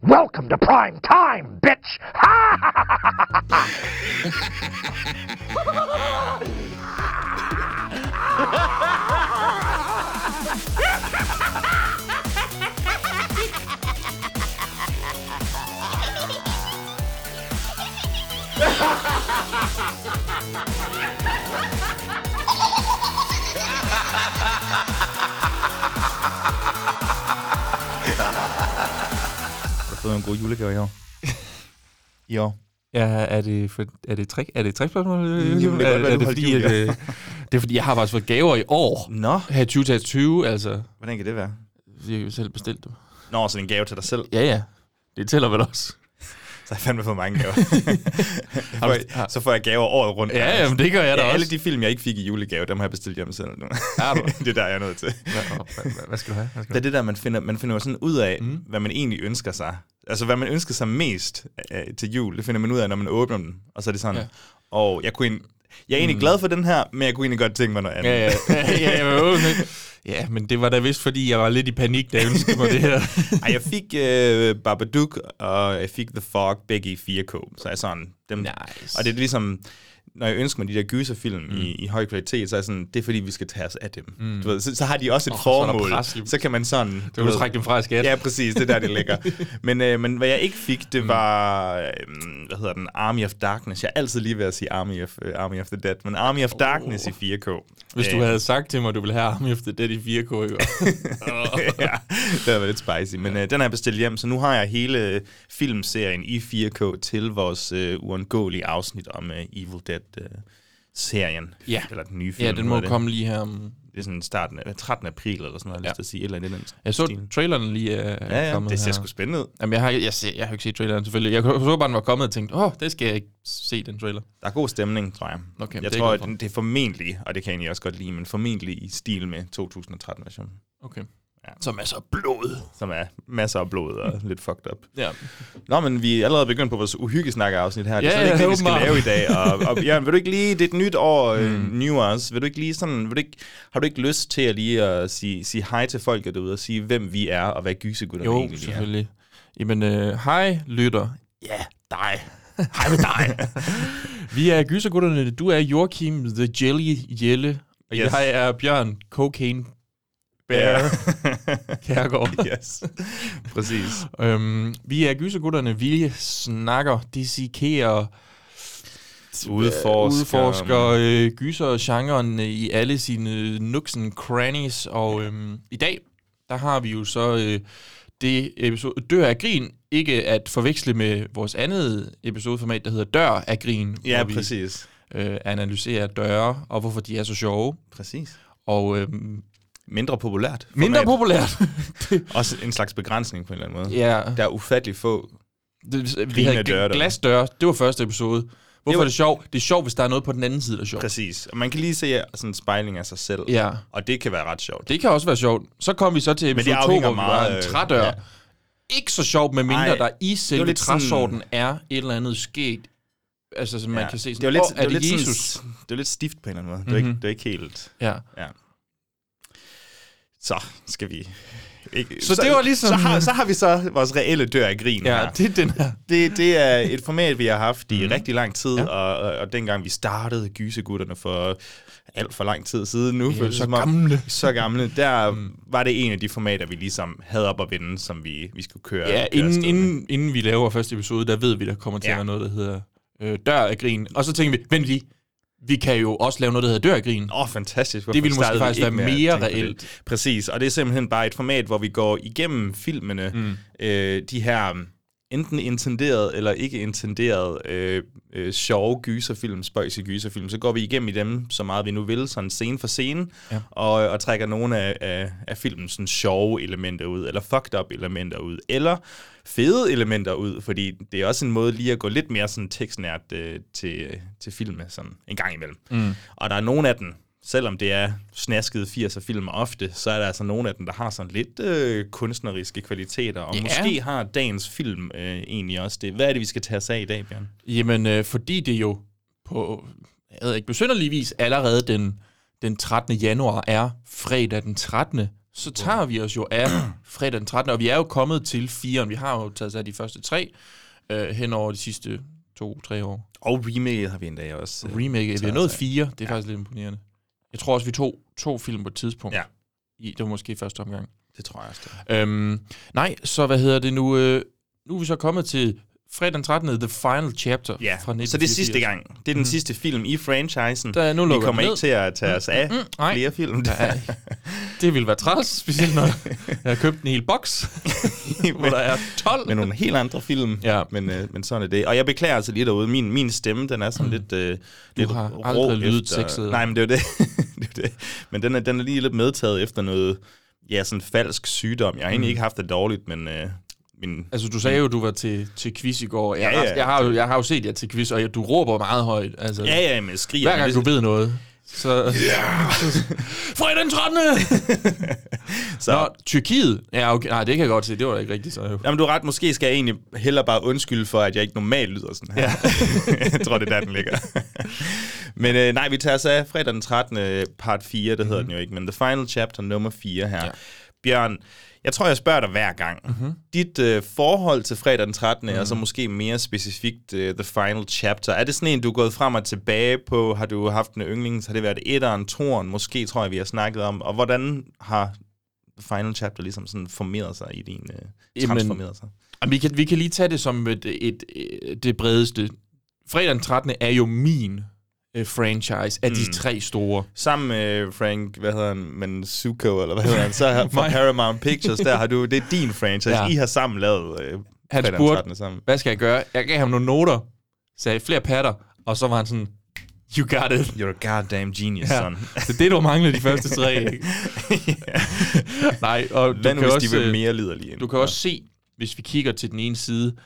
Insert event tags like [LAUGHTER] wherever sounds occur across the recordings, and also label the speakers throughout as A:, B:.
A: Welcome to prime time, bitch! Ha ha ha ha ha!
B: Jeg har fået en god julegave i år. [LAUGHS] I år.
C: Ja, er det, for, er det tre, er det tre spørgsmål?
B: det kunne godt
C: er,
B: være,
C: er
B: du holdt
C: det fordi,
B: jul,
C: at, øh, [LAUGHS] det er fordi, jeg har faktisk fået gaver i år.
B: Nå,
C: Her i 2020, altså.
B: hvordan kan det være?
C: Vi har jo selv bestilt dem.
B: Nå, sådan en gave til dig selv.
C: Ja, ja. Det tæller vel også.
B: [LAUGHS] Så har jeg fandme fået [LAUGHS] mange gaver.
C: Har du- har-
B: så får jeg gaver året rundt.
C: Ja, jamen, det gør jeg da
B: Ja, alle
C: også.
B: de film, jeg ikke fik i julegave, dem har jeg bestilt hjemme selv nu.
C: Har du?
B: [LAUGHS] det er der, jeg er nødt til.
C: Hvad, hvad skal du have? Hvad skal
B: Det er det der, man finder, man finder jo sådan ud af, mm. hvad man egentlig ønsker sig. Altså, hvad man ønsker sig mest øh, til jul, det finder man ud af, når man åbner den. Og så er det sådan,
C: Ja.
B: ja. og jeg kunne egentlig, jeg er egentlig mm. glad for den her, men jeg kunne egentlig godt tænke mig noget andet.
C: Ja, [LAUGHS] ja. ja, ja, men, ja, men det var da vist, fordi jeg var lidt i panik, da jeg ønskede mig det her.
B: Ej, jeg fik øh, Babadook, og jeg fik The Fog, begge i 4K. Så jeg er sådan, dem...
C: [LAUGHS] Nice.
B: Og det er ligesom, når jeg ønsker mig de der gyserfilm mm. i, i høj kvalitet, så er jeg sådan, det er fordi, vi skal tage os af dem. Mm. Du ved, så, så har de også et oh,
C: så er der
B: formål.
C: pres
B: Så,
C: lige
B: så kan man sådan... Du
C: Du kan trække dem fra i skat.
B: Ja, præcis, det er der, det
C: [LAUGHS]
B: ligger. men, øh, men hvad jeg ikke fik,
C: Mm.
B: det var, øh, hvad hedder den, Army of Darkness. Jeg er altid lige ved at sige Army of, øh, Army of the Dead, men Army of Darkness i Øh, 4K.
C: Oh. Hvis du havde sagt til mig, at du ville have Army of the Dead i 4K, ikke?
B: [LAUGHS] ja, det var lidt spicy. Men øh, den har jeg bestilt hjem, så nu har jeg hele øh, filmserien i 4K til vores øh, uundgåelige afsnit om øh, Evil Dead-serien.
C: Ja.
B: Eller den nye film.
C: ja, den
B: nu
C: må
B: er det.
C: komme lige her om...
B: Det er sådan starten af 13. april, eller sådan noget, jeg har
C: Ja.
B: lyst til at sige. Et Eller andet, i den
C: Jeg så
B: stil.
C: traileren lige er
B: Ja, ja,
C: kommet
B: det ser
C: her.
B: sgu spændende ud.
C: Jamen, jeg har, jeg, ser, jeg har jo ikke set traileren, selvfølgelig. Jeg så bare, den var kommet og tænkte, åh, oh, det skal jeg ikke se, den trailer.
B: Der er god stemning, tror jeg.
C: Okay, men
B: jeg
C: det er
B: tror,
C: jeg
B: at
C: glad for.
B: den- det er formentlig, og det kan jeg også godt lide, men formentlig i stil med 2013-versionen,
C: Okay.
B: Ja.
C: Som er så blod.
B: som er masser af blod og lidt fucked up.
C: Ja.
B: Nå, men vi er allerede begyndt på vores uhyggesnakke-afsnit her. Det
C: Ja,
B: er slet
C: ja,
B: ikke det, vi skal
C: åbenbart. Hmm.
B: lave i dag. Og, og Jørgen, vil du ikke lige, det er et nyt år, mm. Newers, vil du ikke lige sådan, vil du ikke, har du ikke lyst til at lige at sige, sige hej til folket derude og sige, hvem vi er og hvad gysegutterne
C: Jo,
B: egentlig er?
C: selvfølgelig. Jamen, øh, hej, lytter. Ja, dig. hej med [LAUGHS] dig. Vi er gysergutterne. Du er Joachim The Jelly Jelle. Og
B: Yes.
C: yes. jeg er Bjørn Cocaine Bear
B: Ja.
C: Kærgaard.
B: [LAUGHS] yes. Præcis.
C: Øhm, vi er gysergutterne, vi snakker, dissekerer,
B: Udforsker. øhm,
C: udforsker øh, gysergenren øh, i alle sine nuksen crannies, og øhm, i dag, der har vi jo så øh, det episode Dør af Grin, ikke at forveksle med vores andet episodeformat, der hedder Dør af Grin,
B: Ja,
C: hvor vi
B: præcis.
C: øh, analyserer døre, og hvorfor de er så sjove,
B: Præcis.
C: og øhm,
B: Mindre populært.
C: mindre
B: format.
C: populært.
B: Også en slags begrænsning på en eller anden måde.
C: [LAUGHS] ja,
B: Der er ufattelig få.
C: Det, vi
B: Grinende
C: havde
B: døre,
C: dør,
B: der.
C: glasdøre, det var første episode. Hvorfor
B: Det var-
C: er det sjovt? Det er sjovt, hvis der er noget på den anden side, der er sjovt.
B: Præcis. Og man kan lige se sådan en spejling af sig selv.
C: Ja,
B: Og det kan være ret sjovt.
C: det kan også være sjovt. Så kom vi så til
B: det
C: episode 2,
B: afhænger
C: hvor vi var
B: meget,
C: en
B: øh,
C: trædør.
B: ja.
C: Ja. Ikke så sjovt, med mindre
B: Ej,
C: Ej, der i
B: var
C: selve
B: lidt sådan-
C: træsorten er et eller andet sket. Altså, som man kan se
B: det var
C: sådan,
B: lidt,
C: åh, er
B: var
C: det,
B: lidt
C: Jesus? Mhm.
B: Sådan, det var lidt stift på en eller anden måde. Det var, ikke, det var ikke helt...
C: Ja.
B: Ja. Så skal vi... Ikke,
C: Så det var ligesom-
B: Så har, så har vi så vores reelle dør af grin
C: ja, Mhm.
B: her.
C: det er den her.
B: Det, det er et format, vi har haft i mm. rigtig lang tid, ja. og, og, og dengang vi startede Gysegutterne for alt for lang tid siden nu, føles det
C: så
B: som om-
C: gamle. Mhm.
B: så gamle, der mm. var det en af de formater, vi ligesom havde op at vinde, som vi, vi skulle køre.
C: Ja,
B: køre afsted
C: inden,
B: med.
C: inden, inden vi laver første episode, der ved vi, der kommer til
B: Ja.
C: at være noget, der hedder øh, dør af grin. Og så tænker vi, vent lige, vi kan jo også lave noget, der hedder dør af grin.
B: Åh, oh, fantastisk. Hvorfor
C: Det ville måske
B: startede vi
C: faktisk
B: ikke med
C: være
B: at
C: mere
B: tænke på det?
C: reelt.
B: Præcis, og det er simpelthen bare et format, hvor vi går igennem filmene, mm. øh, de her mm, enten intenderet eller ikke intenderet øh, øh, sjove gyserfilm, spøjse gyserfilm, så går vi igennem i dem så meget vi nu vil, sådan scene for scene, ja. og, og trækker nogle af, af, af filmens sådan sjove elementer ud, eller fucked up elementer ud, eller fede elementer ud, fordi det er også en måde lige at gå lidt mere sådan tekstnært øh, til, til filme sådan en gang imellem. Mm. Og der er nogle af dem, selvom det er snaskede 80'er film ofte, så er der altså nogle af dem, der har sådan lidt øh, kunstneriske kvaliteter, og
C: Ja.
B: måske har dagens film øh, egentlig også det. Hvad er det, vi skal tage os af i dag, Bjørn?
C: Jamen, øh, fordi det jo på, jeg ved ikke, besynderligvis allerede den, den 13. januar er fredag den 13. så tager vi os jo
B: [CLEARS THROAT]
C: af fredag den 13. Og vi er jo kommet til 4'eren. Vi har jo taget os af de første tre øh, hen over de sidste to-tre år.
B: Og remaket har vi endda også. øh,
C: Remake, vi
B: tager
C: har
B: os
C: nået
B: af.
C: fire. Det er faktisk lidt imponerende. Jeg tror også, vi tog to film på et tidspunkt.
B: Ja.
C: I, det var måske i første omgang.
B: Det tror jeg også. Det. er.
C: Øhm, nej, så hvad hedder det nu? Øh, nu er vi så kommet til fredag den 13. The Final Chapter
B: Ja,
C: fra 1984.
B: så det er sidste gang. Det er den sidste film i franchisen.
C: Der er- nu lukker
B: vi kommer ikke
C: den ned.
B: til at tage os af
C: Mm, nej.
B: flere film.
C: Ja, det ville være
B: [LAUGHS]
C: træls, specielt når jeg har købt en hel boks, hvor der er 12.
B: med nogle helt andre film.
C: Ja.
B: Men, øh, men sådan er det. Og jeg beklager altså lige derude. Min, min stemme, den er sådan lidt, øh, lidt
C: Mm. har
B: rå
C: aldrig lydet
B: efter-
C: sexet.
B: Nej, men det er jo det. [LAUGHS] det, er jo det. Men den er, den er lige lidt medtaget efter noget ja, sådan falsk sygdom. Jeg har
C: Mm.
B: egentlig ikke haft det dårligt, men... Øh, min,
C: Altså, du sagde jo, du var til, til quiz i går. Jeg,
B: Ja,
C: ja,
B: ja.
C: ja. jeg, har, jo, jeg har jo set jer til quiz, og jeg, du råber meget højt. Altså,
B: ja, ja, men jeg skriger.
C: Hver
B: men
C: gang
B: det-
C: du ved noget, så...
B: [LAUGHS]
C: Ja. Fredag den 13. [LAUGHS]
B: så,
C: Nå, Tyrkiet. Ja, okay. Nej, det kan jeg godt se. Det var da ikke rigtigt. Så.
B: Jamen, du er ret. Måske skal jeg egentlig hellere bare undskylde for, at jeg ikke normalt lyder sådan her. Ja. [LAUGHS] jeg tror, det er der, den ligger. men øh, nej, vi tager os af fredag den 13. øh, part 4, det mm-hmm. hedder den jo ikke, men The Final Chapter nummer 4 her. Ja. Bjørn, jeg tror, jeg spørger dig hver gang. Mm-hmm. Dit øh, forhold til fredag den 13. Mm-hmm. og så måske mere specifikt øh, The Final Chapter. Er det sådan en, du er gået frem og tilbage på? Har du haft en yndlings? Har det været etteren, toeren? Måske tror jeg, vi har snakket om. Og hvordan har The Final Chapter ligesom sådan formeret sig i din... Øh,
C: Jamen,
B: transformeret sig?
C: Jamen, Vi kan, vi kan lige tage det som et, et, et, det bredeste. Fredag den 13. er jo min øh, franchise af
B: Mm.
C: de tre store.
B: Sammen med Frank, hvad hedder han, men Zuko, eller hvad hedder han,
C: [LAUGHS]
B: så har- fra Paramount Pictures, der har du, det er din franchise, ja.
C: Ja.
B: I har sammen lavet øh,
C: Han
B: fredag den
C: spurgte-
B: 13. sammen.
C: Hvad skal jeg gøre? Jeg gav ham nogle noter, sagde flere patter, og så var han sådan, you got it.
B: You're a goddamn genius, ja.
C: Ja. [LAUGHS]
B: son.
C: Så det, du mangler de første
B: [LAUGHS]
C: tre. ikke? Nej, og du
B: Hvad nu,
C: kan,
B: hvis
C: også,
B: de vil
C: øh,
B: mere liderlige? end-
C: du kan også se, hvis vi kigger til den ene side,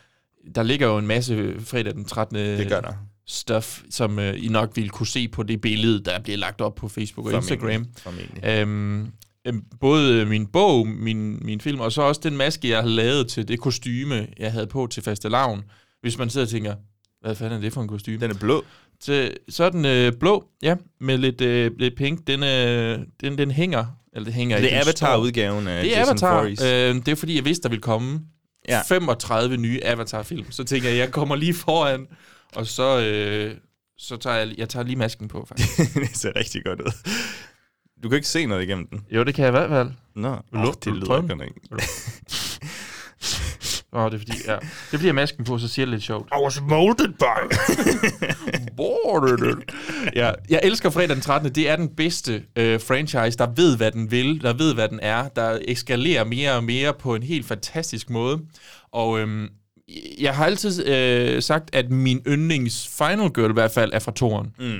C: der ligger jo en masse øh, fredag den 13.
B: Det gør der.
C: stuff, som øh, I nok ville kunne se på det billede, der bliver lagt op på Facebook og Instagram.
B: Formentlig.
C: Øhm, øhm, både øh, min bog, min, min film, og så også den maske, jeg har lavet til det kostyme, jeg havde på til fastelavn. Hvis man sidder og tænker, hvad fanden er det for en kostyme?
B: Den er blå.
C: til, så er den øh, blå, ja, med lidt, øh, lidt pink. Den, øh, den, den hænger. Eller det hænger
B: Det
C: ikke,
B: er
C: den står.
B: Avatar-udgaven af
C: Det er
B: Jason
C: Avatar.
B: Voorhees.
C: Øh, det er fordi, jeg vidste, der ville komme
B: Ja.
C: ja. 35 nye Avatar-film. Så tænker jeg, jeg kommer lige foran, og så, øh, så tager jeg, jeg tager lige masken på,
B: [LAUGHS]
C: faktisk.
B: det ser rigtig godt ud. Du kan ikke se noget igennem den.
C: [LAUGHS] jo, det kan jeg i hvert fald.
B: Nå, oh,
C: Lå-
B: det lyder
C: drømme.
B: godt ikke.
C: Åh, det er fordi, ja. Det er fordi, jeg har masken på, så siger det lidt sjovt.
A: I was molded by.
C: [LAUGHS] ja, jeg elsker fredag den 13. Det er den bedste øh, franchise, der ved, hvad den vil, der ved, hvad den er, der eskalerer mere og mere på en helt fantastisk måde. Og øhm, jeg har altid øh, sagt, at min yndlings Final Girl i hvert fald er fra toren.
B: Mm.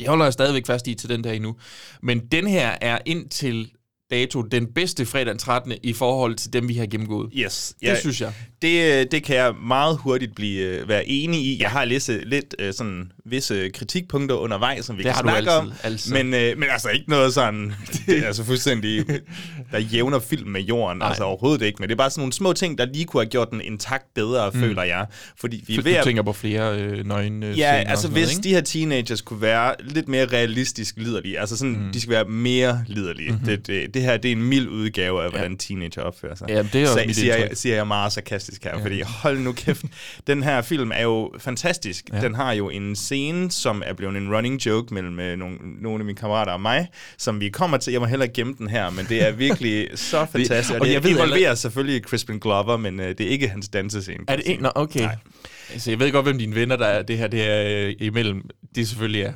C: Det holder jeg stadigvæk fast i til den dag endnu. Men den her er indtil dato den bedste fredag den 13. i forhold til dem, vi har gennemgået.
B: Yes.
C: Ja. Det synes jeg.
B: Det, øh, det kan jeg meget hurtigt blive, øh, være enig i. Jeg har læst øh, lidt øh, sådan, visse kritikpunkter undervejs, som vi
C: Det
B: kan
C: har du
B: snakke
C: altid,
B: om.
C: altså.
B: Men, øh, men altså ikke noget
C: [LAUGHS]
B: sådan, det er altså fuldstændig, der jævner film med jorden. Nej. Altså overhovedet ikke. Men det er bare sådan nogle små ting, der lige kunne have gjort den intakt bedre, mm. føler jeg. Fordi vi er ved
C: Du
B: at
C: tænker på flere øh, nøgne øh,
B: Ja,
C: scener og
B: altså
C: sådan
B: hvis
C: ikke?
B: de her teenagers kunne være lidt mere realistisk liderlige, altså sådan,
C: Mhm.
B: mm. de skal være mere liderlige. Mm-hmm. Det, det, det her, det er en mild udgave af, hvordan ja. teenager opfører sig.
C: Ja, det er jo
B: Så,
C: mit
B: siger, jeg,
C: indtryk.
B: siger jeg meget sarkastisk her, ja. fordi hold nu
C: [LAUGHS]
B: kæft, den her film er jo fantastisk. Ja. Den har jo en scene, som er blevet en running joke mellem øh, nogle, nogle af mine kammerater og mig, som vi kommer til. Jeg må hellere gemme den her, men det er
C: [LAUGHS]
B: virkelig så fantastisk. Og,
C: og
B: det
C: jeg ved heller-
B: involverer selvfølgelig Crispin Glover, men øh, det er ikke hans dansescene.
C: Er det en? Nå, okay. Nej. Altså, jeg ved godt, hvem dine venner, der er det her det er, øh, imellem. Det selvfølgelig er.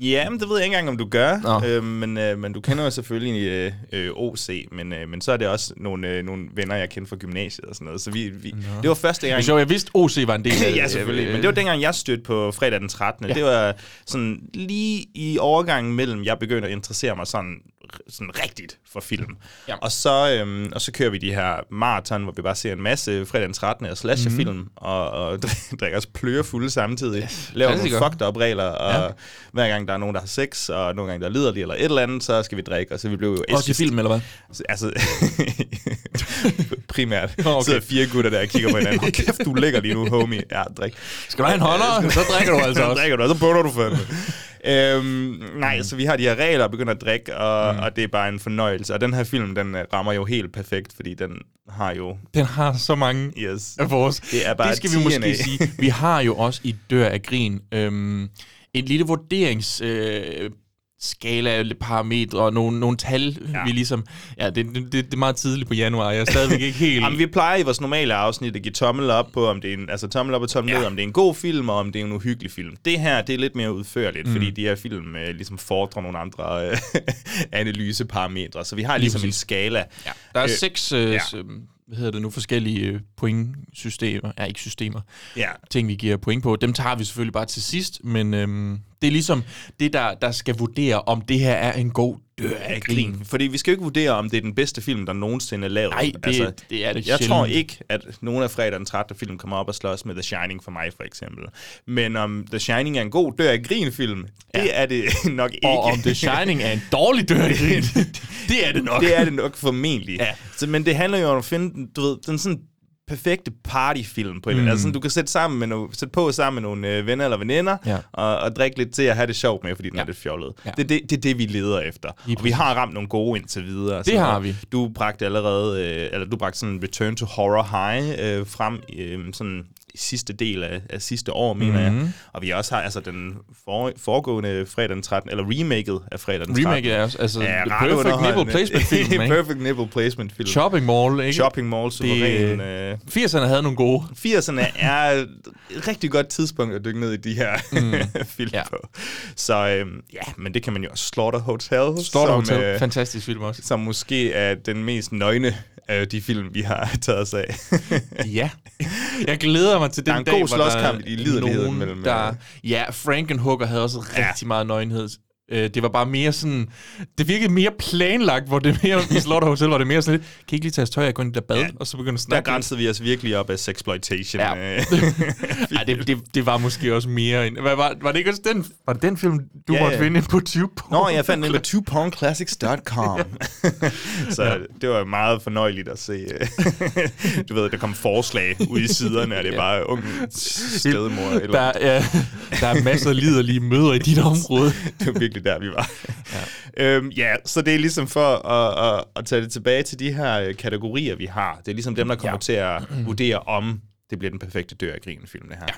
B: Ja, men det ved jeg ikke engang, om du gør.
C: Nå.
B: Øh, men, øh, men du kender jo selvfølgelig øh, øh, OC, men, øh, men så er det også nogle, øh, nogle venner, jeg kendte fra gymnasiet og sådan noget. Så vi, vi, det var første
C: Det er
B: gang...
C: sjovt, jeg vidste, OC var en [CLEARS THROAT] del af øh, det.
B: ja, selvfølgelig. Men det var dengang, jeg stødte på fredag den 13. Øh, Ja. Det var sådan lige i overgangen mellem, jeg begyndte at interessere mig sådan, sådan rigtigt for film. Ja.
C: Ja.
B: Og, så, øhm, og så kører vi de her maraton, hvor vi bare ser en masse fredag den 13. og slasherfilm, mm. og, og [LAUGHS] drikker os plørefulde samtidig. Yes. Laver nogle
C: klassiker.
B: fucked up regler, og ja. hver gang der er nogen, der har sex, og nogle gange der er liderlige eller et eller andet, så skal vi drikke, og så vi blev jo
C: Også i
B: Eskist-
C: film, eller hvad?
B: Altså, [LAUGHS] primært
C: Nå,
B: okay.
C: okay.
B: sidder fire gutter der og kigger på hinanden. Hold kæft, du ligger lige nu, homie. Ja, drik.
C: Skal du have en holder? Så drikker du altså
B: [LAUGHS] Så
C: også. Mm.
B: drikker du, og så bunder du fandme. øhm, nej, så vi har de her regler og begynder at drikke, og, mm. og det er bare en fornøjelse. Og den her film, den øh, rammer jo helt perfekt, fordi den har jo...
C: Den har så mange
B: Yes.
C: af vores.
B: Det er bare
C: det skal vi måske
B: TNA.
C: sige. Vi har jo også i Dør af Grin øhm, en lille vurderings... Øh, skala, lidt parametre og nogle, nogle tal, ja. vi ligesom... Ja, det, det, det er meget tidligt på januar, jeg er stadigvæk ikke helt...
B: Jamen, vi plejer i vores normale afsnit at give tommel op på, om det er en, altså tommel op og tommel ja. ned, om det er en god film, og om det er en uhyggelig film. Det her, det er lidt mere udførligt, mm. fordi de her film øh, ligesom fordrer nogle andre øh, [LAUGHS] analyseparametre, så vi har ligesom en
C: præcis.
B: skala.
C: Ja. Der er
B: Øh,
C: øh, seks, øh,
B: ja.
C: ja. hvad hedder det nu, forskellige øh, pointsystemer, ja ikke systemer,
B: Ja.
C: ting vi giver point på. Dem tager vi selvfølgelig bare til sidst, men øhm, det er ligesom det, der, der skal vurdere, om det her er en god dør af grin.
B: Grin. Fordi vi skal jo ikke vurdere, om det er den bedste film, der nogensinde er lavet. Altså,
C: Nej, det- det er det
B: Jeg
C: sjældent.
B: tror ikke, at nogen af fredag den 13. film kommer op og slås med The Shining for mig, for eksempel. Men om The Shining er en god dør af grin-film, ja. det er det [LAUGHS] nok ikke.
C: Og om
B: [LAUGHS]
C: The Shining er en dårlig dør af grin, [LAUGHS] det er det nok.
B: Det er det nok formentlig.
C: Ja.
B: Så, men det handler jo om at finde den, du ved, den sådan perfekte partyfilm på en mm. altså, sådan, du kan sætte, sammen med no, sætte på sammen med nogle øh, venner eller veninder
C: Ja.
B: og, og drikke lidt til at have det sjovt med, fordi den ja. er lidt fjollet. Ja.
C: Ja.
B: Det, er det, det er det, vi leder efter. Og vi har ramt nogle gode indtil videre. Det
C: har vi.
B: Du bragte allerede, øh, eller du bragte sådan Return to Horror High øh, frem øh, sådan i sidste del af, af sidste år, mener mm-hmm.
C: Mhm.
B: jeg. Og vi også har altså den for, foregående fredag den 13, eller remaket af fredag den 13.
C: Remake er også, altså,
B: Ja,
C: ja,
B: ret
C: perfect nipple
B: underholdende.
C: placement [LAUGHS] film, ikke?
B: perfect nipple placement film. Chop.
C: Shopping Mall, ikke?
B: Shopping Mall, suveræn.
C: Det-
B: Øh,
C: 80'erne havde nogle gode.
B: 80'erne er et rigtig godt tidspunkt at dykke ned i de her mm. [LAUGHS] film ja.
C: Ja.
B: på. Så øhm, ja, men det kan man jo også. Slaughter Hotel,
C: Står der
B: som, øh,
C: hotel. Fantastisk film også.
B: som måske er den mest nøgne af de film, vi har [LAUGHS] taget os af.
C: Ja. Jeg glæder mig til den
B: Der er en
C: dag,
B: god
C: hvor der
B: slåskamp i liderligheden
C: nogen,
B: mellem,
C: Der,
B: øh,
C: ja, Frankenhooker havde også
B: Ja.
C: rigtig meget nøgenhed. Øh, Det var bare mere sådan... Det virkede mere planlagt, hvor det mere... I Slaughter Hotel var det mere sådan lidt... Kan I ikke lige tage jeres tøj af, gå ind i det der bad,
B: Ja.
C: ja. og så begynde at
B: Der
C: snakke? lidt?
B: grænsede vi os virkelig op af sexploitation.
C: Ja. [LAUGHS]
B: øh.
C: Ej, det, det, det, var måske også mere end... Hvad, var, var det ikke også den, var det den film, du
B: Ja,
C: ja, måtte
B: ja.
C: finde på 20 på?
B: Nå, jeg fandt den på 2pornclassics.com. så [LAUGHS] ja. det var meget fornøjeligt at se. øh, [LAUGHS] du ved, der kom forslag ud i siderne, og det er bare ung stedmor.
C: Der,
B: Eller,
C: er, der er masser af liderlige møder i dit
B: [LAUGHS]
C: område.
B: det var virkelig der, vi var. Ja, øhm, ja så det er ligesom for at, at, at tage det tilbage til de her øh, kategorier, vi har. Det er ligesom dem, der kommer ja. til at vurdere om det bliver den perfekte dør af grin film, det her. Ja.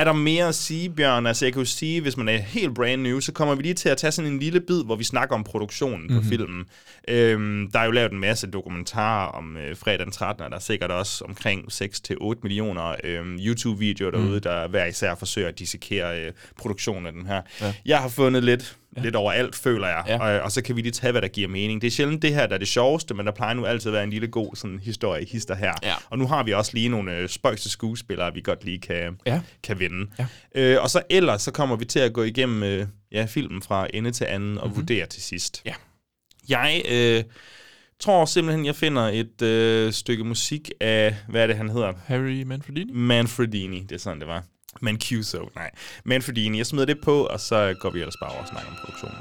B: Er der mere at sige, Bjørn? Altså, jeg kan jo sige, hvis man er helt brand new, så kommer vi lige til at tage sådan en lille bid, hvor vi snakker om produktionen mm-hmm. på filmen. Øhm, der er jo lavet en masse dokumentarer om øh, fredag den 13, og der er sikkert også omkring 6-8 millioner øhm, YouTube-videoer derude, mm. der hver især forsøger at dissekere øh, produktionen af den her. Ja. Jeg har fundet lidt, ja. lidt overalt, føler jeg, ja.
C: Ja.
B: og, og så kan vi lige tage, hvad der giver mening. Det er sjældent det her, der er det sjoveste, men der plejer nu altid at være en lille god sådan, historie i hister her.
C: Ja.
B: Og nu har vi også lige nogle øh, spøjse skuespillere, vi godt lige kan,
C: Ja.
B: kan vinde.
C: Ja.
B: Øh, og så ellers, så kommer vi til at gå igennem øh, ja, filmen fra ende til anden og mm-hmm. vurdere til sidst.
C: Ja.
B: Jeg øh, tror simpelthen, jeg finder et øh, stykke musik af, hvad er det, han hedder?
C: Harry Manfredini?
B: Manfredini, det er sådan, det var. Mancuso, nej. Manfredini, jeg smider det på, og så går vi ellers bare over og snakker om produktionen.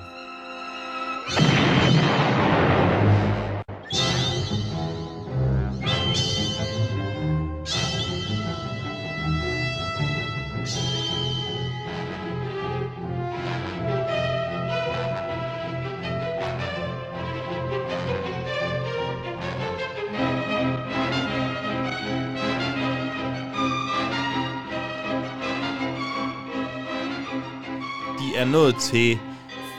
B: De er nået til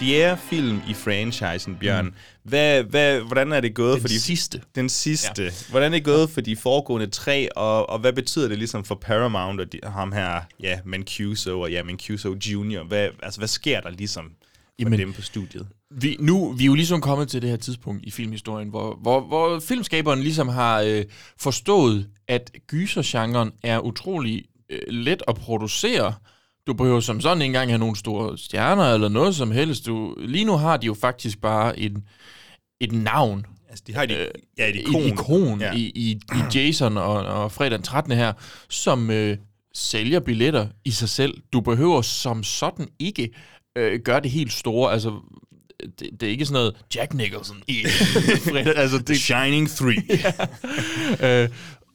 B: fjerde film i franchisen, Bjørn. Hvad, hvad, hvordan er det gået for de
C: sidste.
B: Mm. Den sidste. Ja. Hvordan er det gået for de foregående tre, og, og hvad betyder det ligesom for Paramount og de, ham her, ja, Mancuso og ja, Mancuso Junior? Hvad, altså, hvad sker der ligesom med
C: Jamen-
B: dem på studiet?
C: vi, nu, vi er jo ligesom kommet til det her tidspunkt i filmhistorien, hvor, hvor, hvor filmskaberen ligesom har øh, forstået, at gysergenren er utrolig øh, let at producere. Du behøver som sådan ikke engang have nogle store stjerner eller noget som helst. Du, lige nu har de jo faktisk bare en, et navn,
B: Altså, de har et, øh, ja, et ikon.
C: ikon, et ikon
B: Ja.
C: ja. i, i, i Jason og, og fredag den 13. her, som øh, sælger billetter i sig selv. Du behøver som sådan ikke øh, gøre det helt store. Altså, det, det er ikke sådan noget Jack Nicholson i
B: [LAUGHS]
C: fredag. Altså,
B: The
C: det,
B: Shining 3. [LAUGHS]
C: øh,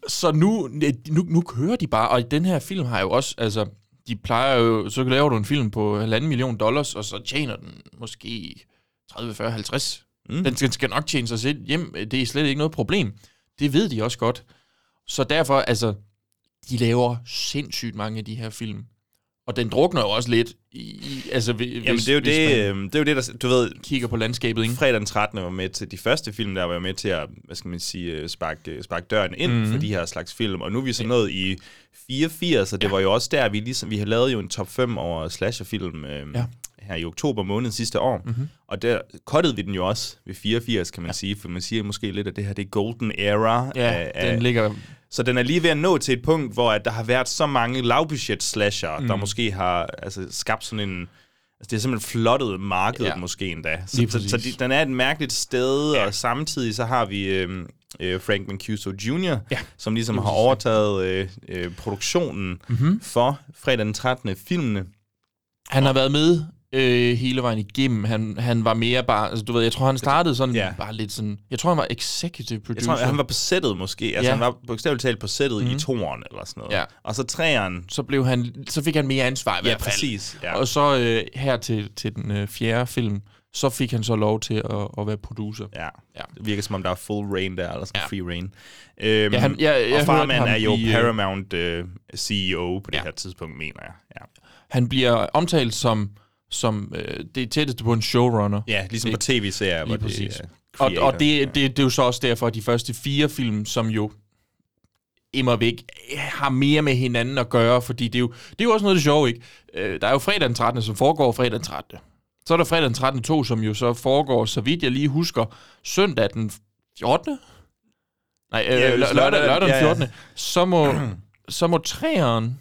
C: så nu, nu, nu kører de bare, og den her film har jo også, altså, de plejer jo, så laver du en film på halvanden million dollars, og så tjener den måske 30, 40, 50.
B: Mm.
C: Mm. Den skal, skal nok tjene sig selv hjem. Det er slet ikke noget problem. Det ved de også godt. Så derfor, altså, de laver sindssygt mange af de her film. Og den drukner jo også lidt. I, i, altså, hvis,
B: Jamen, det er jo
C: hvis
B: det,
C: man
B: øh, det, er jo det der, du ved,
C: kigger på landskabet, ikke?
B: fredag den 13. var med til de første film, der var jeg med til at, hvad skal man sige, øh, sparke, øh, sparke døren ind mm. for de her slags film. Og nu er vi så nået i 84, og det ja. var jo også der, vi ligesom, vi har lavet jo en top 5 over slasherfilm øh, ja.
C: Ja.
B: her i oktober måned sidste år. Mm-hmm. Og der kottede vi den jo også ved 84, kan man ja. sige, for man siger måske lidt, at det her, det er golden era
C: Ja,
B: af,
C: den ligger...
B: så den er lige ved at nå til et punkt, hvor at der har været så mange lavbudget slasher, mm. der måske har altså, skabt sådan en... Altså, det er simpelthen flottet markedet ja.
C: Ja.
B: måske endda. Så,
C: Lige
B: så, så de,
C: præcis.
B: den er et mærkeligt sted, ja. og samtidig så har vi øhm, øh, Frank Mancuso Jr., ja. som ligesom har overtaget øh, øh, produktionen mm-hmm. for fredag den 13. filmene.
C: Han har været med øh, hele vejen igennem. Han, han var mere bare... Altså, du ved, jeg tror, han startede sådan
B: Ja.
C: ja. bare lidt sådan... Jeg tror, han var executive
B: Jeg
C: producer.
B: tror, han var på sættet måske. Altså,
C: Ja. Mm-hmm.
B: han var bogstaveligt talt på sættet mm. i toeren eller sådan noget.
C: Ja.
B: Og så træeren.
C: så, blev han, så fik han mere ansvar i
B: Ja,
C: hvert fald.
B: præcis. Ja.
C: Ja. Og så øh, her til, til den øh, fjerde film, så fik han så lov til at, at være producer.
B: Ja. ja.
C: Ja.
B: Det virker som om, der er full rain der, eller sådan ja.
C: Ja.
B: free rain. Øhm,
C: Ja, han- ja, jeg
B: og
C: hørte
B: Farman
C: ham
B: er jo
C: i, øh,
B: Paramount øh, CEO på det
C: Ja.
B: her tidspunkt, mener jeg. Ja,
C: Han bliver omtalt som, som øh, det tætteste på en showrunner.
B: ja ligesom
C: Det-
B: på tv-serier. hvor
C: Lige
B: det
C: præcis.
B: er
C: Og,
B: creator.
C: og det, det, det er jo så også derfor, at de første fire film, som jo immer væk har mere med hinanden at gøre, fordi det er jo, det er jo også noget af det sjove, ikke? Øh, Der er jo fredag den 13., som foregår fredag den 13. Så er der fredag den 13. 2, som jo så foregår, så vidt jeg lige husker, søndag den 14. Nej, øh,
B: Ja,
C: lø-
B: hvis
C: lørdag,
B: lørdag-
C: lørdag, lørdag
B: ja,
C: den
B: ja.
C: 14.
B: [CLEARS THROAT]
C: Så må, så må træeren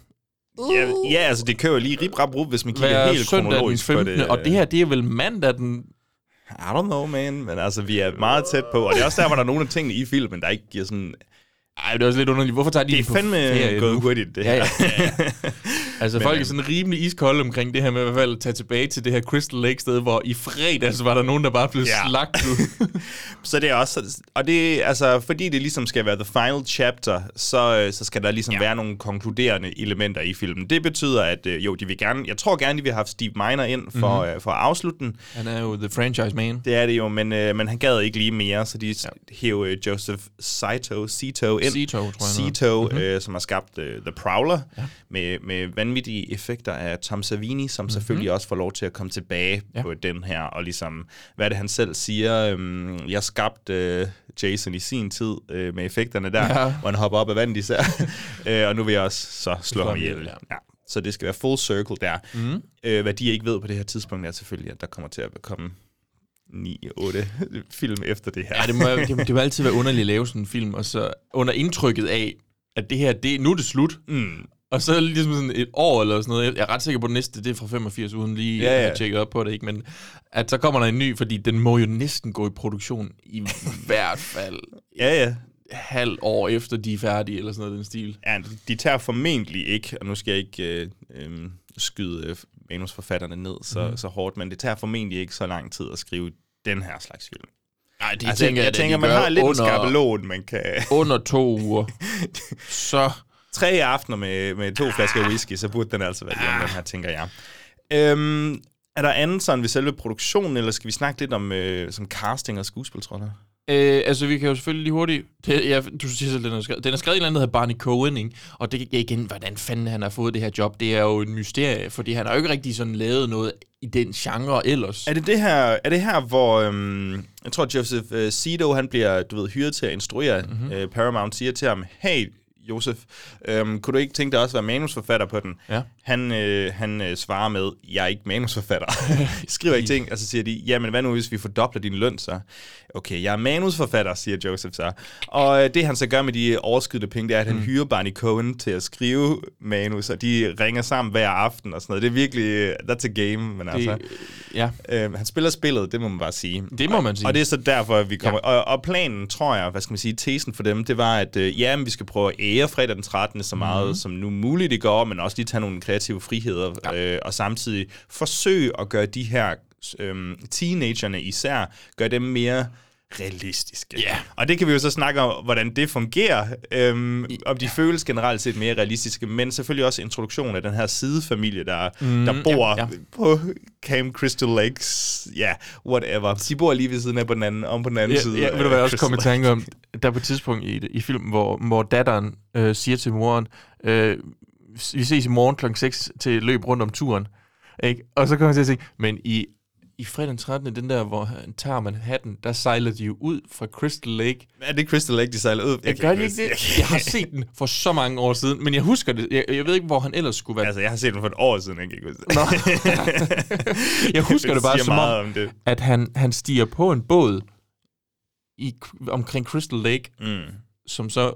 B: Ja, ja, altså det kører jo lige rip rap rup, hvis man kigger
C: være
B: helt
C: søndag den
B: kronologisk
C: 15.
B: på det. øh.
C: Og det her, det er vel mandag den...
B: I don't know, man. Men altså, vi er meget tæt på. Og det er også der, hvor der er nogle af tingene i filmen, der ikke giver sådan...
C: Ej, det er også lidt underligt. Hvorfor tager de
B: Det er
C: den på
B: fandme
C: ferie nu?
B: gået hurtigt, det her.
C: Ja, [LAUGHS] ja. Altså,
B: Men,
C: Men, folk
B: øhm,
C: er sådan rimelig iskolde omkring det her med i hvert fald at tage tilbage til det her Crystal Lake-sted, hvor i fredags var der nogen, der bare blev
B: Ja.
C: ja. slagtet.
B: Så det er også... Og det, altså, fordi det ligesom skal være the final chapter, så, øh, så skal der ligesom ja. være nogle konkluderende elementer i filmen. Det betyder, at øh, jo, de vil gerne... Jeg tror gerne, de vil have haft Steve Miner ind for, mm-hmm. øh, for at afslutte den.
C: [LAUGHS] Han er jo the franchise man.
B: Det er det jo, men, øh, men han gad ikke lige mere, så de ja. hæv øh, Joseph Saito, Sito ind.
C: Zito, tror jeg, han hedder.
B: Sito, mm-hmm. øh, som har skabt øh, The Prowler, ja. med, med vanvittige effekter af Tom Savini, som mm-hmm. selvfølgelig også får lov til at komme tilbage ja.
C: Ja.
B: på den her, og ligesom, hvad er det han selv siger, øhm, jeg skabte øh, Jason i sin tid øh, med effekterne der, ja.
C: Ja.
B: hvor han hopper op af vandet især, [LAUGHS] øh, og nu vil jeg også så slå ham
C: ham
B: ihjel.
C: ihjel, ja.
B: Ja. Så det skal være full circle der. Mm. Øh, hvad de ikke ved på det her tidspunkt er selvfølgelig, at der kommer til at komme 9-8 [LAUGHS] film efter det her.
C: Ja, det må, det, det må altid være underligt at lave sådan en film, og så under indtrykket af, at det her, det, nu er det slut.
B: Mm.
C: Og så er det ligesom sådan et år eller sådan noget. Jeg er ret sikker på, at den næste, det er fra 85, uden lige
B: Ja,
C: ja,
B: ja.
C: ja. at tjekke op på det, ikke? Men at så kommer der en ny, fordi den må jo næsten gå i produktion i hvert fald
B: [LAUGHS] Ja, ja.
C: halv år efter de er færdige, eller sådan noget i den stil.
B: Ja, de tager formentlig ikke, og nu skal jeg ikke øh, øh, skyde øh, manusforfatterne ned så,
C: Mhm.
B: mm. så hårdt, men det tager formentlig ikke så lang tid at skrive den her slags film.
C: Nej, det
B: Altså, jeg, jeg
C: da,
B: tænker,
C: de
B: man
C: gør
B: har lidt under... en
C: under,
B: skabelon, man kan... [LAUGHS]
C: under to uger. [LAUGHS] så
B: Tre aftener med, med
C: Ah.
B: to flasker whisky, så burde den altså være hjemme, den her, tænker jeg. Øhm, er der andet sådan ved selve produktionen, eller skal vi snakke lidt om øh, som casting og skuespiltroller?
C: øh, altså, vi kan jo selvfølgelig lige hurtigt... Det, ja, du siger selv, den er skrevet. Den er skrevet i et eller andet, der hedder Barney Cohen, ikke? Og det er igen, hvordan fanden han har fået det her job. Det er jo en mysterie, fordi han har jo ikke rigtig sådan lavet noget i den genre ellers.
B: Er det det her, er det her hvor øhm, jeg tror Joseph øh, Sido, han bliver du ved hyret til at instruere
C: Mhm.
B: mm-hmm. øh, Paramount siger til ham, hey Josef, øhm, kunne du ikke tænke dig også at være manusforfatter på den?
C: Ja.
B: Han, øh, han øh, svarer med, jeg er ikke
C: [LAUGHS]
B: manusforfatter. [LAUGHS] Skriver ikke ting, og så siger de, jamen hvad nu hvis vi fordobler din løn så? Okay, jeg er manusforfatter, siger Joseph så. Og øh, det han så gør med de overskydende penge, det er, at
C: Mhm.
B: han mm. hyrer Barney Cohen til at skrive manus, og de ringer sammen hver aften og sådan noget. Det er virkelig, øh, that's a game, men altså...
C: det ja,
B: Øh, han spiller spillet, det må man bare sige.
C: det må man sige.
B: Og det er så derfor, at vi kommer... Ja. Og, og planen, tror jeg, hvad skal man sige, tesen for dem, det var, at øh, ja, men vi skal prøve at ære fredag den 13. så meget
C: Mhm.
B: mm. som nu muligt i går, men også lige tage nogle kreative friheder, ja. øh, og samtidig øhm, forsøge at gøre de her øh, teenagerne især, gøre dem mere realistiske.
C: Ja.
B: Og det kan vi jo så snakke om, hvordan det fungerer, øhm, om de føles generelt set mere realistiske, men selvfølgelig også introduktionen af den her sidefamilie, der, mm, der bor
C: ja,
B: ja,
C: ja.
B: ja. på Camp Crystal Lakes, ja, yeah, whatever. De bor lige ved siden af på den anden, om på den anden
C: Ja,
B: side.
C: ja, ved du
B: af
C: hvad jeg også
B: Crystal
C: kom i
B: Lake.
C: tanke om? Der er på et tidspunkt i, i filmen, hvor, hvor datteren øh, siger til moren, øh, vi ses i morgen kl. 6 til løb rundt om turen. Ikke? Og så kommer jeg til at tænke, men i, i fredag den 13. den der, hvor han tager man hatten, der sejler de jo ud fra Crystal Lake.
B: Er det Crystal Lake, de sejler ud?
C: Jeg
B: kan
C: gør de ikke
B: huske- Jeg
C: det?
B: kan-
C: Jeg har set den for så mange år siden, men jeg husker det. Jeg, jeg ved ikke, hvor han ellers skulle være.
B: Altså, jeg har set den for et år siden, jeg kan ikke huske det.
C: Jeg
B: [LAUGHS]
C: husker det bare
B: siger
C: som om-
B: meget om det.
C: At han, han stiger på en båd i, omkring Crystal Lake,
B: Mm.
C: som så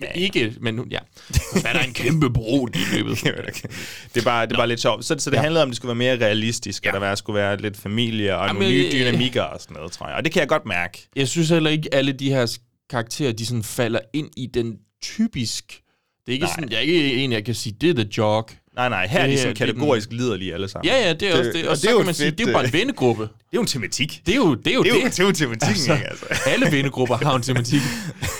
C: ja, ikke, men nu- ja, så er der en kæmpe bro lige
B: [LAUGHS]
C: i løbet.
B: Jamen, okay. Det er bare, det er bare lidt sjovt. Så, så det
C: Ja.
B: ja. handlede om, at det skulle være mere realistisk, ja. og der var, skulle være lidt familie og nogle
C: Jamen,
B: nye
C: øh,
B: dynamikker og sådan noget, tror jeg. Og det kan jeg godt mærke.
C: [LAUGHS] Jeg synes heller ikke, alle de her karakterer, de sådan falder ind i den typisk... Det er ikke sådan, jeg er ikke en, jeg kan sige, det er the jog.
B: Nej, nej, her er
C: Det
B: de
C: er-
B: sådan
C: det er den-
B: kategorisk liderlige alle sammen.
C: Ja, ja, det er det, også det. Og, og så
B: er
C: det
B: jo
C: kan man
B: et
C: sige,
B: fedt,
C: det er jo bare
B: øh,
C: en vennegruppe.
B: Det er jo en tematik.
C: Det er jo det. Er jo
B: Det er jo,
C: det.
B: det er jo tematikken, altså. ikke? Altså.
C: Alle vennegrupper har en tematik.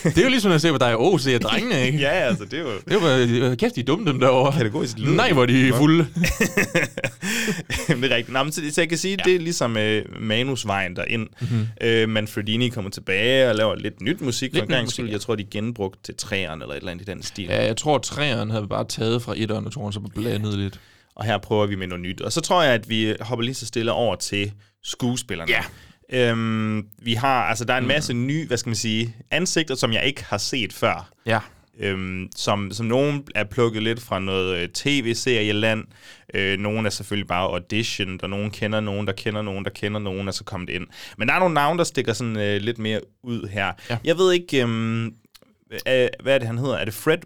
C: det er jo ligesom, når jeg ser på dig og OC og drengene, ikke?
B: Ja, altså, det er jo...
C: [LAUGHS] Det var øh, kæft, de er dumme dem derovre.
B: Kategorisk lyder
C: Nej,
B: det.
C: hvor er de
B: Nå.
C: fulde.
B: Jamen, det er rigtigt. Nå, men så, så jeg kan sige, ja. det er ligesom øh, manusvejen derind. Mm-hmm. Øh, Manfredini kommer tilbage og laver lidt nyt musik.
C: Mhm. Lidt
B: Lidt
C: nyt
B: gang,
C: musik,
B: musik
C: ja.
B: ja. Jeg tror, de genbrugte til træerne eller et eller andet i den stil.
C: Ja, jeg tror, træerne havde bare taget fra etteren, og tror, så blandet lidt.
B: Og her prøver vi med noget nyt. Og så tror jeg, at vi hopper lige så stille over til skuespillerne. Ja. Øhm, vi har, altså der er en masse nye, hvad skal man sige, ansigter, som jeg ikke har set før.
C: Ja.
B: Øhm, som, som nogen er plukket lidt fra noget øh, tv-serieland. Øh, nogen er selvfølgelig bare audition, og nogen kender nogen, der kender nogen, der kender nogen, og så kom det ind. Men der er nogle navne, der stikker sådan øh, lidt mere ud her.
C: Ja.
B: Ja. Jeg ved ikke, øhm, øh, hvad er det, han hedder? Er det Fred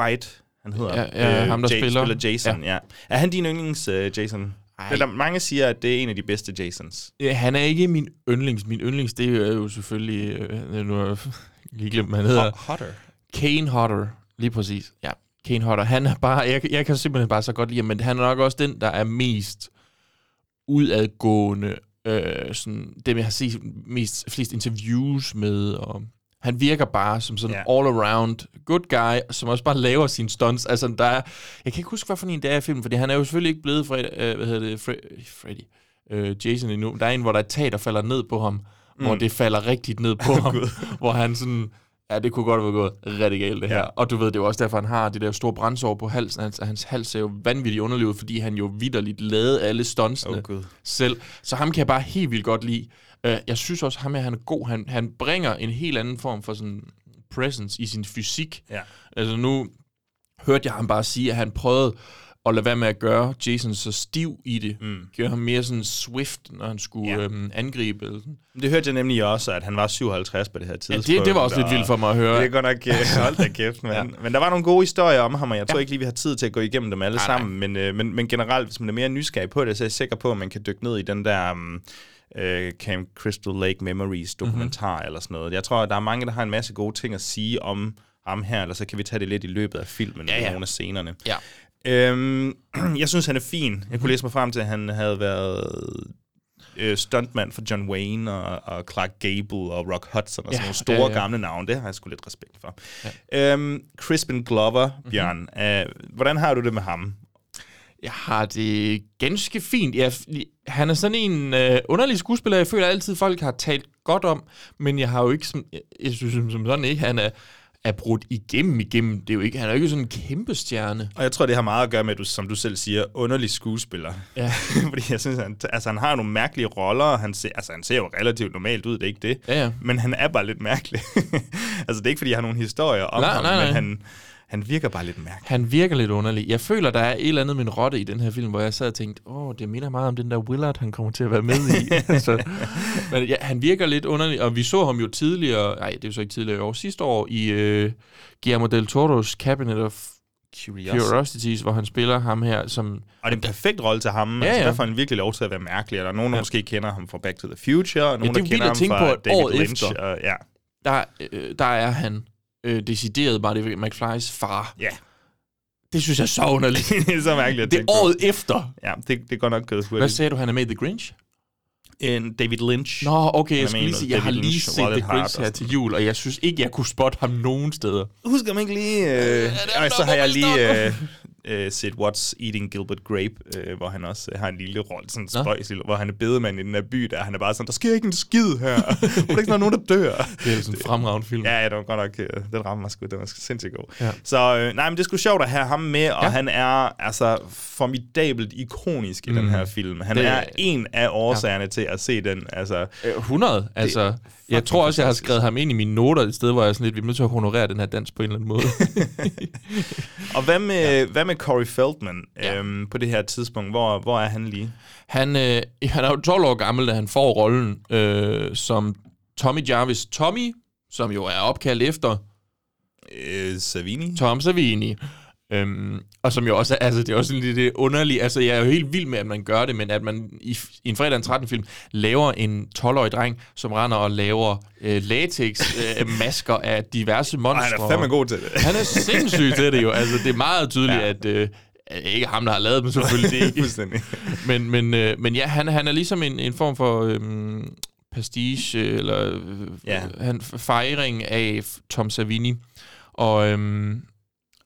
B: White, han hedder? Øh,
C: Ja, ja, ham, der spiller.
B: spiller Jason, ja. ja. Er han din yndlings øh, Jason?
C: Ej.
B: Eller mange siger, at det er en af de bedste Jasons.
C: Øh, Han er ikke min yndlings. Min yndlings, det er jo selvfølgelig... Øh, nu har jeg lige glemt, hvad han hedder.
B: Hotter.
C: Kane Hodder, lige præcis. Ja, Kane Hodder. Han er bare... Jeg, jeg kan simpelthen bare så godt lide ham, men han er nok også den, der er mest udadgående. Øh, sådan, dem, jeg har set mest, flest interviews med. Og han virker bare som sådan
B: Ja.
C: yeah. all-around good guy, som også bare laver sine stunts. Altså, der er, jeg kan ikke huske, hvad for en det er i filmen, fordi han er jo selvfølgelig ikke blevet Fred, øh, hvad hedder det, Fre, Freddy, øh, Jason endnu. Der er en, hvor der er et tag, der falder ned på ham, mm. hvor det falder rigtigt ned [LAUGHS] på ham, hvor han sådan... Ja, det kunne godt være gået rigtig galt, det her. Ja.
B: Ja.
C: Og du ved, det er jo også derfor, han har det der store brandsår på halsen. Hans, hans hals ser jo vanvittigt underlivet, fordi han jo vidderligt lavede alle stuntsene
B: Åh, Gud.
C: selv. Så ham kan jeg bare helt vildt godt lide. Øh, jeg synes også, ham her, han er god. Han, han bringer en helt anden form for sådan presence i sin fysik.
B: Ja.
C: Altså nu hørte jeg ham bare sige, at han prøvede at lade være med at gøre Jason så stiv i det. Mm. Gjorde ham mere sådan swift, når han skulle ja.
B: Ja.
C: øhm, angribe. Eller sådan.
B: Det hørte jeg nemlig også, at han var 57 på det her tidspunkt.
C: det, det var også lidt
B: og-
C: vildt for mig at høre.
B: Det er godt nok, øh, hold da kæft, mand. ja. Men der var nogle gode historier om ham, og jeg tror ikke lige, vi har tid til at gå igennem dem alle
C: Nej, nej.
B: sammen. Men, øh, men, men generelt, hvis man er mere nysgerrig på det, så er jeg sikker på, at man kan dykke ned i den der um, øh, Camp Crystal Lake Memories dokumentar mm-hmm. eller sådan noget. Jeg tror, at der er mange, der har en masse gode ting at sige om ham her, eller så kan vi tage det lidt i løbet af filmen ja,
C: ja.
B: ja. nogle af scenerne.
C: Ja.
B: Øhm, [CLEARS THROAT] jeg synes, han er fin.
C: Mhm.
B: Jeg kunne læse mig frem til, at han havde været øh, stuntmand for John Wayne og, og Clark Gable og Rock Hudson og
C: Ja,
B: sådan nogle store
C: ja, ja.
B: gamle navne. Det har jeg sgu lidt respekt for. Ja. Øhm, Crispin Glover,
C: Mhm.
B: Bjørn. Øh, hvordan har du det med ham?
C: Jeg har det ganske fint. Jeg, han er sådan en øh, underlig skuespiller, jeg føler altid, folk har talt godt om, men jeg har jo ikke, som, jeg, jeg synes som som sådan ikke, han er, er brudt igennem igennem. Det er jo ikke, han er jo ikke sådan en kæmpe stjerne.
B: Og jeg tror, det har meget at gøre med, at du, som du selv siger, underlig skuespiller.
C: Ja.
B: [LAUGHS] Fordi jeg synes, han, altså, han har nogle mærkelige roller, og han ser, altså, han ser jo relativt normalt ud, det er ikke det.
C: Ja, ja.
B: Men han er bare lidt mærkelig. [LAUGHS] altså, det er ikke, fordi jeg har nogle historier om
C: Nej,
B: ham,
C: nej, nej.
B: men han, han virker bare lidt mærkelig.
C: Han virker lidt underlig. Jeg føler, der er et eller andet med en rotte i den her film, hvor jeg sad og tænkte, åh, det minder meget om den der Willard, han kommer til at være med i. så, men ja, han virker lidt underlig, og vi så ham jo tidligere, nej, det er jo så ikke tidligere i år, sidste år i øh, Guillermo del Toro's Cabinet of Curiosities, hvor han spiller ham her, som...
B: Og det er en perfekt rolle til ham. Ja, ja.
C: Ja, ja.
B: Altså, der får han virkelig lov til at være mærkelig. Og der er nogen, der ja. måske kender ham fra Back to the Future, og
C: det er
B: nogen, ja,
C: jo
B: der
C: vildt
B: kender
C: at
B: ham
C: tænke
B: fra
C: på, at
B: David
C: året
B: Lynch.
C: efter-
B: Og, ja. [LAUGHS]
C: Der, øh, der er han øh, decideret Marty McFly's far.
B: ja,
C: Det synes jeg er så
B: [LAUGHS]
C: underligt.
B: det er så mærkeligt at
C: det er
B: tænke på.
C: året efter.
B: Ja, det, det er godt nok gået
C: Hvad
B: hurtigt.
C: sagde du, han er med i The Grinch?
B: en David Lynch.
C: Nå, okay, jeg
B: Jeg
C: skulle
B: mener,
C: lige sige, jeg har
B: David
C: lige
B: Lynch,
C: set
B: Wallet
C: The Grinch
B: Heart og
C: her til jul, og jeg synes ikke, jeg kunne spotte ham nogen steder.
B: Husker man ikke lige... Øh, og så har jeg lige øh, øh, set What's Eating Gilbert Grape, øh, hvor han også øh, har en lille rolle, sådan en spøjs, lille- hvor han er bedemand i den her by, der han er bare sådan, der sker ikke en skid her. [LAUGHS] Hvor der ikke er nogen, der dør.
C: Det er sådan en fremragende film.
B: [LAUGHS] Ja, ja, det var godt nok, øh, den rammer mig sgu, den var sgu sindssygt god.
C: Ja.
B: Ja. Så øh, nej, men det er sgu sjovt at have ham med, og ja. han er altså formidabelt ikonisk i mm. den her film. Han
C: Det-
B: det, er en af årsagerne ja. til at se den, altså...
C: Øh, 100, altså. Jeg tror også, jeg har skrevet ham ind i mine noter et sted, hvor jeg er sådan lidt, vi er nødt til at honorere den her dans på en eller anden
B: [LAUGHS]
C: måde.
B: Og hvad med, ja. hvad med Corey Feldman
C: Ja.
B: øhm, på det her tidspunkt? Hvor, hvor er han lige?
C: han, øh, [LAUGHS] han er jo 12 år gammel, da han får rollen øh, som Tommy Jarvis Tommy, som jo er opkaldt efter
B: Øh, Savini?
C: Tom Savini. Øhm, og som jo også er, altså det er også sådan lidt øh, underligt, altså jeg er jo helt vild med, at man gør det, men at man i, f- i en fredag en 13 film laver en 12-årig dreng, som render og laver øh, latex
B: [LAUGHS]
C: øh, masker af diverse
B: Ej,
C: monstre.
B: han er fandme god til det.
C: Han er sindssyg til det jo, altså det er meget tydeligt, ja. at øh, at ikke ham, der har lavet dem selvfølgelig, det
B: [LAUGHS]
C: er ikke
B: [LAUGHS] Fuldstændig.
C: men, men, øh, men ja, han, han er ligesom en, en form for øhm, pastiche, eller øh, ja.
B: Ja.
C: han, fejring af f- Tom Savini. Og øhm,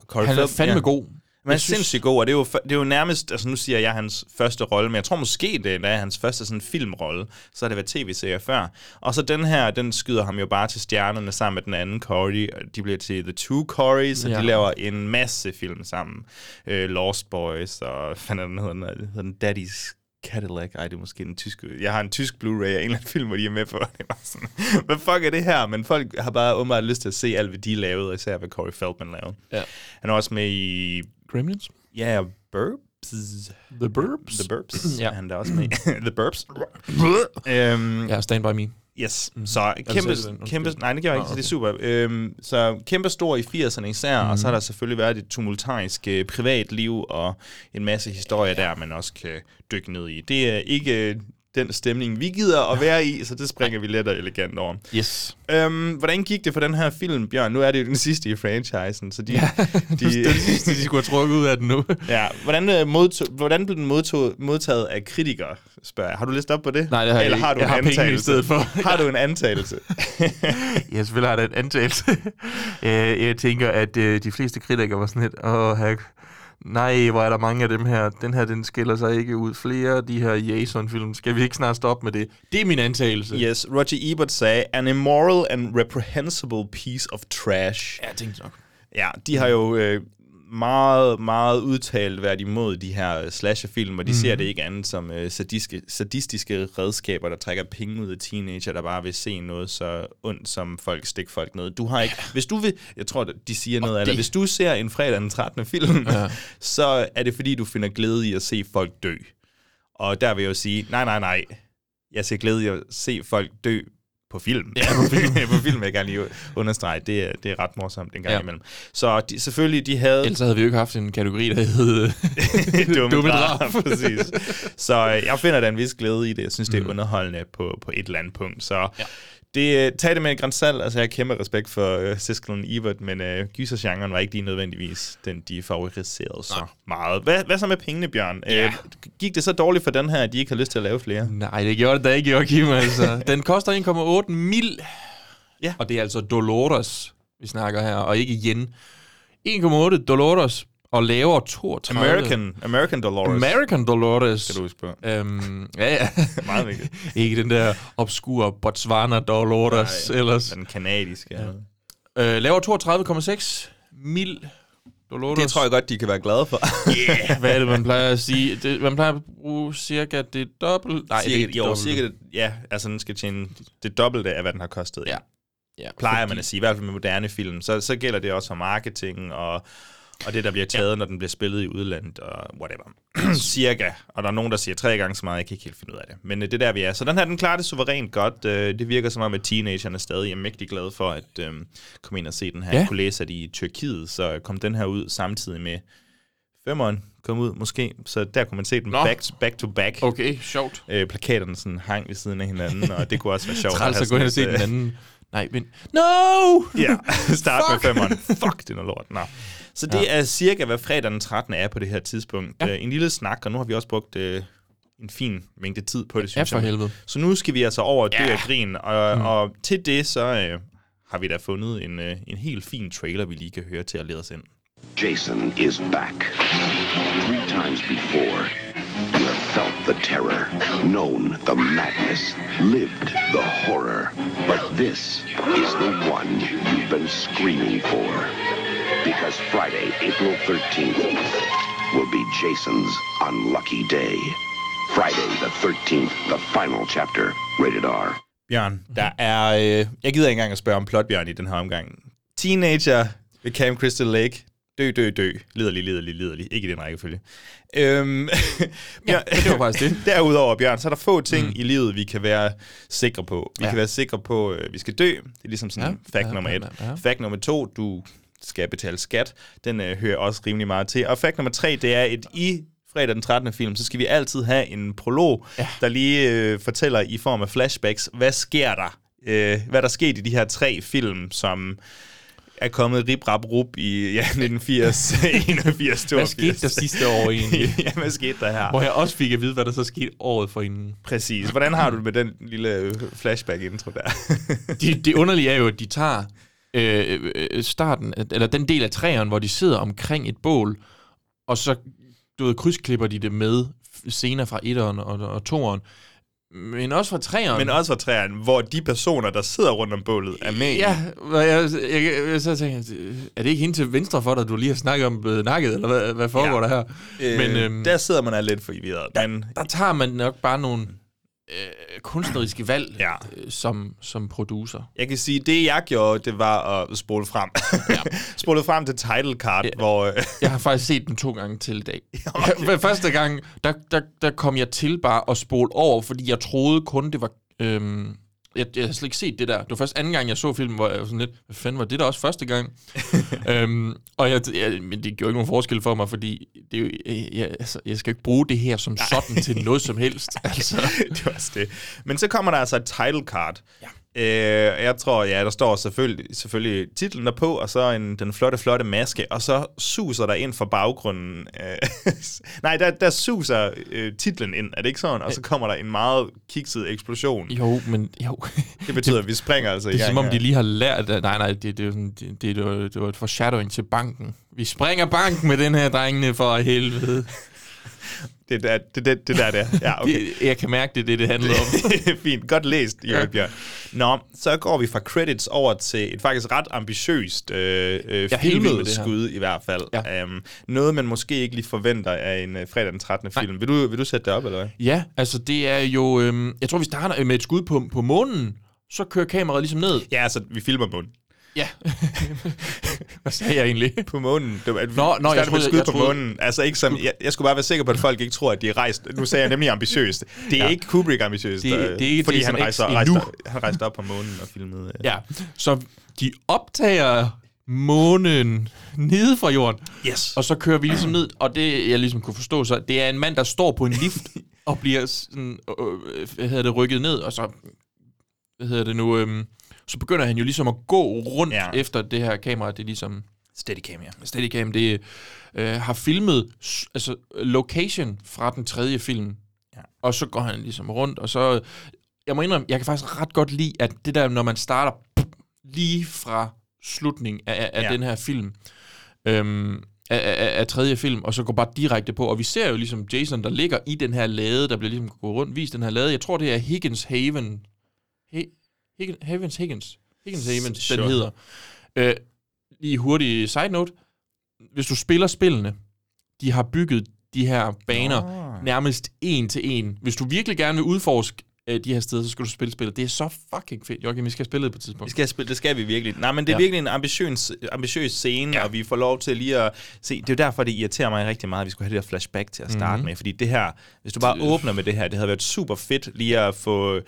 B: Corey
C: han er
B: Feldman,
C: fandme ja. god.
B: Men han er
C: Jeg synes-
B: sindssygt god, og det er, jo, f- det er jo nærmest, altså nu siger jeg hans første rolle, men jeg tror måske, det er hans første sådan filmrolle, så har det været tv-serier før. Og så den her, den skyder ham jo bare til stjernerne sammen med den anden Corey, og de bliver til The Two Corys, og
C: Ja.
B: de laver en masse film sammen. Øh, Lost Boys, og [LAUGHS] hvad fanden er den hedder den, hedder den Daddy's Cadillac, ej det er måske en tysk, jeg har en tysk Blu-ray af en eller anden film, hvor de er med på, [LAUGHS] det var sådan, hvad fuck er det her? Men folk har bare åbenbart lyst til at se alt, hvad de lavede, og især hvad Corey Feldman lavede.
C: Ja.
B: Han er også med i
C: Gremlins?
B: Ja, yeah, Burps.
C: The Burbs?
B: The Burps.
C: Ja.
B: ja. Han er også med. [LAUGHS] The Burps. øhm,
C: Ja, Stand By Me.
B: yes.
C: Mhm.
B: Så
C: sagde
B: kæmpe,
C: du den? Altså, Undskyld.
B: kæmpe... Nej, det gjorde jeg ikke.
C: Nå,
B: så Det er super. Øhm, så kæmpe stor i 80'erne især, mm. og så
C: Mhm.
B: har der selvfølgelig været et tumultarisk øh, privatliv og en masse historier der, man også kan dykke ned i. Det er ikke øh, den stemning, vi gider at være i, så det springer vi let og elegant over.
C: Yes.
B: Øhm, hvordan gik det for den her film, Bjørn? Nu er det jo den sidste i franchisen, så de... Ja, de,
C: [LAUGHS] Det er det sidste, de skulle have trukket ud af den [LAUGHS] nu.
B: Ja, hvordan, øh, modtog, hvordan blev den modtog, modtaget af kritikere, spørger jeg. Har du læst op på det?
C: Nej, det har jeg
B: Eller
C: ikke.
B: har du
C: Jeg
B: en
C: har pengene i
B: antagelse?
C: stedet for.
B: [LAUGHS] har du en antagelse?
C: Ja, selvfølgelig har det en antagelse. [LAUGHS] Øh, jeg tænker, at øh, de fleste kritikere var sådan lidt, åh, her- nej, hvor er der mange af dem her. Den her, den skiller sig ikke ud flere. af De her Jason-film, skal vi ikke snart stoppe med det? Det er min antagelse.
B: yes, Roger Ebert sagde, an immoral and reprehensible piece of trash.
C: jeg tænkte nok.
B: Ja, de har jo øh, meget, meget udtalt været imod de her øh, slasherfilm, og de mm. ser det ikke andet som øh, sadiske, sadistiske redskaber, der trækker penge ud af teenager, der bare vil se noget så ondt, som folk stikker folk ned. Du har ikke... Hvis du vil... Jeg tror, de siger noget af det.
C: det-
B: Hvis du ser en fredag den 13. film, ja. [LAUGHS] så er det fordi, du finder glæde i at se folk dø. Og der vil jeg jo sige, nej, nej, nej. Jeg ser glæde i at se folk dø på film. Ja, [LAUGHS] på film. på film vil jeg gerne lige understrege. Det er, det er ret morsomt en gang
C: Ja.
B: ja. imellem. Så de, selvfølgelig, de havde... [LAUGHS]
C: Ellers havde vi jo ikke haft en kategori, der hed... øh, [LAUGHS]
B: dumme,
C: Dumme
B: dumme
C: drab.
B: drab. [LAUGHS] præcis. Så øh, jeg finder der en vis glæde i det. Jeg synes, det er underholdende på, på et eller andet punkt. Så Mm. ja. det, øh, tag det med en græns salt. Altså, jeg har kæmpe respekt for øh, Siskel og Ebert, men øh, gysergenren var ikke lige nødvendigvis den, de favoriserede så meget. Hvad, hvad så med pengene, Bjørn? Ja. Øh, gik det så dårligt for den her, at de ikke har lyst til at lave flere?
C: Nej, det gjorde det da ikke, Joachim. Altså. Den koster 1,8 mil.
B: Ja.
C: Og det er altså Dolores, vi snakker her, og ikke yen. 1,8 Dolores og laver 32...
B: American, American Dolores.
C: American Dolores.
B: skal du huske på.
C: Øhm, ja, ja. [LAUGHS]
B: Meget vigtigt.
C: ikke den der obskure Botswana Dolores Nej. ellers.
B: Den kanadiske. Ja.
C: Øh, laver 32,6 mil Dolores.
B: Det tror jeg godt, de kan være glade [LAUGHS] for.
C: jeg. Hvad er det, man plejer at sige? Det, man plejer at bruge cirka det dobbelt... Nej,
B: Ej,
C: det er
B: cirka,
C: ikke
B: jo,
C: dobbelt.
B: cirka det, ja, altså den skal tjene det dobbelte af, hvad den har kostet.
C: Ja.
B: Ja.
C: ja,
B: Plejer man at sige, i hvert fald med moderne film. Så, så gælder det også for marketing og, og det, der bliver taget, ja. når den bliver spillet i udlandet og whatever. [CLEARS THROAT] cirka. Og der er nogen, der siger tre gange så meget, jeg kan ikke helt finde ud af det. Men øh, det er der, vi er. Så den her, den klarer det suverænt godt. Øh, det virker som om, at teenagerne er stadig er mægtig glade for at øh, komme ind og se den her.
C: Ja.
B: Ja. Jeg kunne læse, at i Tyrkiet, så kom den her ud samtidig med femmeren kom ud måske. Så der kunne man se den
C: Nå.
B: back, back to back
C: Okay, sjovt.
B: øh, plakaterne sådan hang ved siden af hinanden, og det kunne også være sjovt.
C: [LAUGHS] Træls
B: have
C: at gå ind og se
B: sådan
C: den
B: et,
C: anden. øh, Nej, men... No!
B: øh, Ja, start med
C: Fuck!
B: femmeren. Fuck, det er noget lort. Nå. Så det ja. er cirka, hvad fredag den 13. er på det her tidspunkt. Ja. en lille snak, og nu har vi også brugt øh, en fin mængde tid på det, synes
C: for
B: jeg.
C: helvede.
B: Så nu skal vi altså over og dø af grin, og, mm. og til det så øh, har vi da fundet en, øh, en helt fin trailer, vi lige kan høre til at lede os ind.
D: Jason is back. Three times before, you have felt the terror, known the madness, lived the horror. But this is the one you've been screaming for. Because Friday, April 13th, will be Jason's unlucky day. Friday the 13th, the final chapter, rated R.
B: Bjørn,
C: Mhm.
B: der er... Øh, jeg gider ikke engang at spørge om plotbjørn i den her omgang. Teenager ved Camp Crystal Lake. Dø, dø, dø. Liderlig, liderlig, liderlig. Ikke i den rækkefølge. Øhm, [LAUGHS] ja,
C: det var faktisk det.
B: [LAUGHS] Derudover, Bjørn, så er der få ting mm. i livet, vi kan være sikre på. Vi ja. kan være sikre på, at vi skal dø. Det er ligesom sådan ja,
C: Ja,
B: fact
C: ja,
B: nummer
C: ja,
B: et.
C: ja.
B: Fact nummer to, du skal betale skat. Den øh, hører også rimelig meget til. Og fact nummer tre, det er et i fredag den 13. film, så skal vi altid have en prolog, ja. der lige øh, fortæller i form af flashbacks, hvad sker der? Øh, hvad der skete i de her tre film, som er kommet rip rap rup i
C: [LAUGHS]
B: ja, 1980, 81, 82.
C: Hvad skete der sidste [LAUGHS] år egentlig?
B: [LAUGHS] ja, hvad skete der her?
C: Hvor jeg også fik at vide, hvad der så skete året for inden.
B: Præcis. Hvordan har du det med den lille øh, flashback-intro der? [LAUGHS]
C: det, det underlige er jo, at de tager øh, øh, starten, eller den del af træerne, hvor de sidder omkring et bål, og så du ved, krydsklipper de det med f- scener fra etteren og, og toeren, men også fra træeren.
B: Men også fra træerne, hvor de personer, der sidder rundt om bålet, er med. i.
C: Ja, og jeg, jeg, jeg, så tænkte jeg, er det ikke hende til venstre for dig, du lige har snakket om blevet nakket, eller hvad, hvad foregår
B: Ja.
C: der her?
B: Øh,
C: men øhm,
B: der sidder man er lidt forvirret. Men
C: der tager man nok bare nogle øh, kunstneriske valg
B: Ja.
C: øh, som, som producer.
B: jeg kan sige, det jeg gjorde, det var at spole frem. Ja. [LAUGHS] spole frem til title card, ja. hvor... øh, [LAUGHS]
C: Jeg har faktisk set den to gange til i dag. Okay. Første gang, der, der, der kom jeg til bare at spole over, fordi jeg troede kun, det var... Øhm, jeg, jeg havde slet ikke set det der. Det var først anden gang, jeg så filmen, hvor jeg var sådan lidt... Hvad fanden var det der også første
B: [LAUGHS]
C: gang? øhm, og jeg, jeg, men det gjorde ikke nogen forskel for mig, fordi det, er jo- jeg, jeg, altså, jeg skal jo ikke bruge det her som sådan til noget som
B: [LAUGHS]
C: helst. Altså.
B: det var også det. Men så kommer der altså et title card. Ja. Øh, jeg tror, ja, der står selvfølgelig, selvfølgelig titlen derpå, og så en, den flotte, flotte maske, og så suser der ind fra baggrunden. Øh, [LAUGHS] nej, der, der suser øh, titlen ind, er det ikke sådan? Og så kommer der en meget kikset eksplosion.
C: Jo, men jo.
B: Det betyder, at vi springer altså
C: Det
B: i
C: er
B: gang
C: som om,
B: her.
C: de lige har lært... at- Nej, nej, det, det, er jo sådan- det, det, det, var, det var et foreshadowing til banken. Vi springer banken med den her, drengene, for helvede.
B: Det er der, det, det, det der, det er. Ja,
C: [LAUGHS]
B: okay.
C: Det, jeg kan mærke, det er det, det handler om.
B: [LAUGHS] Fint, godt læst, Jørgen Bjørn. Nå, så går vi fra credits over til et faktisk ret ambitiøst øh, øh,
C: er helt vild med
B: filmet
C: det her.
B: skud i hvert fald. Ja.
C: Ja.
B: Um, noget, man måske ikke lige forventer af en øh, fredag den 13. film. Vil du, vil du sætte det op, eller hvad?
C: ja, altså det er jo... Øhm, jeg tror, vi starter med et skud på, på månen, så kører kameraet ligesom ned.
B: Ja, altså, vi filmer på,
C: Ja. [LAUGHS] Hvad sagde jeg egentlig?
B: på månen. Det var, at vi
C: Nå, nå, jeg
B: starter med
C: troede-
B: et skud
C: jeg
B: på
C: troede-
B: månen. Altså, ikke som, jeg, jeg skulle bare være sikker på, at folk ikke tror, at de er rejst. Nu sagde jeg nemlig ambitiøst. Det er ja. ikke Kubrick ambitiøst,
C: Det-
B: øh,
C: det er ikke
B: fordi
C: det,
B: han
C: som
B: rejste,
C: X
B: rejste,
C: endnu.
B: han rejste op på månen og filmede. Øh.
C: Ja, så de optager månen nede fra jorden,
B: Yes.
C: og så kører vi ligesom ned, og det jeg ligesom kunne forstå, så det er en mand, der står på en lift og bliver sådan, øh, øh, hvad hedder det, rykket ned, og så, hvad hedder det nu, øhm, så begynder han jo ligesom at gå rundt
B: Ja.
C: ja. efter det her kamera, det er ligesom
B: Steadicam, ja.
C: Steadicam, det øh, har filmet s- altså, location fra den tredje film.
B: Ja.
C: Ja. Og så går han ligesom rundt, og så... Jeg må indrømme, jeg kan faktisk ret godt lide, at det der, når man starter lige fra slutningen af, af, af
B: Ja.
C: den her film, øhm, af, af, af tredje film, og så går bare direkte på. Og vi ser jo ligesom Jason, der ligger i den her lade, der bliver ligesom gået rundt, vist den her lade. Jeg tror, det er Higgins Haven. He, Higgins, Havens Higgins. Higgins Haven,
B: Sure.
C: den hedder. Øh, lige hurtig side note. Hvis du spiller spillene, de har bygget de her baner
B: Nå.
C: nærmest en til en. Hvis du virkelig gerne vil udforske øh, de her steder, så skal du spille spillet. Det er så fucking fedt. Joachim, vi skal spille det på et
B: Vi
C: tidspunkt.
B: skal spille, det skal vi virkelig. Nej, men det er ja.
C: Ja.
B: virkelig en ambitiøs, ambitiøs scene, ja. og vi får lov til lige at se. Det er jo derfor, det irriterer mig rigtig meget, at vi skulle have det her flashback til at starte mm-hmm. med. Fordi det her, hvis du bare åbner med det her, det havde været super fedt lige at få...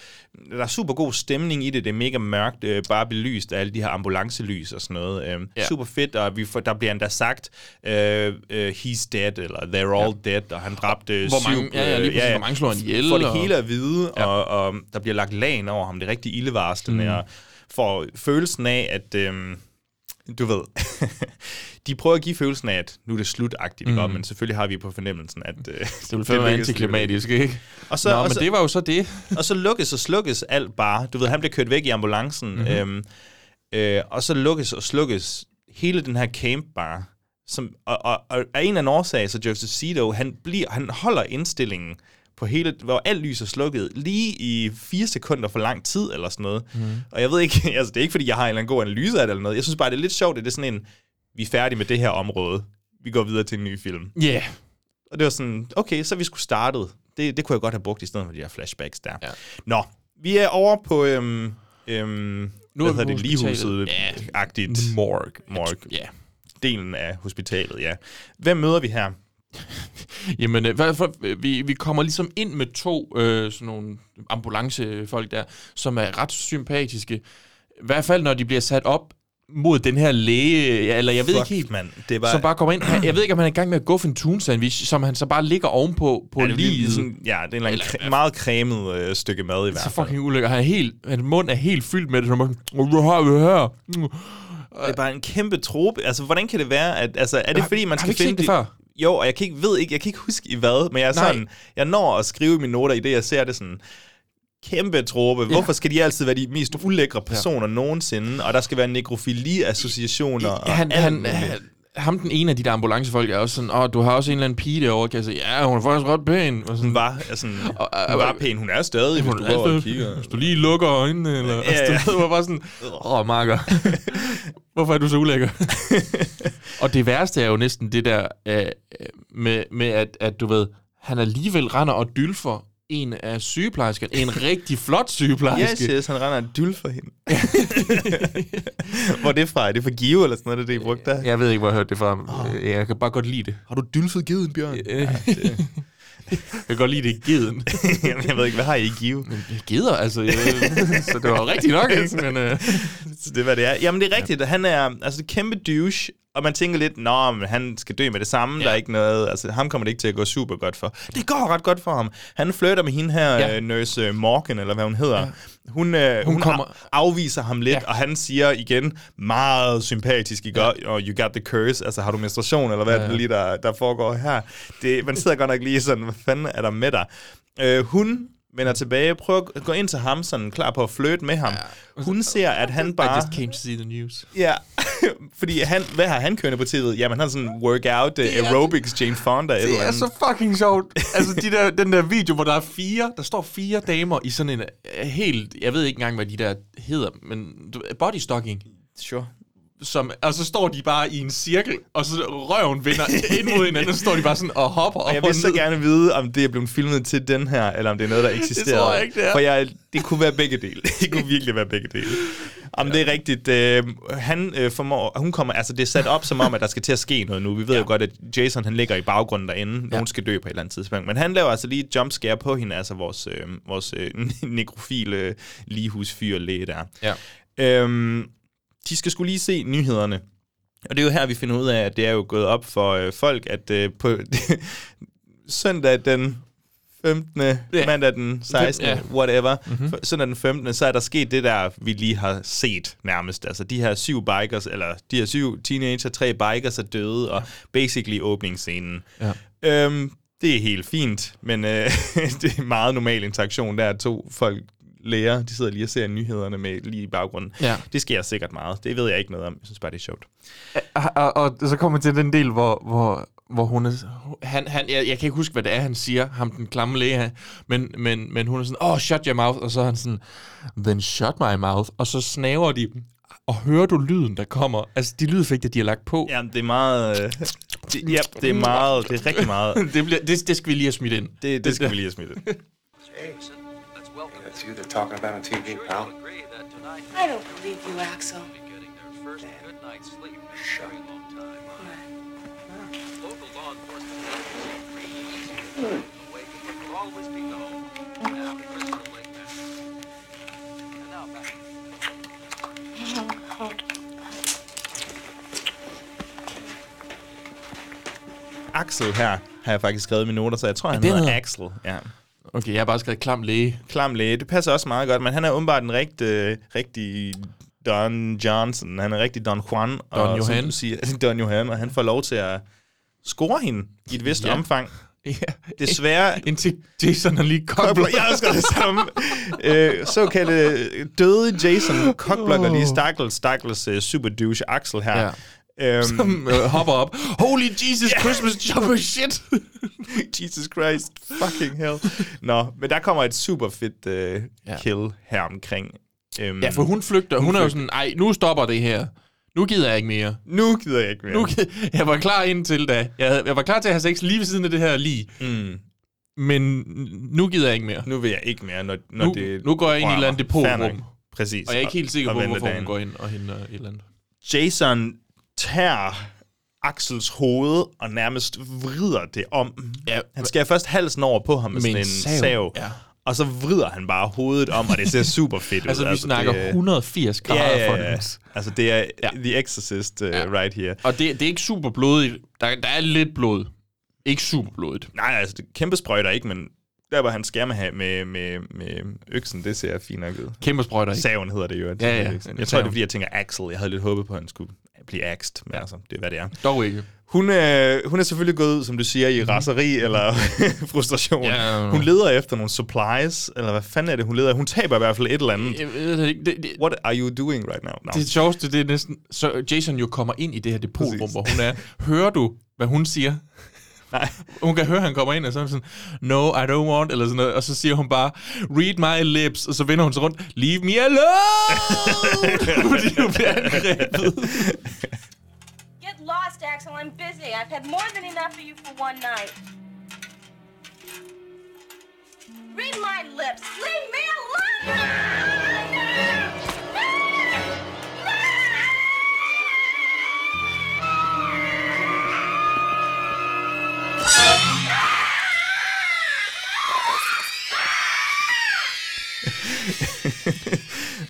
B: Der er super god stemning i det, det er mega mørkt, øh, bare belyst af alle de her ambulancelys og sådan noget. Øh, ja.
C: Ja.
B: Super fedt, og vi får, der bliver endda sagt, øh, øh, he's dead, eller they're all ja. dead, og han dræbte
C: Hvor mange-
B: syv... øh,
C: ja, ja, lige præcis, hvor mange slår han ihjel,
B: Får det
C: og-
B: hele at vide, ja. og, og der bliver lagt lagen over ham, det er rigtig ildevarslende, mm. og får følelsen af, at øhm, du ved, [LAUGHS] de prøver at give følelsen af, at nu er det slutagtigt, mm. men selvfølgelig har vi på fornemmelsen, at... Øh, [LAUGHS]
C: Det ville fandme være
B: lykkedes lidt.
C: antiklimatisk, ikke?
B: Og
C: Så,
B: så,
C: Nå,
B: og
C: men
B: så,
C: det var jo så det. [LAUGHS]
B: og så lukkes og slukkes alt bare. Du ved, han bliver kørt væk i ambulancen, mm-hmm. øhm, øh, og så lukkes og slukkes hele den her camp bare. Som, og, og, og af en af en årsag, så Joseph Cito, han, bliver, han holder indstillingen på hele, hvor alt lys er slukket, lige i fire sekunder for lang tid, eller sådan noget. Mm. Og jeg ved ikke, [LAUGHS] altså det er ikke, fordi jeg har en eller anden god analyse af det, eller noget. Jeg synes bare, det er lidt sjovt, at det er sådan en, vi er færdige med det her område, vi går videre til en ny film.
C: Ja. Yeah.
B: Og det var sådan, okay, så er vi skulle startet. Det, det kunne jeg godt have brugt i stedet for de her flashbacks der.
C: Ja.
B: Nå, vi er over på, øhm, øhm, nu hvad hedder det,
C: hospitalet.
B: ligehuset-agtigt.
C: Morg.
B: Morgue.
C: Ja.
B: Delen af hospitalet, ja. Hvem møder vi her?
C: Jamen, øh, hvad, for, øh, vi, vi kommer ligesom ind med to øh, sådan nogle ambulancefolk der, som er ret sympatiske. I hvert fald, når de bliver sat op mod den her læge, ja, eller jeg ved
B: Fuck,
C: ikke helt,
B: mand. Det var,
C: som bare kommer ind. Han- Jeg ved ikke, om han er i gang med at guffe en tun sandwich, som han så bare ligger ovenpå på
B: ja,
C: ja,
B: det er virkelig
C: livet.
B: sådan, ja, det er en eller anden
C: Eller i hvert
B: cre-
C: fald-
B: meget cremet øh, stykke mad i hvert
C: så
B: fald.
C: fucking ulykker. Han er helt, hans mund er helt fyldt med det. Så man, hvad har vi her?
B: Det er bare en kæmpe trope. Altså, hvordan kan det være? At, altså, er det
C: Har-
B: fordi, man
C: har
B: skal
C: vi ikke
B: finde
C: set det før?
B: Jo, og jeg kan ikke, ved ikke, jeg kan ikke huske i hvad, men jeg er
C: Nej.
B: sådan, jeg når at skrive i mine noter i det, jeg ser det sådan, kæmpe trope. Hvorfor skal de altid være de mest ulækre personer ja. nogensinde? Og der skal være nekrofili-associationer og
C: han,
B: Ah. alt
C: han,
B: muligt.
C: han, ham den ene af de der ambulancefolk er også sådan, åh, du har også en eller anden pige derovre, kan jeg sige, ja, hun er faktisk ret pæn. Og sådan,
B: Hun var, altså, hun
C: Og- og-
B: var
C: og-
B: pæn. Hun er stadig, hvis
C: Hun
B: du
C: er
B: går og
C: altid-
B: kigger.
C: [LAUGHS] Hvis du lige lukker øjnene, eller... Ja,
B: ja.
C: ja. Altså, det var bare sådan, åh, [LAUGHS] Marker, hvorfor er du så ulækker? [LAUGHS] og det værste er jo næsten det der øh, med, med at, at, du ved, han alligevel render og dylfer en af sygeplejerskerne, [LAUGHS] en rigtig flot
B: Yes,
C: sygeplejerske.
B: yes, han render en dyl for hende. [LAUGHS] Hvor er det fra? Er det fra Give eller sådan noget, det er det, I brugte der?
C: Jeg ved ikke, hvor jeg hørte det fra. Oh. Jeg kan bare godt lide det.
B: Har du dylfet geden, Bjørn?
C: Øh, [LAUGHS] jeg kan godt lide det i [LAUGHS] geden.
B: Jamen, [LAUGHS] jeg ved ikke, hvad har I i Give?
C: Geder, altså. Jeg, [LAUGHS] så det var jo rigtigt nok, ikke? Men, øh,
B: Så det er, hvad det er. Jamen, det er rigtigt. Han er altså et kæmpe douche, og man tænker lidt, nå, men han skal dø med det samme, ja. der er ikke noget, altså ham kommer det ikke til at gå super godt for. Det går ret godt for ham. Han flytter med hende her, ja.
C: Ja.
B: øh, nurse øh, Morgan, eller hvad hun hedder. Ja. Hun, øh, hun, hun
C: kommer-
B: kommer... afviser ham lidt, ja.
C: Ja.
B: og han siger igen, meget sympatisk, I går, oh, you got the curse, altså har du menstruation, eller hvad ja. er det lige, der, der foregår her? Det, man sidder godt nok lige sådan, hvad fanden er der med dig? Øh, hun vender tilbage, prøver at gå ind til ham, sådan klar på at flytte med ham. Ja. Hun ser, at han bare...
C: I just came to see the news.
B: Ja, [LAUGHS] fordi han, hvad har han kørende på tv'et? Jamen, han har sådan en workout, uh, aerobics, Jane Fonda eller
C: Det er
B: andet.
C: så fucking sjovt. Altså de der, den der video, hvor der er fire, der står fire damer i sådan en øh, helt, jeg ved ikke engang, hvad de der hedder, men du- øh, body stocking.
B: Sure.
C: Som, og så står de bare i en cirkel, og så røven vender ind mod hinanden, og så står de bare sådan og hopper op
B: Jeg
C: og
B: vil så
C: ned.
B: gerne vide, om det er blevet filmet til den her, eller om det er noget, der eksisterer.
C: tror jeg ikke, [LAUGHS] det er.
B: For jeg, det kunne være begge dele. Det kunne virkelig være begge dele. Om ja. det er rigtigt. Øh, han øh, formår, hun kommer, altså det er sat op som om, at der skal til at ske noget nu. Vi ved ja. jo godt, at Jason han ligger i baggrunden derinde. Nogen skal dø på et eller andet tidspunkt. Men han laver altså lige et jumpscare på hende, altså vores, øh, vores øh, [LAUGHS] nekrofile ligehusfyr læge der.
C: Ja.
B: Øhm, de skal skulle lige se nyhederne. Og det er jo her, vi finder ud af, at det er jo gået op for øh, folk, at øh, på [LAUGHS] søndag den 15.
C: Ja.
B: mandag den 16.
C: Ja. Mhm.
B: whatever, mm-hmm. søndag den 15. så er der sket det der, vi lige har set nærmest. Altså de her syv bikers, eller de her syv teenager, tre bikers er døde, og basically åbningsscenen.
C: Ja.
B: Øhm, det er helt fint, men øh, [LAUGHS] det er meget normal interaktion. Der er to folk læger, de sidder lige og ser nyhederne med lige i baggrunden.
C: Ja.
B: Det sker sikkert meget. Det ved jeg ikke noget om. Jeg synes bare, det er sjovt.
C: Og, og, og så kommer vi til den del, hvor, hvor, hvor hun er... Han, han, jeg, jeg kan ikke huske, hvad det er, han siger, ham den klamme læge, men, men, men hun er sådan, åh, oh, shut your mouth, og så er han sådan, then shut my mouth, og så snaver de, og hører du lyden, der kommer? Altså, de lydeffekter, de har lagt på.
B: Ja, det er meget... Øh, det, ja, det er meget... Det er rigtig meget. Det,
C: [LAUGHS] Det, bliver, det, det skal vi lige have smidt ind.
B: det, det skal vi lige have smidt. ind.
E: Jason, let's welcome
F: That's you they're talking about on TV,
E: Sure
F: pal.
E: you'll agree that tonight
G: I don't believe you, Axel.
E: they'll be getting their first good night's sleep in a very long time. Local law enforcement agencies agree easier to awake and will always be known now because of the late mass. And now back.
B: Axel her har jeg faktisk skrevet i mine noter, så jeg tror, han
C: det
B: hedder
C: hedder-
B: Axel. Ja.
C: Okay, jeg har bare skrevet klam læge.
B: Klam læge. Det passer også meget godt, men han er åbenbart en øh, rigtig, rigtig Don Johnson. Han er rigtig Don Juan. Don og, Som
C: Johan.
B: du siger, [LAUGHS] Don Johan, og han får lov til at score hende i et vist
C: Ja.
B: ja.
C: [LAUGHS]
B: omfang.
C: Ja.
B: Desværre
C: [LAUGHS] Indtil Jason er lige koblet.
B: Cockblock, [LAUGHS] jeg elsker det samme. Øh, såkaldte døde Jason cockblocker lige Stakkels, Stakkels uh, super douche Axel her. Ja. Øhm,
C: Som øh, hopper op. Holy Jesus Christmas jumper
B: [LAUGHS]
C: shit!
B: Jesus Christ, fucking hell. Nå, men der kommer et super fedt uh,
C: Ja.
B: kill her omkring. Øhm,
C: ja, for hun flygter. Hun, hun er jo sådan, ej, nu stopper det her. Nu gider jeg ikke mere.
B: Nu gider jeg ikke mere.
C: Nu, gid- jeg var klar indtil da. Jeg, havde- jeg var klar til at have sex lige ved siden af det her lige.
B: Mm,
C: Men nu gider jeg ikke mere.
B: nu vil jeg ikke mere, når, når
C: Nu,
B: det
C: nu går jeg ind i et
B: rører
C: eller andet
B: mig. Fair
C: depotrum.
B: nok. Præcis.
C: Og jeg er ikke helt sikker
B: og
C: på,
B: vender
C: hvorfor hun
B: dagen.
C: går ind og henter et eller andet.
B: Jason tager Axels hoved og nærmest vrider det om.
C: Ja.
B: han skærer først halsen over på ham med,
C: Med
B: sådan
C: en
B: en
C: sav.
B: sav,
C: Ja.
B: og så vrider han bare hovedet om, og det ser super fedt ud.
C: [LAUGHS] Altså, vi snakker
B: det,
C: 180 grader
B: ja,
C: for
B: ja, ja.
C: den.
B: Altså, det er The Exorcist uh, right here.
C: Og det, det er ikke super blodigt. Der, der er lidt blod. Ikke super blodigt.
B: Nej, altså, det er kæmpe sprøjter ikke, men der, hvor han skærer med, med, med, med øksen, det ser fint nok ud.
C: Kæmpe sprøjter, ikke?
B: Saven hedder det jo.
C: Ja, ja.
B: Jeg tror, det er, fordi jeg tænker Axel. Jeg havde lidt håbet på, at han skulle blive axed, men altså, det er, hvad det er.
C: Dog ikke.
B: Hun, øh, hun er selvfølgelig gået ud, som du siger, i raseri eller [LAUGHS] frustration.
C: Mhm. Ja.
B: Hun leder efter nogle supplies, eller hvad fanden er det, hun leder Hun taber i hvert fald et eller andet.
C: Jeg ved det ikke. Det, det,
B: What are you doing right now? No.
C: det sjoveste, det er næsten... Så Jason jo kommer ind i det her depotrum,
B: Præcis.
C: hvor hun er. Hører du, hvad hun siger?
B: Nej. [LAUGHS]
C: Hun kan høre, at han kommer ind, og så er hun sådan, no, I don't want, eller sådan noget. Og så siger hun bare, read my lips, og så vender hun sig rundt, leave me [LAUGHS] alone! Fordi hun bliver angrebet.
F: Get lost, Axel. I'm busy. I've had more than enough of you for one night. Read my lips. Leave me alone!
B: Ja,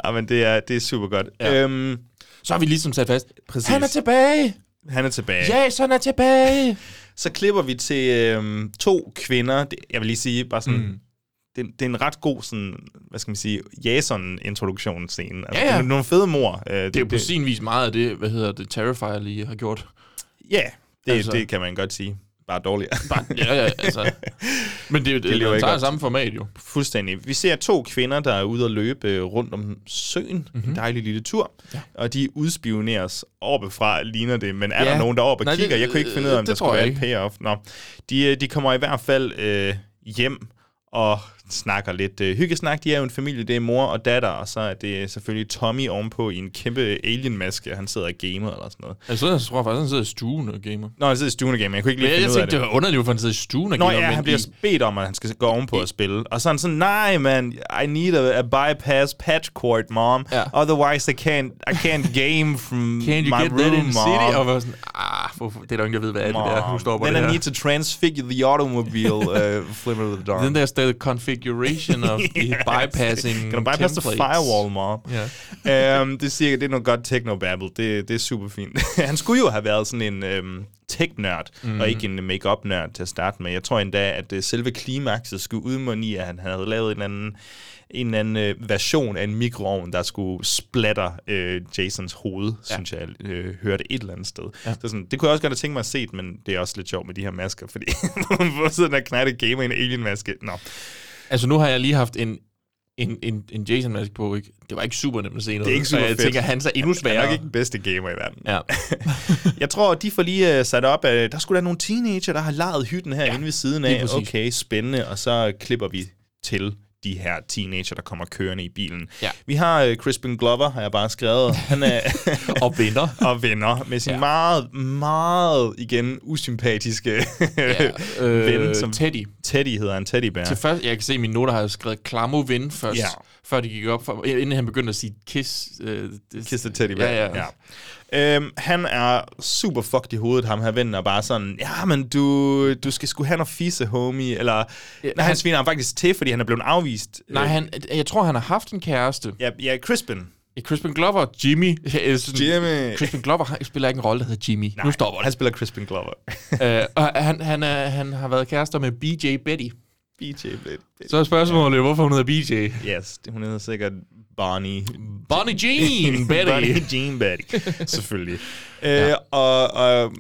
B: Ah, men det er, det er super godt.
C: Ja.
B: Ja. Øhm,
C: Så har vi ligesom sat fast.
B: Præcis.
C: Han er tilbage!
B: han er tilbage.
C: Jason er tilbage!
B: Så klipper vi til øhm, to kvinder. Det, jeg vil lige sige, bare sådan... Mm. Det, det er en ret god, sådan, hvad skal man sige, Jason-introduktionsscene. Altså,
C: Ja, ja.
B: det er Nogle fede mor. Øh,
C: Det er jo på sin vis meget af det, hvad hedder det, Terrifier lige har gjort.
B: Ja, det,
C: Altså.
B: altså. det kan man godt sige. Bare dårligere.
C: Bare, ja, ja, altså. Men det, det, det,
B: lever
C: det
B: ikke
C: tager
B: op
C: samme format jo.
B: Fuldstændig. Vi ser to kvinder, der er ude at løbe øh, rundt om søen. Mm-hmm.
C: Mhm.
B: En dejlig lille tur. Ja. Og de udspioneres orbefra, ligner det. Men er
C: Ja.
B: ja. der nogen, der oppe
C: Nej,
B: og
C: det-
B: kigger? Jeg kunne ikke finde ud af, om
C: det
B: der
C: tror
B: skulle være
C: jeg
B: et payoff. Nå. De, øh, de kommer i hvert fald øh, hjem og snakker lidt øh, hyggesnak. De er jo en familie, det er mor og datter, og så er det selvfølgelig Tommy ovenpå i en kæmpe alien-maske, og han sidder og gamer eller sådan noget.
C: Altså, jeg tror faktisk, han sidder i stuen og gamer.
B: Nå, han sidder i stuen og gamer, jeg kunne ikke
C: Men
B: lige
C: jeg,
B: finde ud
C: jeg
B: af
C: tænkte,
B: det.
C: det var underligt, hvorfor han sidder i stuen og
B: Nå
C: gamer.
B: ja,
C: men
B: han bliver
C: i-
B: bedt om, at han skal gå ovenpå og spille. Og så er han sådan, nej man, I need a, a bypass patch cord, mom.
C: Ja.
B: Otherwise I can't, I can't game from
C: [LAUGHS] Can't you
B: my
C: get that
B: room,
C: in the city?
B: mom.
C: Og var sådan, ah, hvorfor, det er der jo ingen, der ved, hvad er det der,
B: Mom.
C: hun står på
B: Then
C: det
B: I
C: her.
B: need to transfigure the
C: [LAUGHS]
B: automobile uh, flimmer with the dark.
C: Den der stadig configuration of
B: [LAUGHS]
C: the bypassing
B: Can I bypass the
C: templates.
B: firewall, mom?
C: Ja.
B: um, det, er cirka, det er noget godt technobabble. Det, det er super fint. [LAUGHS] han skulle jo have været sådan en um, tech-nørd, mm. og ikke en make-up-nørd til at starte med. Jeg tror endda, at uh, selve klimakset skulle udmunde i, at han havde lavet en eller anden, en eller anden uh, version af en mikroovn, der skulle splatter uh, Jasons hoved, ja. synes jeg, uh, hørte et eller andet sted. Ja. Så sådan, det kunne jeg også godt have tænkt mig at se, men det er også lidt sjovt med de her masker, fordi [LAUGHS] hvor sidder der knætte gamer i en alien-maske? Nå.
C: Altså, nu har jeg lige haft en, en, en, en Jason-mask på, ikke? Det var ikke super nemt at se noget.
B: Det er ikke
C: og
B: super
C: jeg
B: fedt.
C: tænker, han er så endnu
B: Han er nok
C: sværere.
B: ikke den bedste gamer i verden. [LAUGHS]
C: Ja.
B: Jeg tror, de får lige uh, sat op, at der skulle være nogle teenager, der har lejet hytten herinde ja, ved siden
C: lige
B: af.
C: præcis.
B: Okay, spændende. Og så klipper vi til de her teenager, der kommer kørende i bilen.
C: Ja.
B: Vi har uh, Crispin Glover, har jeg bare skrevet. Han
C: [LAUGHS]
B: er
C: Og vinder.
B: og venner med sin ja. meget, meget, igen, usympatiske ja, øh, [LAUGHS] ven. Som
C: Teddy.
B: Teddy hedder han, Teddy Bear.
C: Til først, jeg kan se, at mine noter har jeg skrevet klamo ven først,
B: Ja.
C: før det gik op, for, inden han begyndte at sige kiss. Øh, det-
B: Kiss the teddy bear.
C: Ja, ja.
B: ja. Øhm, han er super fucked i hovedet, ham her vennen, og bare sådan, ja, men du, du skal sgu have noget fisse, homie. Eller, ja, nej,
C: han-
B: han sviner ham faktisk til, fordi han er blevet afvist.
C: Nej,
B: Øh,
C: han, jeg tror, han har haft en kæreste.
B: Ja, ja Crispin.
C: Crispin Glover, Jimmy. [LAUGHS] Jeg synes,
B: Jimmy. Altså-
C: Crispin Glover han spiller ikke en rolle, der hedder Jimmy. Nej. Nu stopper
B: Han
C: det.
B: [LAUGHS] spiller Crispin Glover.
C: Øh, og han, han, er, han har været kærester med BJ Betty.
B: BJ
C: [LAUGHS]
B: Blade.
C: Så er spørgsmålet, jo, hvorfor hun hedder BJ.
B: Yes, det- hun hedder sikkert Bonnie.
C: Bonnie
B: [LAUGHS]
C: [LAUGHS] Jean, Betty.
B: Bonnie Jean Betty, selvfølgelig.
C: [LAUGHS]
B: Øh, og, og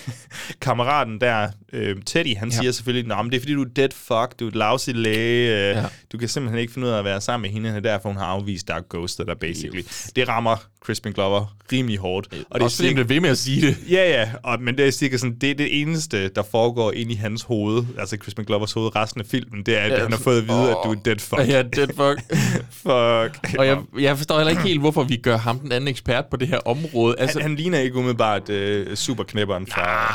B: [LAUGHS] kammeraten der, øh, Teddy, han ja. siger selvfølgelig, Nå, men det er fordi, du er dead fuck, du er et lousy læge, øh,
C: Ja.
B: ja. du kan simpelthen ikke finde ud af at være sammen med hende, og det er derfor hun har afvist dig og ghostet dig, basically. Det rammer Crispin Glover rimelig hårdt.
C: Og det er Øh, fordi,
B: sikkert-
C: hun bliver ved med at sige det.
B: Ja, ja, og, men det er sikkert sådan, det er det eneste, der foregår inde i hans hoved, altså Crispin Glovers hoved, resten af filmen, det er, at
C: Ja,
B: ja, han har fået at vide, oh, at du er dead fuck.
C: Ja, dead [LAUGHS] fuck.
B: fuck.
C: Og jeg, jeg forstår heller ikke helt, hvorfor vi gør ham den anden ekspert på det her område. Altså,
B: han, han ligner ikke umiddelbart øh, superknæpperen fra...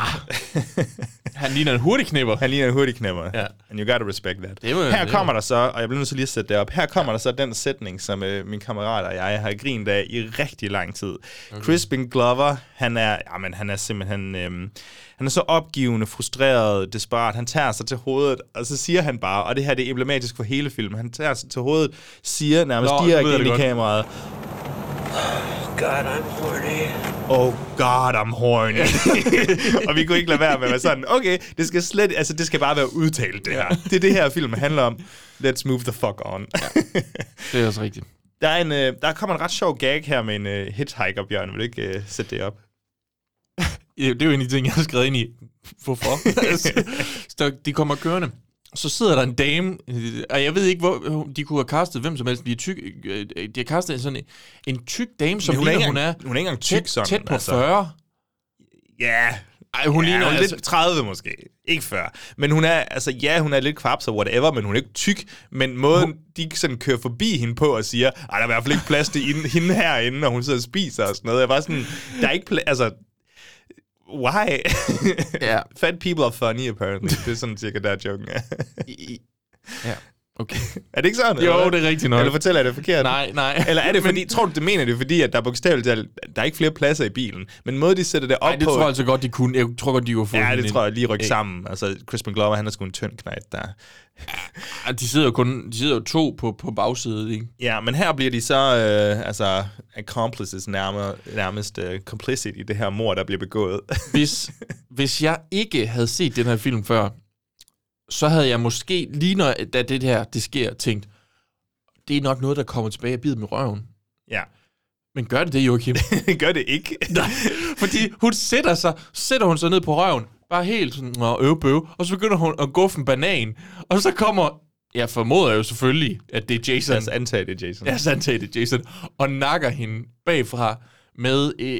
C: han ligner en hurtigknipper.
B: [LAUGHS] han ligner en hurtig knæpper.
C: Ja.
B: And you gotta respect that.
C: Det må-
B: her
C: det
B: kommer der så, og jeg bliver nødt til lige at sætte det op, her kommer der så den sætning, som øh, min kammerat og jeg har grint af i rigtig lang tid. Okay. Crispin Glover, han er, jamen, han er simpelthen... Øh, han er så opgivende, frustreret, desperat. Han tager sig til hovedet, og så siger han bare, og det her det er emblematisk for hele filmen, han tager sig til hovedet, siger nærmest
C: Nå, nu ved jeg
B: direkte
C: det
B: ind i
C: godt.
B: kameraet, oh god, I'm horny. og vi kunne ikke lade være med at være sådan, okay, det skal, slet, altså, det skal bare være udtalt, det her. Det er det her, filmen handler om. Let's move the fuck on.
C: Det er også rigtigt.
B: der, er en, øh, der kommer en ret sjov gag her med en øh, hitchhiker, Bjørn. Vil du ikke øh, sætte det op?
C: Ja, Det er jo en af de ting, jeg har skrevet ind i. [LAUGHS] Hvorfor? Altså, så de kommer kørende. Så sidder der en dame, øh, og jeg ved ikke, hvor de kunne have kastet hvem som helst. De, er tyk, øh, øh, de har kastet sådan en, en tyk dame, som
B: Men hun er
C: ligner,
B: ikke
C: hun er,
B: engang- hun er ikke engang tyk
C: tæt,
B: sådan,
C: tæt på
B: altså.
C: 40.
B: Ja.
C: Ej, hun
B: Ja,
C: ligner
B: hun er
C: altså,
B: lidt 30 måske. Ikke før. Men hun er, altså ja, hun er lidt kvaps og whatever, men hun er ikke tyk. Men måden, de sådan kører forbi hende på og siger, ej, der er i hvert fald ikke plads til hende- [LAUGHS] hende herinde, når hun sidder og spiser og sådan noget. Jeg var sådan, der er ikke plads, altså, why?
C: Ja.
B: [LAUGHS] Fat people are funny, apparently. Det er sådan cirka der, joken er.
C: Ja, okay. [LAUGHS]
B: er det ikke sådan?
C: Jo,
B: eller hvad?
C: det er rigtigt nok.
B: Eller fortæller jeg det forkert?
C: Nej, nej.
B: Eller
C: [LAUGHS]
B: er det fordi, tror du, det mener det er fordi, at der er bogstaveligt talt, der er ikke flere pladser i bilen, men måde, de sætter det op
C: Ej, det
B: på...
C: tror jeg altså godt, de kunne. Jeg tror godt, de kunne få
B: Ja,
C: hende
B: det
C: ind.
B: tror jeg lige rykke sammen. Altså, Crispin Glover, han er sgu en tynd knægt der.
C: Ej, De sidder jo kun de sidder jo to på, på bagsædet, ikke?
B: Ja, men her bliver de så øh, altså, accomplices nærmere, nærmest øh, complicit i det her mor, der bliver begået. [LAUGHS]
C: Hvis, hvis jeg ikke havde set den her film før, så havde jeg måske, lige når da det her det sker, tænkt, det er nok noget, der kommer tilbage og bider med røven.
B: ja,
C: Men gør det det,
B: [LAUGHS]
C: Joachim?
B: gør det ikke.
C: [LAUGHS] Nej, fordi hun sætter sig, sætter hun sig ned på røven, bare helt sådan, og øv bøv, og så begynder hun at guffe en banan, og så kommer, jeg formoder jo selvfølgelig, at det er Jason,
B: Altså, antag det, Jason.
C: jeg sandt det, Jason, og nakker hende bagfra med øh,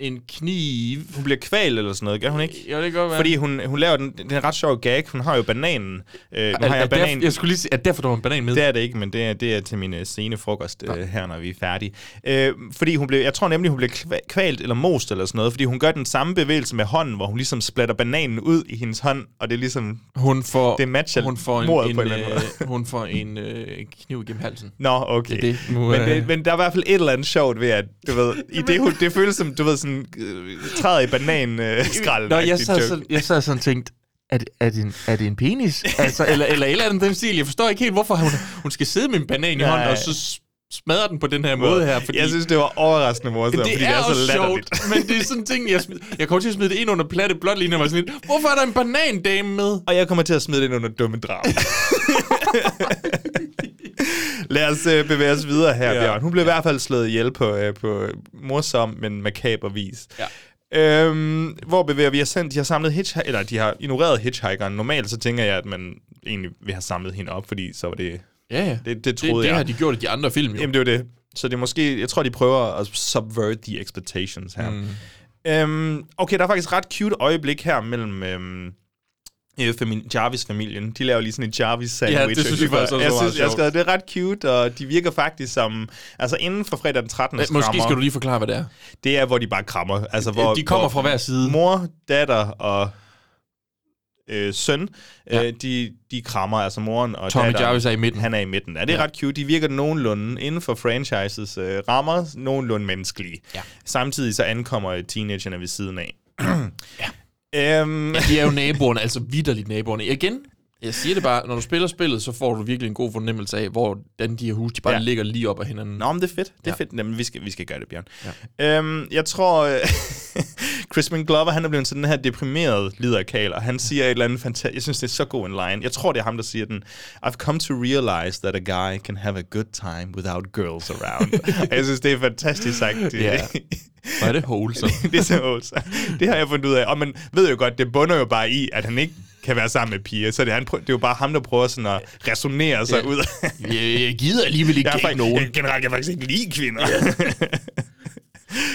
C: en kniv.
B: Hun bliver kvalt eller sådan noget, gør hun ikke?
C: Jo, det kan godt være.
B: Fordi hun, hun laver den, den ret sjove gag. Hun har jo bananen. Øh, nu
C: er,
B: har
C: er
B: jeg banan.
C: Derfor, jeg skulle lige sige, at derfor der var en banan med.
B: Det er det ikke, men det er, det er til min øh, sene frokost øh, her, når vi er færdige. Øh, fordi hun blev, jeg tror nemlig, hun blev kva- kvalt eller most eller sådan noget, fordi hun gør den samme bevægelse med hånden, hvor hun ligesom splatter bananen ud i hendes hånd, og det er ligesom...
C: Hun får,
B: Det matcher
C: hun får en,
B: mordet
C: en,
B: på en eller anden
C: øh, hun får en øh, kniv gennem halsen.
B: Nå, okay.
C: Det er det, nu,
B: men,
C: øh.
B: det, men der er i hvert fald et eller andet sjovt ved, at du ved, i det, hun, det føles som, du ved, sådan øh, træder i banan øh, skralden.
C: Nå, jeg sad, sådan, jeg sad sådan og tænkte, er det, er, det en, er det en penis? altså, eller, eller et eller andet den stil. Jeg forstår ikke helt, hvorfor hun, hun skal sidde med en banan i
B: Nej.
C: hånden, og så s- smadre den på den her måde her. Fordi
B: Jeg synes, det var overraskende morsomt, fordi det er så
C: også
B: latterligt.
C: men det er sådan en ting, jeg, smid, jeg kommer til at smide det ind under platte blot lige når jeg var sådan lidt, hvorfor er der en banandame med?
B: Og jeg kommer til at smide det ind under dumme drab. [LAUGHS] Lad os øh, bevæge os videre her, ja. Bjørn. Hun blev i hvert fald slået ihjel på, øh, på morsom, men makaber vis.
C: Ja.
B: Øhm, hvor bevæger vi os hen? De har samlet hitchhiker, eller de har ignoreret hitchhikeren. Normalt så tænker jeg, at man egentlig vil have samlet hende op, fordi så var det...
C: Ja, ja.
B: Det- det troede
C: det,
B: jeg.
C: Det har de gjort i de andre film, jo.
B: Jamen, det var det. Så det er måske... Jeg tror, de prøver at subvert the expectations her. Mm. Øhm, okay, der er faktisk ret cute øjeblik her mellem... Øhm, øh, fami- Jarvis-familien. De laver lige sådan en Jarvis-sandwich.
C: Ja, det synes jeg
B: var-
C: faktisk også
B: jeg
C: var meget
B: synes, jeg har
C: sjovt.
B: skrevet, det er ret cute, og de virker faktisk som... Altså, inden for fredag den 13.
C: Men Måske skal du lige forklare, hvad det er.
B: Det er, hvor de bare krammer. Altså, hvor,
C: de kommer
B: hvor
C: fra hver side.
B: Mor, datter og øh, søn, ja. øh, de, de krammer. Altså, moren og
C: Tommy
B: datteren.
C: Jarvis er i midten.
B: Han er i midten. Ja, det er
C: Ja.
B: ja. ret cute. De virker nogenlunde inden for franchises øh, rammer, nogenlunde menneskelige.
C: Ja.
B: Samtidig så ankommer teenagerne ved siden
C: [CLEARS THROAT]
B: af. ja. Øhm,
C: De er jo naboerne, altså vidderligt naboerne. Igen, jeg siger det bare, når du spiller spillet, så får du virkelig en god fornemmelse af, hvordan de her huse, de bare ja.
B: Ja.
C: ligger lige op ad hinanden.
B: Nå, men det er fedt. Det er
C: Ja.
B: ja. fedt. Jamen, vi skal, vi skal gøre det, Bjørn. Ja. Øhm, jeg tror, øh, [LAUGHS] Crispin Glover, han er blevet sådan den her deprimeret liderkal, og han siger et eller andet fantastisk. Jeg synes, det er så god en line. Jeg tror, det er ham, der siger den. I've come to realize that a guy can have a good time without girls
C: [LAUGHS]
B: around. og jeg synes, det er fantastisk sagt.
C: Ja. Hvor er det wholesome.
B: [LAUGHS]
C: [LAUGHS]
B: det er så awesome. Det har jeg fundet ud af. Og man ved jo godt, det bunder jo bare i, at han ikke kan være sammen med piger. Så det er, han prø- det er jo bare ham, der prøver sådan at resonere sig ud.
C: jeg, jeg gider alligevel ikke
B: jeg er
C: gække
B: faktisk,
C: nogen.
B: jeg, generelt, jeg faktisk ikke lide kvinder. [LAUGHS]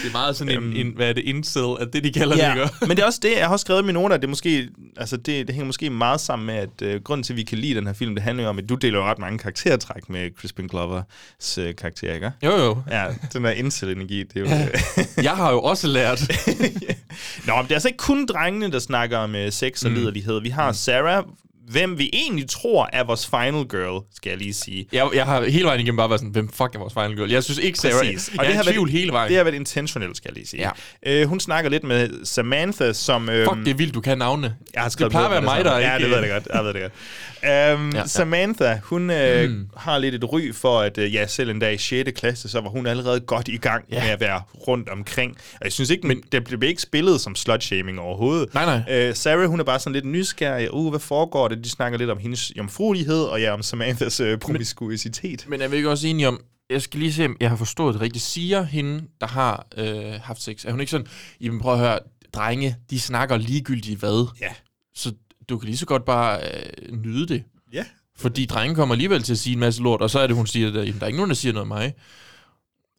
C: Det er meget sådan en, en hvad er det, incel, at det de kalder det, ikke?
B: men det er også det, jeg har også skrevet i mine noter, at det, måske, altså det, det hænger måske meget sammen med, at øh, grunden til, at vi kan lide den her film, det handler jo om, at du deler jo ret mange karaktertræk med Crispin Glovers øh, karakter, ikke?
C: Jo, jo.
B: Ja, den der incel-energi, det er jo... øh, [LAUGHS]
C: Jeg har jo også lært. [LAUGHS]
B: Nå, men det er altså ikke kun drengene, der snakker om øh, sex og mm. liderlighed. Vi har Sarah, hvem vi egentlig tror er vores final girl, skal jeg lige sige.
C: Jeg, jeg har hele vejen igennem bare været sådan, hvem fuck er vores final girl? Jeg synes ikke, Sarah...
B: Præcis.
C: Jeg, og jeg det er i tvivl hele vejen.
B: Det har været intentionelt, skal jeg lige sige.
C: Ja.
B: Øh, hun snakker lidt med Samantha, som... Øhm,
C: Fuck, det er vildt, du kan navne.
B: Jeg har
C: det
B: skrevet
C: plejer at
B: ned
C: være
B: med
C: mig, der
B: samme.
C: ikke... øh,
B: Ja, det ved jeg godt. Jeg ved det godt. Um, ja,
C: ja.
B: ja. Samantha, hun øh, mm. har lidt et ry for, at øh, ja, selv en dag i 6. klasse, så var hun allerede godt i gang ja. med at være rundt omkring. Og jeg synes ikke, Men, det blev ikke spillet som slut-shaming overhovedet.
C: Nej, nej.
B: Øh, Sarah, hun er bare sådan lidt nysgerrig. Uh, hvad foregår det? De snakker lidt om hendes jomfruelighed, og ja, om Samanthas øh, promiskuitet.
C: Men er vi ikke også enige om, jeg skal lige se, om jeg har forstået det rigtigt. Siger hende, der har øh, haft sex, er hun ikke sådan, jamen prøv at høre, drenge, de snakker ligegyldigt hvad?
B: Ja.
C: Så du kan lige så godt bare øh, nyde det.
B: Ja.
C: Fordi drengen kommer alligevel til at sige en masse lort, og så er det, hun siger, at jamen, der er ikke nogen, der siger noget om mig.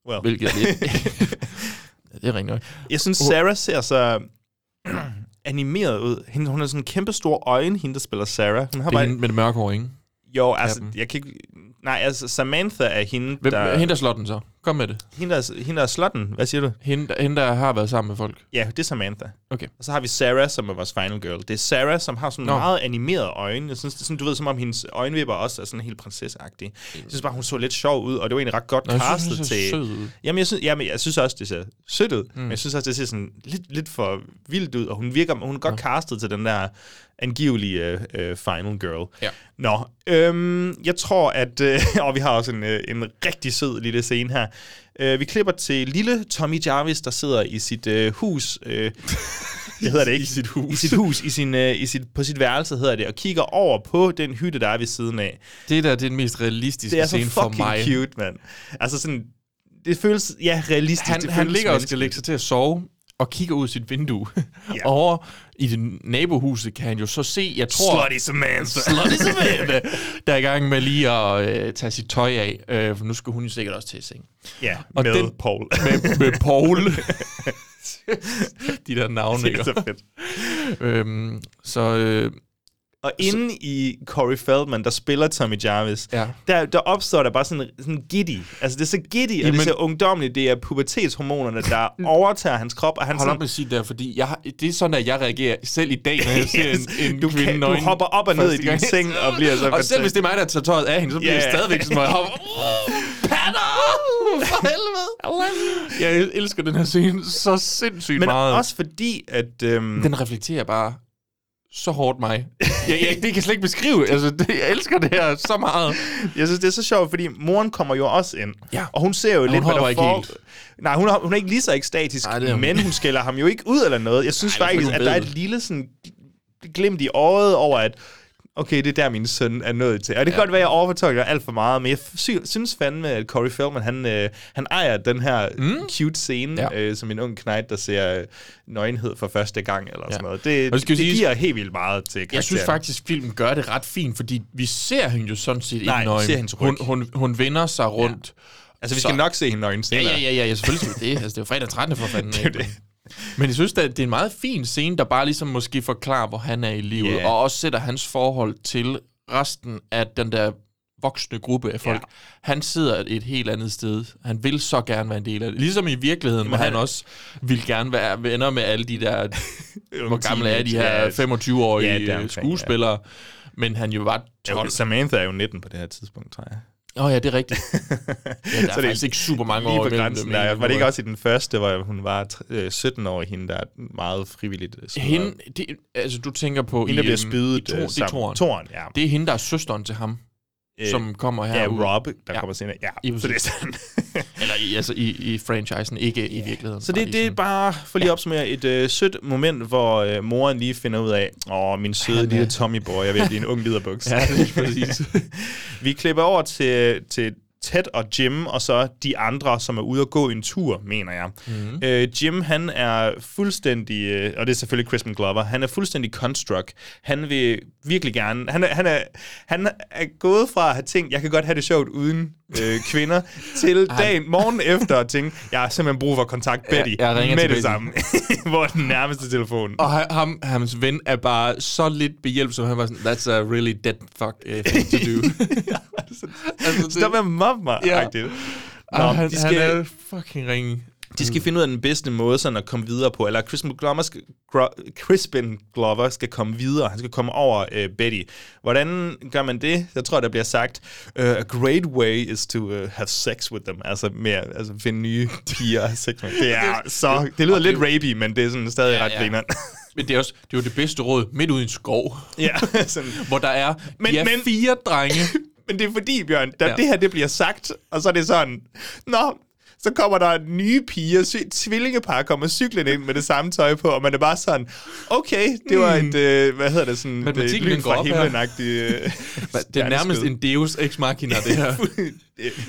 B: Well.
C: Hvilket er
B: [LAUGHS]
C: lidt... ja, det er rigtig nok.
B: Jeg synes, Sarah ser så [CLEARS THROAT] animeret ud. Hende, hun har sådan en kæmpe stor øjne, hende der spiller Sarah. Hun har
C: Det er
B: bare
C: hende med det mørke hår, ikke?
B: Jo, altså, jeg kan ikke... Nej, altså, Samantha er hende,
C: Hvem,
B: der...
C: Hende, der slår den så. Kom med det.
B: Hende, der, er- hende der er slotten. Hvad siger du?
C: Hende, der- hende, der har været sammen med folk.
B: Ja, det er Samantha.
C: Okay.
B: Og så har vi Sarah, som er vores final girl. Det er Sarah, som har sådan
C: Nå.
B: Nå. meget animerede øjne. Jeg synes, det er sådan, du ved, som om hendes øjenvipper også er sådan helt prinsesseagtige. Jeg synes bare, hun så lidt sjov ud, og det var egentlig ret godt
C: Nå, jeg synes,
B: castet
C: hun ser
B: til...
C: sød ud.
B: Jamen, jeg synes, jamen, jeg synes også, det ser sødt ud, mm. men jeg synes også, det ser sådan lidt, lidt for vildt ud, og hun virker, hun er godt castet til den der angivelige øh, øh, final girl.
C: Ja.
B: Nå, øhm, jeg tror, at... Øh, [LAUGHS] og vi har også en, øh, en rigtig sød lille scene her. Øh, vi klipper til lille Tommy Jarvis, der sidder i sit øh, hus... [LAUGHS] Øh, det hedder det ikke. I sit hus. I sit hus, i sin, øh, i sit, på sit værelse hedder det, og kigger over på den hytte, der er ved siden af.
C: Det der, det er den mest realistiske
B: Det er så
C: scene for
B: fucking
C: mig.
B: cute, mand. Altså sådan, det føles, ja, realistisk.
C: han,
B: det
C: han
B: føles
C: ligger og
B: menneskeligt.
C: skal lægge sig til at sove, og kigger ud sit vindue. [LAUGHS]
B: Ja.
C: Yeah. Over i det nabohuset kan han jo så se, jeg tror... [LAUGHS]
B: Slutty Samantha.
C: Slutty Samantha, der er i gang med lige at øh, tage sit tøj af, øh, for nu skal hun jo sikkert også til seng.
B: [LAUGHS] Ja,
C: Og
B: med
C: den-
B: Paul. [LAUGHS]
C: Med, med Paul. [LAUGHS] De der navne,
B: det er
C: ikke?
B: så fedt.
C: Øhm, så øh,
B: Og inde i Corey Feldman, der spiller Tommy Jarvis,
C: Ja.
B: der, der opstår der bare sådan sådan giddy. Altså, det er så giddy, og det
C: Jamen-
B: er så ungdomligt. Det er pubertetshormonerne, der
C: [LAUGHS]
B: overtager hans krop, og han
C: hold op
B: sådan,
C: med at sige det der, fordi jeg, har- det er sådan, at jeg reagerer selv i dag, når jeg ser
B: [LAUGHS]
C: en, en
B: du,
C: kvinde
B: kan, du
C: nøgen
B: hopper op og ned i
C: første
B: din
C: gang.
B: seng og bliver så
C: [LAUGHS] Og selv hvis det er mig, der tager tøjet af hende, så bliver
B: Ja, Uh,
C: yeah. jeg
B: ja.
C: stadigvæk sådan, hvor
B: [LAUGHS]
C: jeg hopper. Uh, patter! For helvede! [LAUGHS] Jeg el- elsker den her scene så sindssygt
B: Men
C: meget.
B: også fordi, at... Øhm,
C: Den reflekterer bare så hårdt mig. Jeg, jeg, det kan jeg slet ikke beskrive. Altså, det, jeg elsker det her så meget.
B: Jeg synes, det er så sjovt, fordi moren kommer jo også ind.
C: Ja.
B: Og hun ser jo
C: hun
B: lidt, hvad
C: hopper
B: der
C: ikke
B: for...
C: helt.
B: Nej, hun, har- hun er ikke lige så ekstatisk,
C: Nej,
B: Nej,
C: det er hun
B: men hun skælder ham jo ikke ud eller noget. Jeg synes
C: Nej,
B: Nej,
C: det er
B: faktisk,
C: fordi,
B: at der er
C: hun ved
B: et lille sådan, glimt i øjet over, at okay, det er der, min søn er nået til. Og det kan godt være, at jeg overfortolker alt for meget, men jeg sy- synes fandme, at Corey Feldman, han, øh, han ejer den her mm. cute scene,
C: Ja.
B: ja. øh, som en ung knejt, der ser øh, nøgenhed for første gang, eller ja. sådan noget. Det,
C: Og
B: det
C: skal vi sige-
B: giver helt vildt meget til karakteren.
C: Jeg synes faktisk, filmen gør det ret fint, fordi vi ser hende jo sådan set ikke
B: Nej, vi
C: nøgen.
B: ser hendes
C: hun,
B: ryg.
C: hun, hun vender sig rundt.
B: Altså, vi
C: så-
B: skal nok se hende nøgen
C: Ja,
B: senere.
C: ja, ja, ja, ja selvfølgelig skal vi det. Altså, [LAUGHS] det er jo fredag 13. for fanden.
B: er jo det.
C: Men jeg synes, at det er en meget fin scene, der bare ligesom måske forklarer, hvor han er i livet,
B: Ja.
C: yeah. og også sætter hans forhold til resten af den der voksne gruppe af folk.
B: Ja.
C: Han sidder et helt andet sted. Han vil så gerne være en del af det. Ligesom i virkeligheden, hvor han,
B: han-
C: også vil gerne være venner med alle de [LAUGHS] der... hvor gamle er de her
B: Ja,
C: 25-årige
B: ja, det er
C: ja,
B: omkring,
C: skuespillere? Men han jo var 12.
B: Jo, Samantha er jo 19 på det her tidspunkt, tror jeg.
C: Åh oh, ja, det er [LAUGHS] rigtigt. Ja, der er,
B: Så det er
C: faktisk ikke super mange
B: Lige
C: år
B: på
C: imellem
B: grænsen
C: dem,
B: der.
C: egentlig,
B: Var det ikke
C: hvor-
B: også i den første, hvor hun var tr- øh, 17 år, hende der er meget frivilligt? øh, smider op?
C: Hende, det, altså du tænker på...
B: hende der bliver
C: øhm,
B: spydet
C: i to,
B: øh,
C: det er
B: sammen.
C: toren.
B: Toren, ja.
C: Det er hende, der er søsteren til ham, øh, som kommer her.
B: Ja, Rob, der
C: Ja.
B: kommer senere.
C: Ja,
B: Ja, så det er sådan.
C: [LAUGHS] Eller i, altså i, i franchisen, ikke i virkeligheden.
B: Så
C: Bare
B: det,
C: lige
B: det er
C: sådan-
B: bare, for lige at opsummere, et øh, sødt moment, hvor øh, moren lige finder ud af, åh, min søde
C: Han er-
B: lille Tommy boy, jeg vil blive en ung liderbuks.
C: [LAUGHS] Ja, lige præcis.
B: [LAUGHS] Vi klipper over til, til Ted og Jim, og så de andre, som er ude at gå en tur, mener jeg.
C: Mhm.
B: Mm. Øh, Jim, han er fuldstændig, øh, og det er selvfølgelig Crispin Glover, han er fuldstændig construct. Han vil virkelig gerne, han er, han er, han er gået fra at have tænkt, jeg kan godt have det sjovt uden øh,
C: [LAUGHS]
B: kvinder, til dagen, morgen efter at tænke, jeg har simpelthen brug for at kontakte Betty
C: jeg ringer
B: med det
C: til Betty."
B: samme. [LAUGHS] Hvor den nærmeste telefon.
C: Og ha- ham, hans ven er bare så lidt behjælpsom. Han var sådan, that's a really dead fuck uh, thing
B: [LAUGHS]
C: to do. altså,
B: Stop med at mobbe mig,
C: Ja.
B: ja. Nå,
C: Nå, han, de skal... han er fucking ringe.
B: De skal finde ud af den bedste måde sådan at komme videre på, eller Crispin Glover skal, Gro- Crispin Glover skal komme videre, han skal komme over øh, Betty. Hvordan gør man det? Jeg tror, der bliver sagt, uh, a great way is to uh, have sex with them, altså mere, altså finde nye piger at have sex med. Det,
C: [LAUGHS]
B: er, så, det lyder lidt rapey, men det er sådan stadig ret
C: ja.
B: grineren.
C: Men det er også det, er jo det bedste råd midt ude i en skov,
B: ja, [LAUGHS] sådan.
C: hvor der er,
B: Men-
C: men, de er
B: men-
C: men... fire
B: [LAUGHS]
C: drenge.
B: Men det er fordi, Bjørn, da ja.
C: Ja.
B: det her det bliver sagt, og så er det sådan, nå, så kommer der nye piger, sy- tvillingepar kommer cyklen ind med det samme tøj på, og man er bare sådan, okay, det var et, øh, hvad hedder det, sådan et
C: Hmm. Matematikken,
B: lyn
C: den går
B: fra
C: op her.
B: himlen-agtigt
C: [LAUGHS]
B: øh,
C: Det er nærmest
B: stjerneskud.
C: en deus ex machina,
B: [LAUGHS]
C: det her.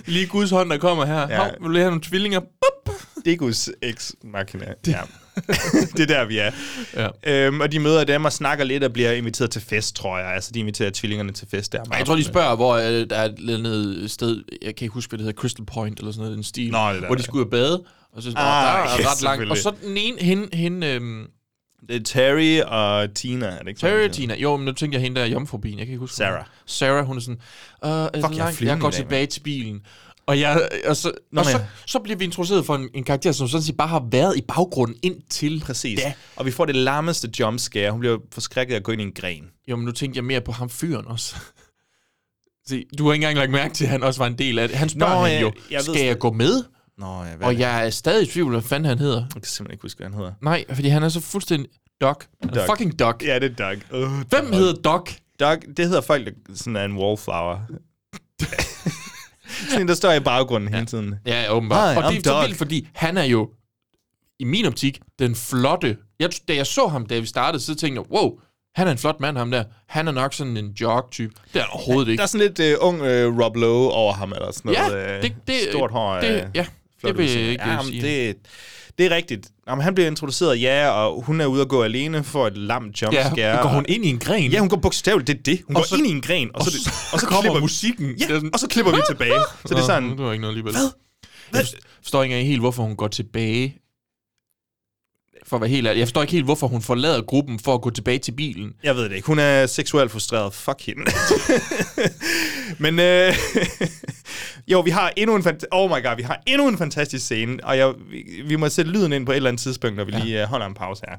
C: Lige Guds hånd, der kommer her.
B: Ja.
C: Ja. Hov, vil du have nogle tvillinger? Bup!
B: Degus ex machina. Ja. [LAUGHS] det er der, vi er.
C: Ja.
B: Øhm, og de møder dem og snakker lidt og bliver inviteret til fest, tror jeg. Altså, de inviterer tvillingerne til fest der. om
C: Ej, Jeg tror, de
B: aftenen.
C: spørger, hvor øh, der er et eller andet sted, jeg kan ikke huske, hvad det hedder, Crystal Point eller sådan noget, i den stil,
B: Nå, det der,
C: hvor
B: ja.
C: de skulle ud og bade, og så ah, der
B: Ah,
C: er
B: ja,
C: ret langt. Og
B: selvfølgelig.
C: så den ene, hende, hende øhm,
B: Det er Øh, Terry og Tina, er det ikke sådan,
C: Terry
B: de
C: og Tina, jo, men nu tænker jeg hende der er jomfrubien, jeg kan ikke huske. hvad hun
B: Sarah.
C: hedder. Sarah, hun er sådan, øh, er det
B: jeg er
C: langt? jeg
B: flyvende
C: går
B: i dag,
C: tilbage til bilen. Og, jeg, og, så,
B: Nå,
C: og så,
B: men-
C: så bliver vi introduceret for en, en karakter, som sådan set bare har været i baggrunden indtil.
B: Præcis.
C: Da.
B: Og vi får det lammeste jumpscare. Hun bliver forskrækket af at gå ind i en gren.
C: Jo, men nu tænkte jeg mere på ham fyren også. [LAUGHS] Se, du har ikke engang lagt mærke til, at han også var en del af det. Han spørger
B: Nå,
C: Nå,
B: jeg-
C: hende jo,
B: jeg ved
C: skal
B: slet-
C: jeg gå med?
B: Nå, ja,
C: Og jeg er stadig i tvivl, hvad fanden han hedder.
B: Jeg kan simpelthen ikke huske, hvad han hedder.
C: Nej, fordi han er så fuldstændig... Doc. Han er
B: Doc.
C: fucking Doc.
B: Ja, det er Doug. Uh,
C: Hvem hedder Doc?
B: Doug, det hedder folk, der sådan er en [LAUGHS] wallflower. sådan en, der står i baggrunden ja. hele tiden.
C: Ja, ja, åbenbart.
B: Hi,
C: og
B: I'm
C: det er så
B: Doc.
C: vildt, fordi han er jo, i min optik, den flotte. Jeg, da jeg så ham, da vi startede, så tænkte jeg, wow, han er en flot mand, ham der. Han er nok sådan en jog-type. Det er han overhovedet
B: Der
C: ikke.
B: er sådan lidt øh, ung øh, Rob Lowe over ham, eller sådan noget. øh,
C: Ja, det, det,
B: stort hår.
C: Det,
B: øh,
C: ja,
B: flot
C: det vil jeg
B: udseende.
C: ikke
B: Jamen,
C: sige.
B: det, det er rigtigt. Jamen, han bliver introduceret, ja, og hun er ude at gå alene for et lamt jumpscare.
C: ja, går hun
B: og-
C: ind i en gren?
B: Ja, hun går bogstaveligt, det er det. Hun og går
C: så-
B: ind i en gren, og,
C: og
B: så, det,
C: så-
B: og så
C: kommer
B: klipper vi-
C: musikken. Det er
B: Ja,
C: sådan-
B: og så klipper vi tilbage. Så det er sådan,
C: Det var ikke noget alligevel. Hvad? Jeg forst- forstår ikke engang helt, hvorfor hun går tilbage. For at være helt ærlig. Jeg forstår ikke helt, hvorfor hun forlader gruppen for at gå tilbage til bilen.
B: Jeg ved det ikke. Hun er seksuelt frustreret. Fuck hende. [LAUGHS] Men øh, [LAUGHS] jo, vi har endnu en fant- oh my god, vi har endnu en fantastisk scene, og jeg, vi, vi må sætte lyden ind på et eller andet tidspunkt, når vi ja. lige øh, holder en pause her.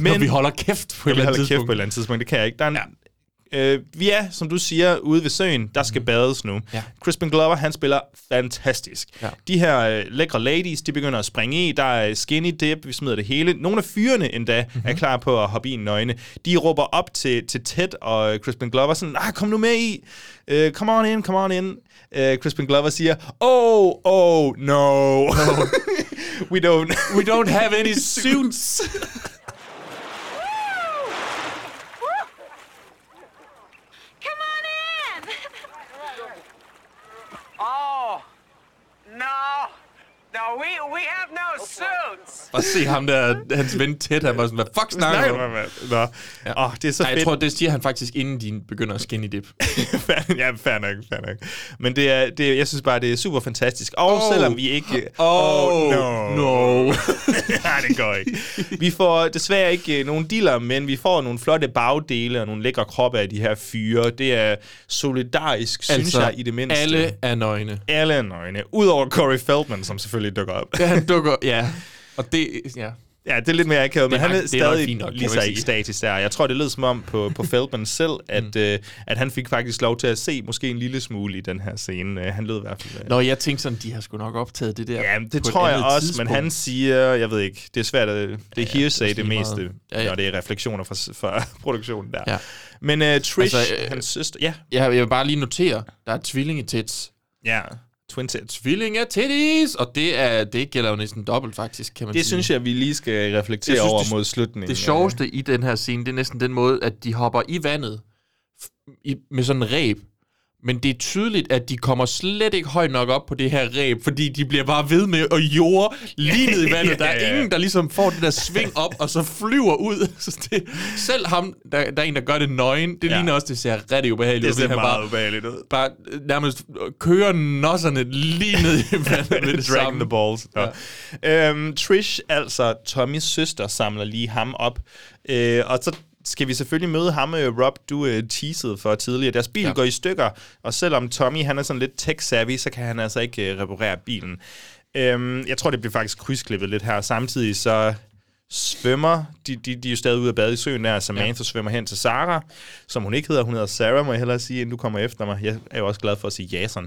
B: Men
C: Når vi holder kæft på et
B: vi
C: eller andet
B: holder kæft
C: tidspunkt.
B: på et eller andet tidspunkt, det kan jeg ikke. Der er en, ja. øh, vi er, som du siger, ude ved søen. Der skal bades nu.
C: Mhm. Ja.
B: Crispin Glover, han spiller fantastisk.
C: Ja.
B: De her øh, lækre ladies, de begynder at springe i. Der er skinny dip, vi smider det hele. Nogle af fyrene endda mm-hmm. er
C: Mhm.
B: klar på at hoppe i en nøgne. De råber op til, til Ted og øh, Crispin Glover sådan, ah, kom nu med i. Øh, come on in, come on in. Øh, Crispin Glover siger, oh, oh, no. [LAUGHS] We don't.
C: We don't have [LAUGHS]
B: [LAUGHS]
C: any suits.
F: Come on in! [LAUGHS]
E: Oh, no. No, we, we have no suits.
C: Og se ham der, hans ven tæt, han var sådan, hvad fuck snakker du? om?"
B: Nej, Nå. Ja. Oh, det er så
C: Ej,
B: fedt.
C: jeg
B: [LAUGHS]
C: tror, det siger han faktisk, inden de begynder at skinny dip.
B: Fair- ja, fair nok, fair nok. Men det er, det, er- jeg synes bare, det er super fantastisk. Og oh, selvom vi ikke... [LAUGHS]
C: no.
B: Nej, det går ikke. Vi får desværre ikke øh, nogen dealer, men vi får nogle flotte bagdele og nogle lækre kroppe af de her fyre. Det er solidarisk, synes
C: altså,
B: jeg, i det mindste.
C: alle er nøgne.
B: alle er nøgne. Udover Corey Feldman, som selvfølgelig dukker op.
C: Ja, han dukker, ja. Og det, ja.
B: Ja, det er lidt mere akavet, men
C: Det er
B: han er
C: nok- det er nok
B: stadig
C: fint nok, kan
B: lige
C: man
B: så
C: sige.
B: ikke statisk der. Jeg tror, det lød som om på,
C: [LAUGHS]
B: på Feldman selv, at, mm. øh, at han fik faktisk lov til at se måske en lille smule i den her scene. Øh, Han lød i hvert fald... Øh,
C: Nå, jeg tænkte sådan, de har sgu nok optaget det der.
B: Ja, det
C: på et
B: tror jeg
C: andet
B: også,
C: tidspunkt.
B: men han siger, jeg ved ikke, det er svært at, det er hearsay
C: det er
B: det,
C: lige
B: meste,
C: meget. Ja, ja.
B: når det er refleksioner fra, fra [LAUGHS] produktionen der.
C: Ja.
B: Men uh, Trish,
C: Altså, øh,
B: hans søster, ja,
C: Ja, jeg vil bare lige notere, der er tvillingetæts.
B: ja, Twin Sets.
C: Tvilling af titties! Og det, er, det gælder jo næsten dobbelt, faktisk, kan man
B: Det
C: sige.
B: synes jeg, vi lige skal reflektere
C: Jeg synes,
B: over
C: det-
B: mod slutningen.
C: Det sjoveste i den her scene, det er næsten den måde, at de hopper i vandet f- i, med sådan en ræb. Men det er tydeligt, at de kommer slet ikke højt nok op på det her ræb, fordi de bliver bare ved med at jorde
B: [LAUGHS]
C: lige ned i vandet. Der
B: Ja, ja,
C: er
B: ja.
C: ingen, der ligesom får det der sving op, og så flyver ud. [LAUGHS] Så det, selv ham, der, der er en, der gør det nøgen, det
B: Ja.
C: ligner også, det ser rigtig ubehageligt
B: Det
C: ud.
B: ser
C: han
B: meget
C: bare,
B: ubehageligt ud.
C: bare øh, nærmest kører nosserne lige ned
B: [LAUGHS]
C: i vandet med det
B: Dragging
C: samme.
B: the balls. Nå. Øhm, Trish, altså Tommys søster, samler lige ham op. Øh, og så skal vi selvfølgelig møde ham, øh, Rob, du øh, teasede for tidligere. Deres bil ja. går i stykker, og selvom Tommy han er sådan lidt tech-savvy, så kan han altså ikke øh, reparere bilen. Øhm, jeg tror, det bliver faktisk krydsklippet lidt her. Samtidig så svømmer, de, de, de er jo stadig ude at bade i søen der, Samantha ja. svømmer hen til Sarah, som hun ikke hedder, hun hedder Sarah, må jeg hellere sige, inden du kommer efter mig. Jeg er jo også glad for at sige Jason.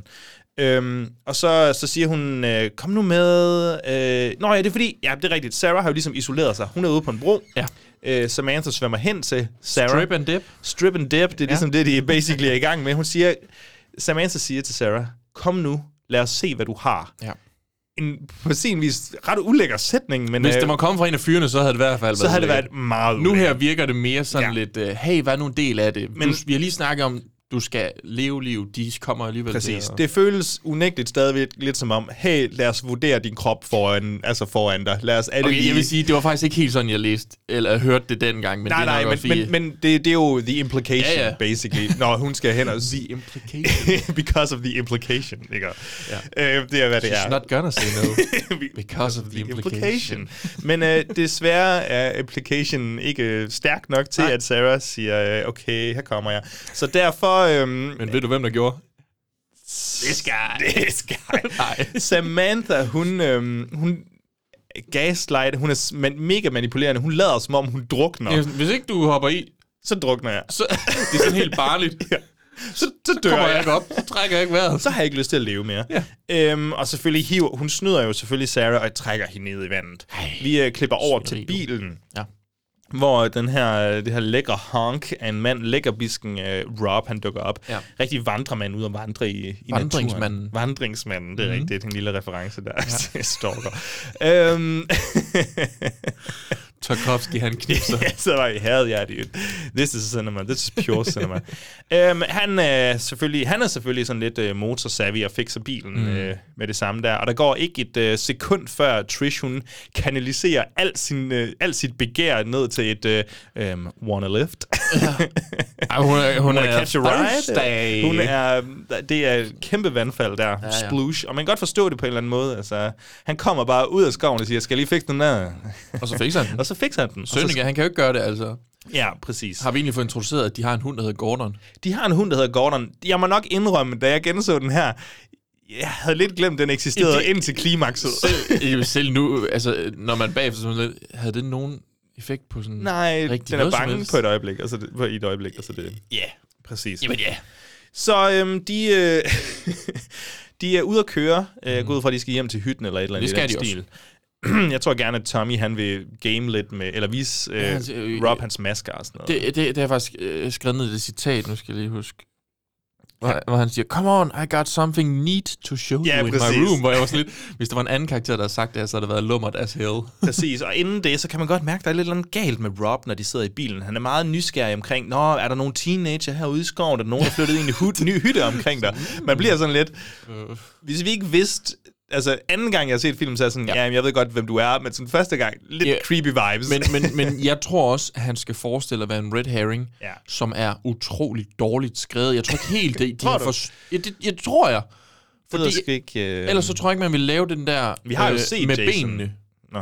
B: Øhm, og så, så siger hun, øh, kom nu med. Øh, nå ja, det er fordi, ja, det er rigtigt. Sarah har jo ligesom isoleret sig. Hun er ude på en bro.
C: Ja.
B: Øh, Samantha svømmer hen til Sarah.
C: Strip and dip.
B: Strip and dip, det er ligesom det, de basically er i gang med. Hun siger, Samantha siger til Sarah, kom nu, lad os se, hvad du har.
C: Ja.
B: En på sin vis ret ulækker sætning, men
C: Hvis
B: øh,
C: det var kommet fra en af fyrene, så havde det i hvert fald
B: så havde det
C: ulækkert.
B: været meget
C: Nu
B: ulækkert.
C: her virker det mere sådan
B: Ja.
C: ja. lidt, uh, hey, hvad er nu en del af det? Men,
B: Men-
C: du, vi har lige snakket om, du skal leve liv, de kommer alligevel
B: Præcis.
C: til at-
B: Det føles unægteligt stadigvæk lidt som om, hey, lad os vurdere din krop foran, altså foran dig. Lad os alle
C: Okay,
B: lige...
C: jeg vil sige, det var faktisk ikke helt sådan, jeg læste, eller hørte det dengang, men
B: Nej,
C: det er
B: nej,
C: nok
B: men,
C: også fordi-
B: men, men det, det er jo the implication, ja,
C: Ja,
B: ja.
C: ja.
B: basically, når hun skal hen og
C: The
B: sige...
C: implication.
B: [LAUGHS] because of the implication, ikke? Ja. Øh, det er, hvad det
C: She's
B: er. [LAUGHS]
C: not gonna say no, because of the implication.
B: implication. Men øh, desværre er implicationen ikke øh, stærk nok til, Nej.
C: Nej.
B: at Sarah siger, øh, okay, her kommer jeg. Så derfor... Øhm,
C: Men ved du, hvem der gjorde?
B: This guy. [LAUGHS] This guy.
C: Nej.
B: Samantha, hun, øhm, hun gaslight, hun er s- man, mega manipulerende. Hun lader som om, hun drukner.
C: Ja, Hvis ikke du hopper i,
B: Så drukner jeg.
C: så [LAUGHS] det er sådan helt barnligt.
B: Så, så dør
C: Kommer jeg
B: jeg.
C: ikke op, så trækker jeg ikke vejret.
B: Så har jeg ikke lyst til at leve mere.
C: Ja.
B: Øhm, og selvfølgelig hiver, hun snyder jo selvfølgelig Sarah og trækker hende ned i vandet. Vi øh, klipper over til
C: svineri,
B: bilen.
C: Ja.
B: Hvor den her, øh, det her lækre honk af en mand, lækkerbisken øh, Rob, han dukker op.
C: Ja.
B: Rigtig vandremand ud og vandre i, i
C: Vandringsmanden. Mhm.
B: naturen. Vandringsmanden. Det er mm-hmm. rigtigt, en lille reference [LAUGHS] der. Ja. Stalker. øhm, [LAUGHS]
C: Tarkovsky, han knipser.
B: [LAUGHS] Ja, så var I havde jeg det. This is cinema. This is pure cinema. um, han, er selvfølgelig, han er selvfølgelig sådan lidt uh, motorsavvy og fikser bilen mm. uh, med det samme der. Og der går ikke et uh, sekund før Trish, hun kanaliserer al, sin, uh, al sit begær ned til et uh, um, wanna lift.
C: Ej, hun er, hun
B: Wanna
C: er
B: catch a ride.
C: thirsty.
B: Hun er, øh, det er et kæmpe vandfald der. Ja, ja. Sploosh. Og man kan godt forstå det på en eller anden måde. Altså, han kommer bare ud af skoven og siger, skal jeg lige fikse den der?
C: Og så fik han den.
B: og så fikser han den. Og så-
C: Sønneke, han kan jo ikke gøre det, altså.
B: Ja, præcis.
C: Har vi egentlig fået introduceret, at de har en hund, der hedder Gordon?
B: De har en hund, der hedder Gordon. Jeg må nok indrømme, da jeg genså den her, jeg havde lidt glemt, den eksisterede
C: Det-
B: indtil klimakset.
C: Selv, [LAUGHS] selv nu, altså, når man bagefter sådan lidt, havde det nogen effekt på sådan...
B: Nej,
C: Rigtig
B: den er
C: noget som
B: bange
C: helst.
B: på et øjeblik, og så det, på et øjeblik, og så det. Ja, yeah. præcis. Jamen
C: ja.
B: Så øhm, de, øh, [LAUGHS] de er ude at køre. Øh, Jeg går ud fra, at de skal hjem til hytten eller et eller andet
C: Det skal
B: i den
C: de
B: stil. [CLEARS THROAT] jeg tror gerne, at Tommy han vil game lidt med, eller vise øh,
C: Ja, altså, øh,
B: Rob hans masker og sådan noget.
C: Det, det, det har jeg faktisk øh, skrevet ned i det citat, nu skal jeg lige huske. Hvor, hvor han siger, come on, I got something neat to show
B: Ja,
C: you in
B: præcis.
C: my room. Hvor jeg var sådan lidt, hvis der var en anden karakter, der havde sagt det her, så havde det været lummert as hell.
B: Præcis, og inden det, så kan man godt mærke, at der er lidt eller andet galt med Rob, når de sidder i bilen. Han er meget nysgerrig omkring, nå, er der nogle teenager herude i skoven? Er der nogen, der flyttede ind i hut, ny hytte omkring dig? Man bliver sådan lidt, hvis vi ikke vidste, altså anden gang, jeg har set film, så er jeg sådan, ja, ja jeg ved godt, hvem du er, men sådan første gang, lidt
C: Ja.
B: yeah. creepy vibes.
C: Men, men, men jeg tror også, at han skal forestille at være en red herring,
B: Ja.
C: som er utrolig dårligt skrevet. Jeg tror ikke helt, det, de
B: Tror
C: har
B: du?
C: for... Ja, det, jeg tror jeg.
B: fordi,
C: fordi-
B: ikke, øh...
C: Ellers så tror jeg ikke, man vil lave den der
B: Vi har jo
C: øh,
B: set
C: med
B: Jason.
C: benene.
B: Nå.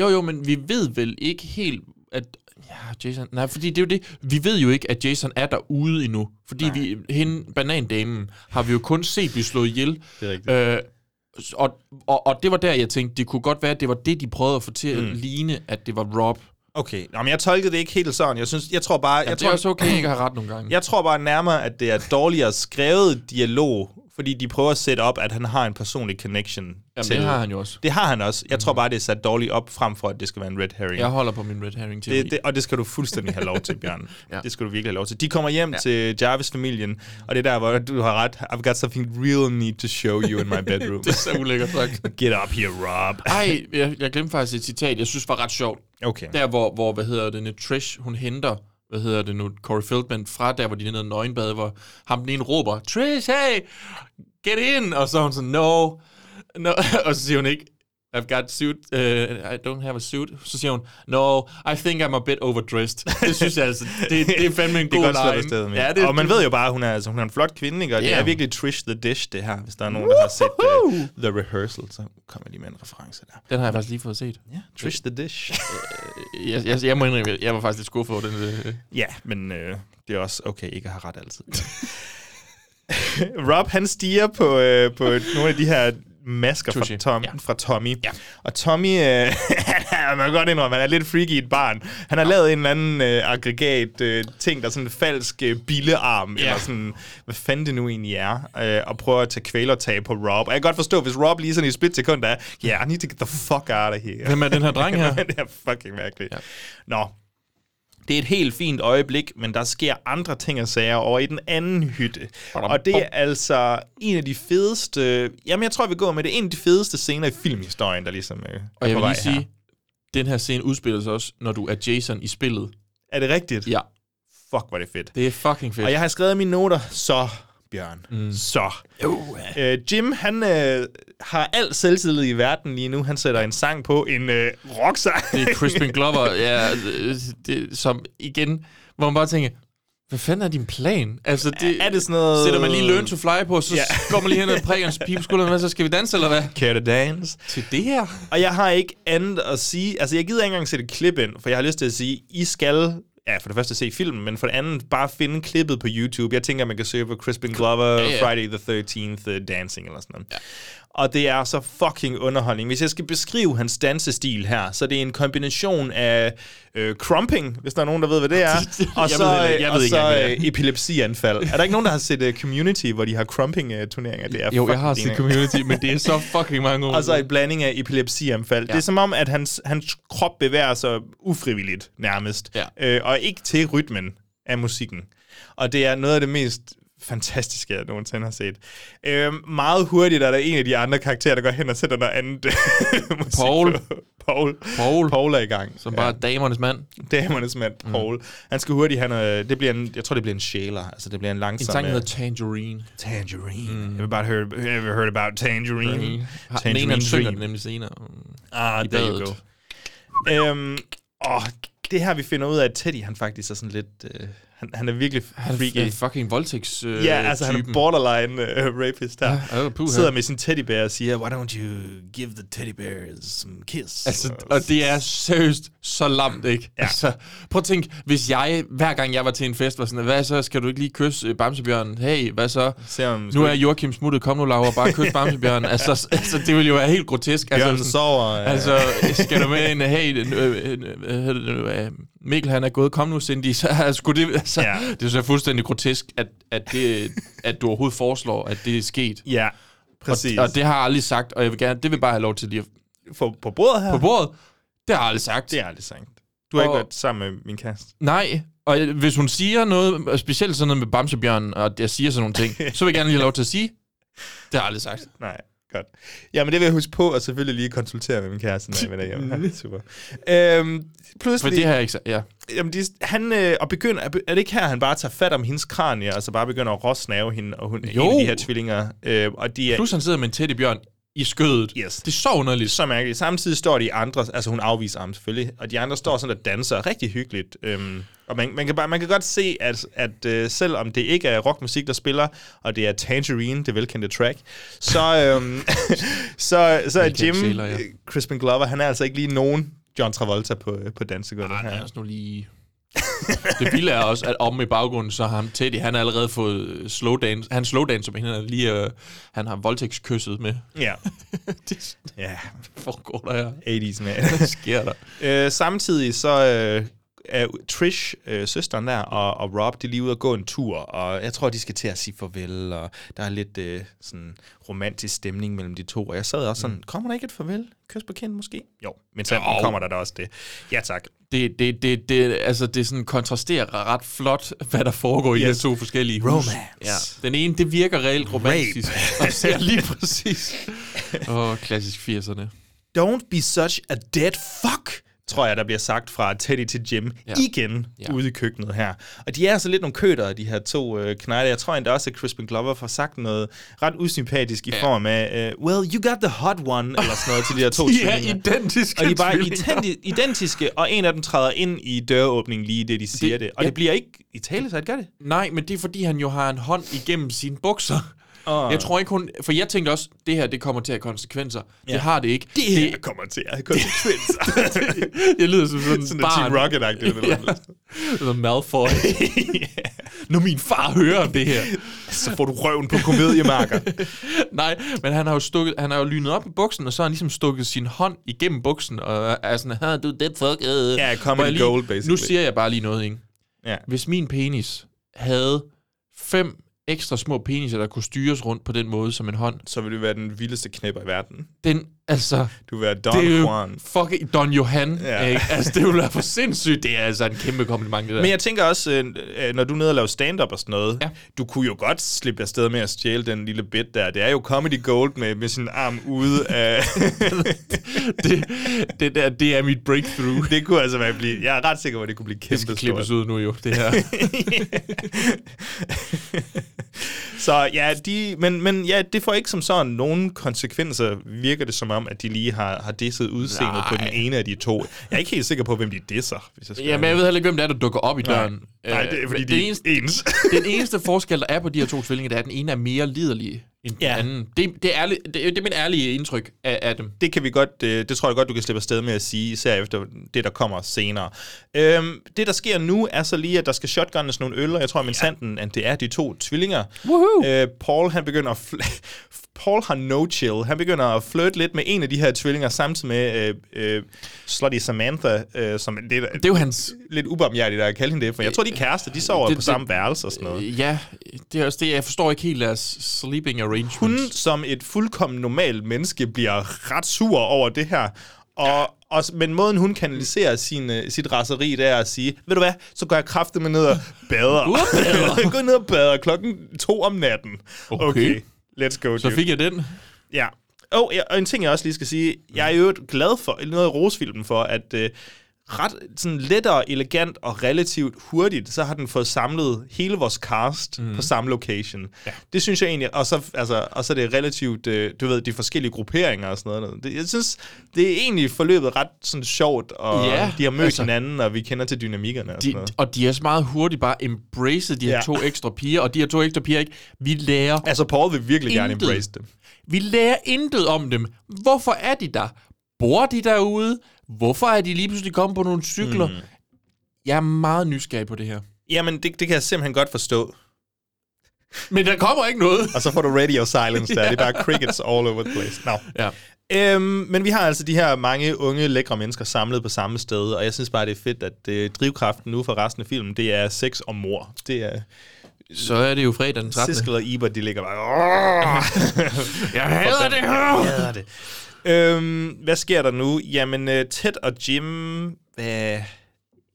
C: Jo, jo, men vi ved vel ikke helt, at... Ja, Jason... Nej, fordi det er jo det. Vi ved jo ikke, at Jason er derude endnu. Fordi vi, hende, banandamen, har vi jo kun set blive slået ihjel.
B: Det er rigtigt.
C: Øh, og, og, og det var der, jeg tænkte, det kunne godt være, at det var det, de prøvede at få til at ligne, at det var Rob.
B: Okay, Nå, men Mm. jeg tolkede det ikke helt sådan. Jeg, synes, jeg tror bare,
C: Jeg
B: jeg
C: det tror, er
B: tror,
C: også okay, ikke at have ret nogle gange.
B: jeg tror bare nærmere, at det er dårligere skrevet dialog Fordi de prøver at sætte op, at han har en personlig connection
C: Jamen,
B: til...
C: det har han jo også.
B: Det har han også. Jeg tror bare, det er sat dårligt op frem for, at det skal være en red herring.
C: Mhm. Jeg holder på min red herring teori.
B: Det, det, og det skal du fuldstændig have lov
C: [LAUGHS]
B: til, Bjørn.
C: Ja.
B: ja. Det skal du virkelig have lov til. De kommer hjem ja. til Jarvis-familien, og det er der, hvor du har ret. I've got something real need to show you in my bedroom.
C: [LAUGHS] det er så ulækkert sagt.
B: [LAUGHS] Get up here, Rob.
C: Ej, jeg, jeg glemte faktisk et citat, jeg synes var ret sjovt.
B: Okay.
C: Der, hvor, hvor hvad hedder det, nu, Trish, hun henter, hvad hedder det nu, Corey Feldman fra der, hvor de er nede i nøgenbad, hvor ham den ene råber, Trish, hey, get in! Og så er hun sådan, no, no. [LAUGHS] og så siger hun ikke, I've got suit, uh, I don't have a suit. Så siger hun, no, I think I'm a bit
B: [LAUGHS]
C: overdressed. Det synes jeg altså, det, det er fandme en
B: det er
C: god
B: godt slået
C: line.
B: af sted med.
C: Ja, det,
B: og man ved jo bare, at hun er, altså, hun er en flot kvinde, ikke? og yeah. det
C: Ja.
B: er virkelig Trish the Dish, det her. Hvis der er nogen, der har set uh, The Rehearsal, så kommer jeg lige med en reference der.
C: Den har jeg faktisk lige fået set.
B: Ja, Trish the Dish.
C: Jeg, jeg, jeg må indrømme, jeg var faktisk lidt skuffet over den.
B: [LAUGHS]
C: øh,
B: Ja, men øh, det er også okay ikke at have ret altid. [LAUGHS] Rob, han stiger på, øh, på nogle af de her masker
C: Touché.
B: fra, Tom,
C: Ja.
B: ja. fra Tommy. Ja. Og Tommy, øh, [LAUGHS] man kan godt indrømme, han er lidt freaky i et barn. Han har ja. lavet en eller anden øh, aggregat øh, ting, der er sådan en falsk øh, billearm,
C: Ja.
B: ja. eller sådan, hvad fanden det nu egentlig er, øh, og prøver at tage kvælertag på Rob. Og jeg kan godt forstå, hvis Rob lige sådan i et splitsekund er, yeah, I need to get the fuck out of here.
C: Hvem er den her
B: [LAUGHS]
C: dreng her?
B: det er fucking mærkeligt. Ja. Nå, det er et helt fint øjeblik, men der sker andre ting og sager over i den anden hytte. Og det er altså en af de fedeste... Jamen, jeg tror, vi går med det. En af de fedeste scener i filmhistorien, der ligesom øh, er
C: Og jeg
B: på
C: vil
B: vej
C: lige sige,
B: her.
C: den her scene udspiller sig også, når du er Jason i spillet.
B: Er det rigtigt?
C: Ja.
B: Fuck, hvor er det fedt.
C: Det er fucking fedt.
B: Og jeg har skrevet i mine noter, så Bjørn, mm. så. Øh, Jim, han øh, har al selvtillid i verden lige nu. Han sætter en sang på, en øh, rocksang.
C: Det er Crispin Glover, ja, øh, det, som igen, hvor man bare tænker, hvad fanden er din plan? Altså, det,
B: Er det sådan noget-
C: Sætter man lige learn to fly på, så ja.
B: Ja.
C: går man lige hen og prikker hans pibeskulder, hvad så skal vi danse, eller hvad?
B: [LAUGHS] Care to dance.
C: Til det her?
B: Og jeg har ikke andet at sige. Altså, jeg gider ikke engang sætte et klip ind, for jeg har lyst til at sige, I skal Ja, for det første se filmen, men for det andet bare finde klippet på YouTube. Jeg tænker, man kan søge på Crispin Glover,
C: Ja, ja.
B: Friday the 13th, uh, Dancing eller sådan noget. Ja. Og det er så fucking underholdning. Hvis jeg skal beskrive hans dansestil her, så det er en kombination af øh, crumping, hvis der er nogen, der ved, hvad det er, og
C: [LAUGHS] Jeg
B: så,
C: ved heller ikke- jeg
B: og
C: ved ikke
B: så
C: engang, hvad det
B: øh, epilepsianfald. Er der ikke nogen, der har set uh, Community, hvor de har crumping-turneringer? Det er Altså,
C: Jo, jeg
B: fucking
C: har set
B: genialt.
C: Community, men det er så fucking mange år.
B: Og så en blanding af epilepsianfald. Ja. Det er som om, at hans, hans krop bevæger sig ufrivilligt nærmest,
C: Ja.
B: øh, og ikke til rytmen af musikken. Og det er noget af det mest fantastiske, jeg nogensinde har set. Øh, meget hurtigt er der en af de andre karakterer, der går hen og sætter noget andet [LAUGHS] musik
C: Paul.
B: på. Paul.
C: Paul.
B: Paul er i gang.
C: Som bare damernes mand.
B: Damernes mand, Paul. Mm. Han skal hurtigt have noget... Det bliver en, jeg tror, det bliver en sjæler. Altså, det bliver en
C: En
B: langsom...
C: sang, der
B: øh,
C: hedder Tangerine.
B: Tangerine. Mm. Everybody heard, ever heard about Tangerine?
C: Har- Den ene, han synger
B: Dream.
C: den nemlig senere.
B: Ah,
C: i
B: there you
C: badet.
B: go. Øhm, og det er her, vi finder ud af, at Teddy, han faktisk er sådan lidt... Øh, han, han er virkelig
C: Han
B: freaky.
C: er fucking voldtægts øh,
B: ja, altså han er
C: typen.
B: borderline uh, rapist der.
C: Ja, åh, puha.
B: Sidder med sin teddybær og siger, Why don't you give the teddy bears some kiss?
C: Altså, og det er seriøst så lamt, ikke? Ja. Altså, prøv at tænke, hvis jeg, hver gang jeg var til en fest, var sådan, hvad så, skal du ikke lige kysse øh, Bamsebjørnen? Hey, hvad så?
B: Se om-
C: Nu er Joachim smuttet, kom nu, Laura, bare kys Bamsebjørnen. altså, s- altså, det ville jo være helt grotesk. Altså,
B: Bjørn
C: sådan-
B: sover. øh,
C: Altså, skal du med en, hey, øh, øh, øh, øh, øh, Mikkel han er gået, kom nu Cindy, så altså, skulle det, altså, ja.
B: Ja.
C: det er så fuldstændig grotesk, at, at, det, at du overhovedet foreslår, at det er sket.
B: [LAUGHS] Ja, præcis.
C: Og, og, det har jeg aldrig sagt, og jeg vil gerne, det vil bare have lov til lige at,
B: For, på bordet her?
C: på bordet. Det har jeg aldrig sagt.
B: Det er aldrig sagt. Du har
C: Og-
B: ikke været sammen med min kæreste.
C: Nej, og jeg- hvis hun siger noget, og specielt sådan noget med Bamsebjørnen, og jeg siger sådan nogle ting, så vil jeg gerne lige have lov til at sige, det har jeg aldrig sagt.
B: Nej, godt. Jamen, det vil jeg huske på, og selvfølgelig lige konsultere med min kæreste, når jeg vender
C: [LAUGHS]
B: hjem. Super. Øhm,
C: For
B: pludselig,
C: det har jeg ikke sagt, ja.
B: jamen, de, han, øh, og begynder, er det ikke her, han bare tager fat om hendes kranie, og så bare begynder at råsnave hende, og hun
C: Jo.
B: jo. en af de her tvillinger, øh, og de er
C: Plus han sidder med en teddybjørn i skødet.
B: Yes.
C: Det er så underligt.
B: så mærkelige. Samtidig står de andre, altså hun afviser ham selvfølgelig, og de andre står sådan og danser rigtig hyggeligt. Øhm, og man, man, kan bare, man kan godt se, at, at øh, selvom det ikke er rockmusik, der spiller, og det er Tangerine, det velkendte track, så, øhm, [LAUGHS] så, så er
C: Michael
B: Jim,
C: Saylor, ja.
B: øh, Crispin Glover, han er altså ikke lige nogen John Travolta på, øh, på dansegulvet
C: Han er
B: her.
C: også nu lige... det vilde er også, at om i baggrunden, så har ham Teddy, han har allerede fået øh, slowdance. Han slowdancer med hende, han er lige, øh, han har voldtægtskysset med.
B: Ja,
C: [LAUGHS] det
B: ja
C: foregår der her.
B: 80's man. [LAUGHS]
C: Hvad sker der?
B: Øh, samtidig så øh, er Trish, øh, søsteren der, og, og Rob, de er lige ude og gå en tur, og jeg tror, de skal til at sige farvel, og der er lidt øh, sådan romantisk stemning mellem de to, og jeg sad også sådan, kommer der ikke et farvel? Kys på kinden måske? Jo, men så kommer der da også det. Ja tak.
C: Det, det, det, det, altså, det sådan kontrasterer ret flot, hvad der foregår yes. i de
B: Yes.
C: her to forskellige hus.
B: Romance.
C: Ja. Den ene, det virker reelt romantisk. ja, lige præcis. Åh, oh, klassisk 80'erne.
B: Don't be such a dead fuck, tror jeg, der bliver sagt fra Teddy til Jim
C: Ja.
B: ja. igen
C: Ja.
B: ja. ude i køkkenet her. Og de er altså lidt nogle køter, de her to øh, knejder. Jeg tror endda også, at Crispin Glover får sagt noget ret usympatisk i
C: Ja.
B: ja. form af, øh, well, you got the hot one, eller sådan noget til de her
C: [LAUGHS]
B: to
C: De er
B: tvillinger.
C: identiske
B: Og de er bare
C: tvillinger.
B: identi- identiske, og en af dem træder ind i døråbningen lige det, de siger det. Og
C: ja.
B: det bliver ikke i tale, så gør det.
C: Nej, men det er fordi, han jo har en hånd igennem sine bukser.
B: Åh.
C: Jeg tror ikke, hun... For jeg tænkte også, det her, det kommer til at have konsekvenser. Det har det ikke.
B: her kommer til at have
C: [LAUGHS]
B: konsekvenser.
C: jeg lyder som
B: [LAUGHS]
C: sådan,
B: Sådan
C: sådan
B: en
C: barn.
B: Team Rocket-agtig. eller noget.
C: [LAUGHS] Eller Malfoy. Når min far hører om det her.
B: [LAUGHS] Så får du røven på komediemarker.
C: Nej, men han har jo, stukket, han har jo lynet op i buksen, og så har han ligesom stukket sin hånd igennem buksen, og er sådan, her, du er dead fuck. øh."
B: Ja,
C: Hvor
B: comedy
C: jeg
B: gold,
C: Nu
B: basically.
C: siger jeg bare lige noget, ikke?
B: Ja.
C: Hvis min penis havde fem ekstra små peniser, der kunne styres rundt på den måde som en hånd,
B: så vil du være den vildeste knæpper i verden.
C: den, altså,
B: Du vil være Don
C: det er jo
B: Juan.
C: fucking Don Johan, ja.
B: Ja.
C: ikke? Altså, det ville være for sindssygt. Det er altså en kæmpe kompliment, det der.
B: Men jeg tænker også, øh, øh, når du er nede og laver stand-up og sådan noget,
C: Ja.
B: ja. du kunne jo godt slippe afsted med at stjæle den lille bit der. Det er jo comedy gold med, med sin arm ude af...
C: [LAUGHS]
B: [LAUGHS]
C: det, det, der, det er mit breakthrough.
B: det kunne altså være blive... Jeg er ret sikker på, at det kunne blive
C: Det
B: kæmpe
C: skal klippes ud nu jo, det her.
B: [LAUGHS] Så ja, de, men, men ja, det får ikke som sådan nogen konsekvenser, virker det som om, at de lige har, har disset udseendet Nej. på den ene af de to. Jeg er ikke helt sikker på, hvem de disser, hvis jeg skal
C: Jamen, jeg ved heller ikke, hvem det er, der dukker op i
B: Nej.
C: døren.
B: Nej, det er
C: Øh,
B: fordi,
C: men
B: de
C: den
B: er
C: eneste,
B: ens.
C: den eneste forskel, der er på de her to tvillinger, det er, at den ene er mere liderlig end den
B: Ja.
C: anden. Det, det, er, ærlig- det, det er mit ærlige indtryk af, af dem.
B: [LAUGHS] det kan vi godt, øh, det tror jeg godt, du kan slippe afsted med at sige, især efter det, der kommer senere. Øhm, det, der sker nu, er så lige, at der skal shotgunnes nogle øl, og jeg tror, min sanden, at det er de to tvillinger. Øh, Paul, han begynder at fl- [LAUGHS] Paul har no chill. Han begynder at flirte lidt med en af de her tvillinger, samtidig med øh, øh, Slutty Samantha, øh, som det, det Øh,
C: Det er jo hans...
B: lidt ubarmhjertigt at kalde hende det, for jeg tror, de er kærester, de sover
C: Det-
B: på
C: det-
B: samme værelse og sådan noget.
C: Øh, Ja, det er også det. Jeg forstår ikke helt deres sleeping arrangements.
B: hun som et fuldkommen normalt menneske bliver ret sur over det her. Og, og, s- men måden, hun kanaliserer sin, øh, sit raseri, det er at sige, ved du hvad, så går jeg kraftet med ned og bader. [LAUGHS]
C: Udbader.
B: Gå ned og bader klokken to om natten.
C: Okay.
B: let's go,
C: Så
B: dude.
C: fik jeg den.
B: Ja. Og, ja, og en ting, jeg også lige skal sige, jeg er jo glad for, eller noget i Rosfilmen for, at øh, ret sådan lettere, elegant og relativt hurtigt, så har den fået samlet hele vores cast
C: Mhm.
B: mm. på samme location. Ja. Det synes jeg egentlig, og så, altså, og så er det relativt, øh, du ved, de forskellige grupperinger og sådan noget. Det, jeg synes, det er egentlig forløbet ret sådan sjovt, og
C: Ja,
B: ja, de har mødt altså,
C: altså-
B: hinanden, og vi kender til dynamikkerne og sådan
C: De,
B: noget.
C: og de er så meget hurtigt bare embraced de her
B: Ja.
C: to ekstra piger, og de her to ekstra piger, ikke? Vi lærer
B: Altså, Paul vil virkelig gerne
C: Intet.
B: embrace dem.
C: Vi lærer intet om dem. Hvorfor er de der? Bor de derude? Hvorfor er de lige pludselig kommet på nogle cykler? Mm. Jeg er meget nysgerrig på det her.
B: Jamen, det, det kan jeg simpelthen godt forstå.
C: Men der kommer ikke noget.
B: Og så får du
C: [LAUGHS]
B: radio silence der. Det er bare crickets all over the place. Nå.
C: Ja.
B: Øhm, men vi har altså de her mange unge, lækre mennesker samlet på samme sted, og jeg synes bare, det er fedt, at øh, drivkraften nu for resten af filmen, det er sex og mor. Det er
C: Så er det jo fredag den 13.
B: Siskel og Ebert, de ligger bare... Åh!
C: [LAUGHS] Jeg hader det her!
B: Hader det. Øhm, hvad sker der nu? Jamen, øh, Ted og Jim... Hvad?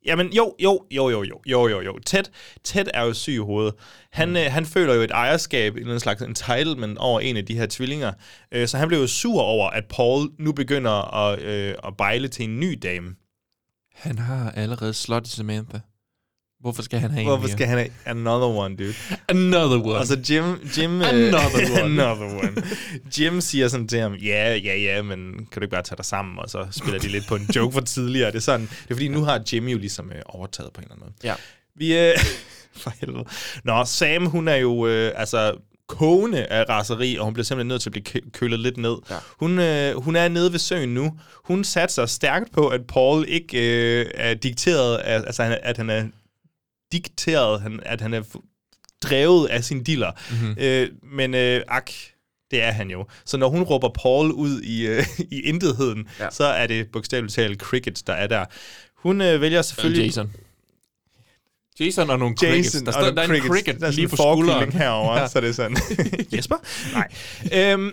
B: Jamen, jo, jo, jo, jo, jo, jo, jo, jo. Ted, Ted er jo syg i hovedet. Han, mm. øh, han føler jo et ejerskab, en eller anden slags entitlement over en af de her tvillinger. Øh, så han blev jo sur over, at Paul nu begynder at, øh, at bejle til en ny dame.
C: Han har allerede slot i Samantha. Hvorfor skal han have
B: Hvorfor
C: en
B: skal han have another one, dude?
C: Another one.
B: Og så Jim... Jim øh, [LAUGHS]
C: Another one.
B: another one. Jim siger sådan til ham, ja, ja, ja, men kan du ikke bare tage dig sammen? Og så spiller de lidt på en
C: [LAUGHS]
B: joke fra tidligere. Det er, sådan, det er fordi, nu har Jim jo ligesom øh, overtaget på en eller anden måde.
C: ja.
B: Vi, øh, [LAUGHS] for helvede. Nå, Sam, hun er jo øh, altså kogende af raseri, og hun bliver simpelthen nødt til at blive kø- kølet lidt ned. Ja. Hun, øh, hun er nede ved søen nu. Hun satser stærkt på, at Paul ikke øh, er dikteret, af, altså han, er- at han er dikteret, han, at han er f- drevet af sin diller.
C: Mhm.
B: Mm-hmm. Øh, men øh, ak, det er han jo. Så når hun råber Paul ud i, øh, i intetheden, ja. så er det bogstaveligt talt crickets, der er der. Hun øh, vælger selvfølgelig...
C: Jason. Jason og nogle crickets.
B: Jason
C: Der, står,
B: og
C: der er en cricket
B: der er sådan
C: lige
B: en
C: på
B: forkilling
C: [LAUGHS] skulderen.
B: herovre, ja. så det er
C: [LAUGHS]
B: sådan, Jesper? Nej. Øhm,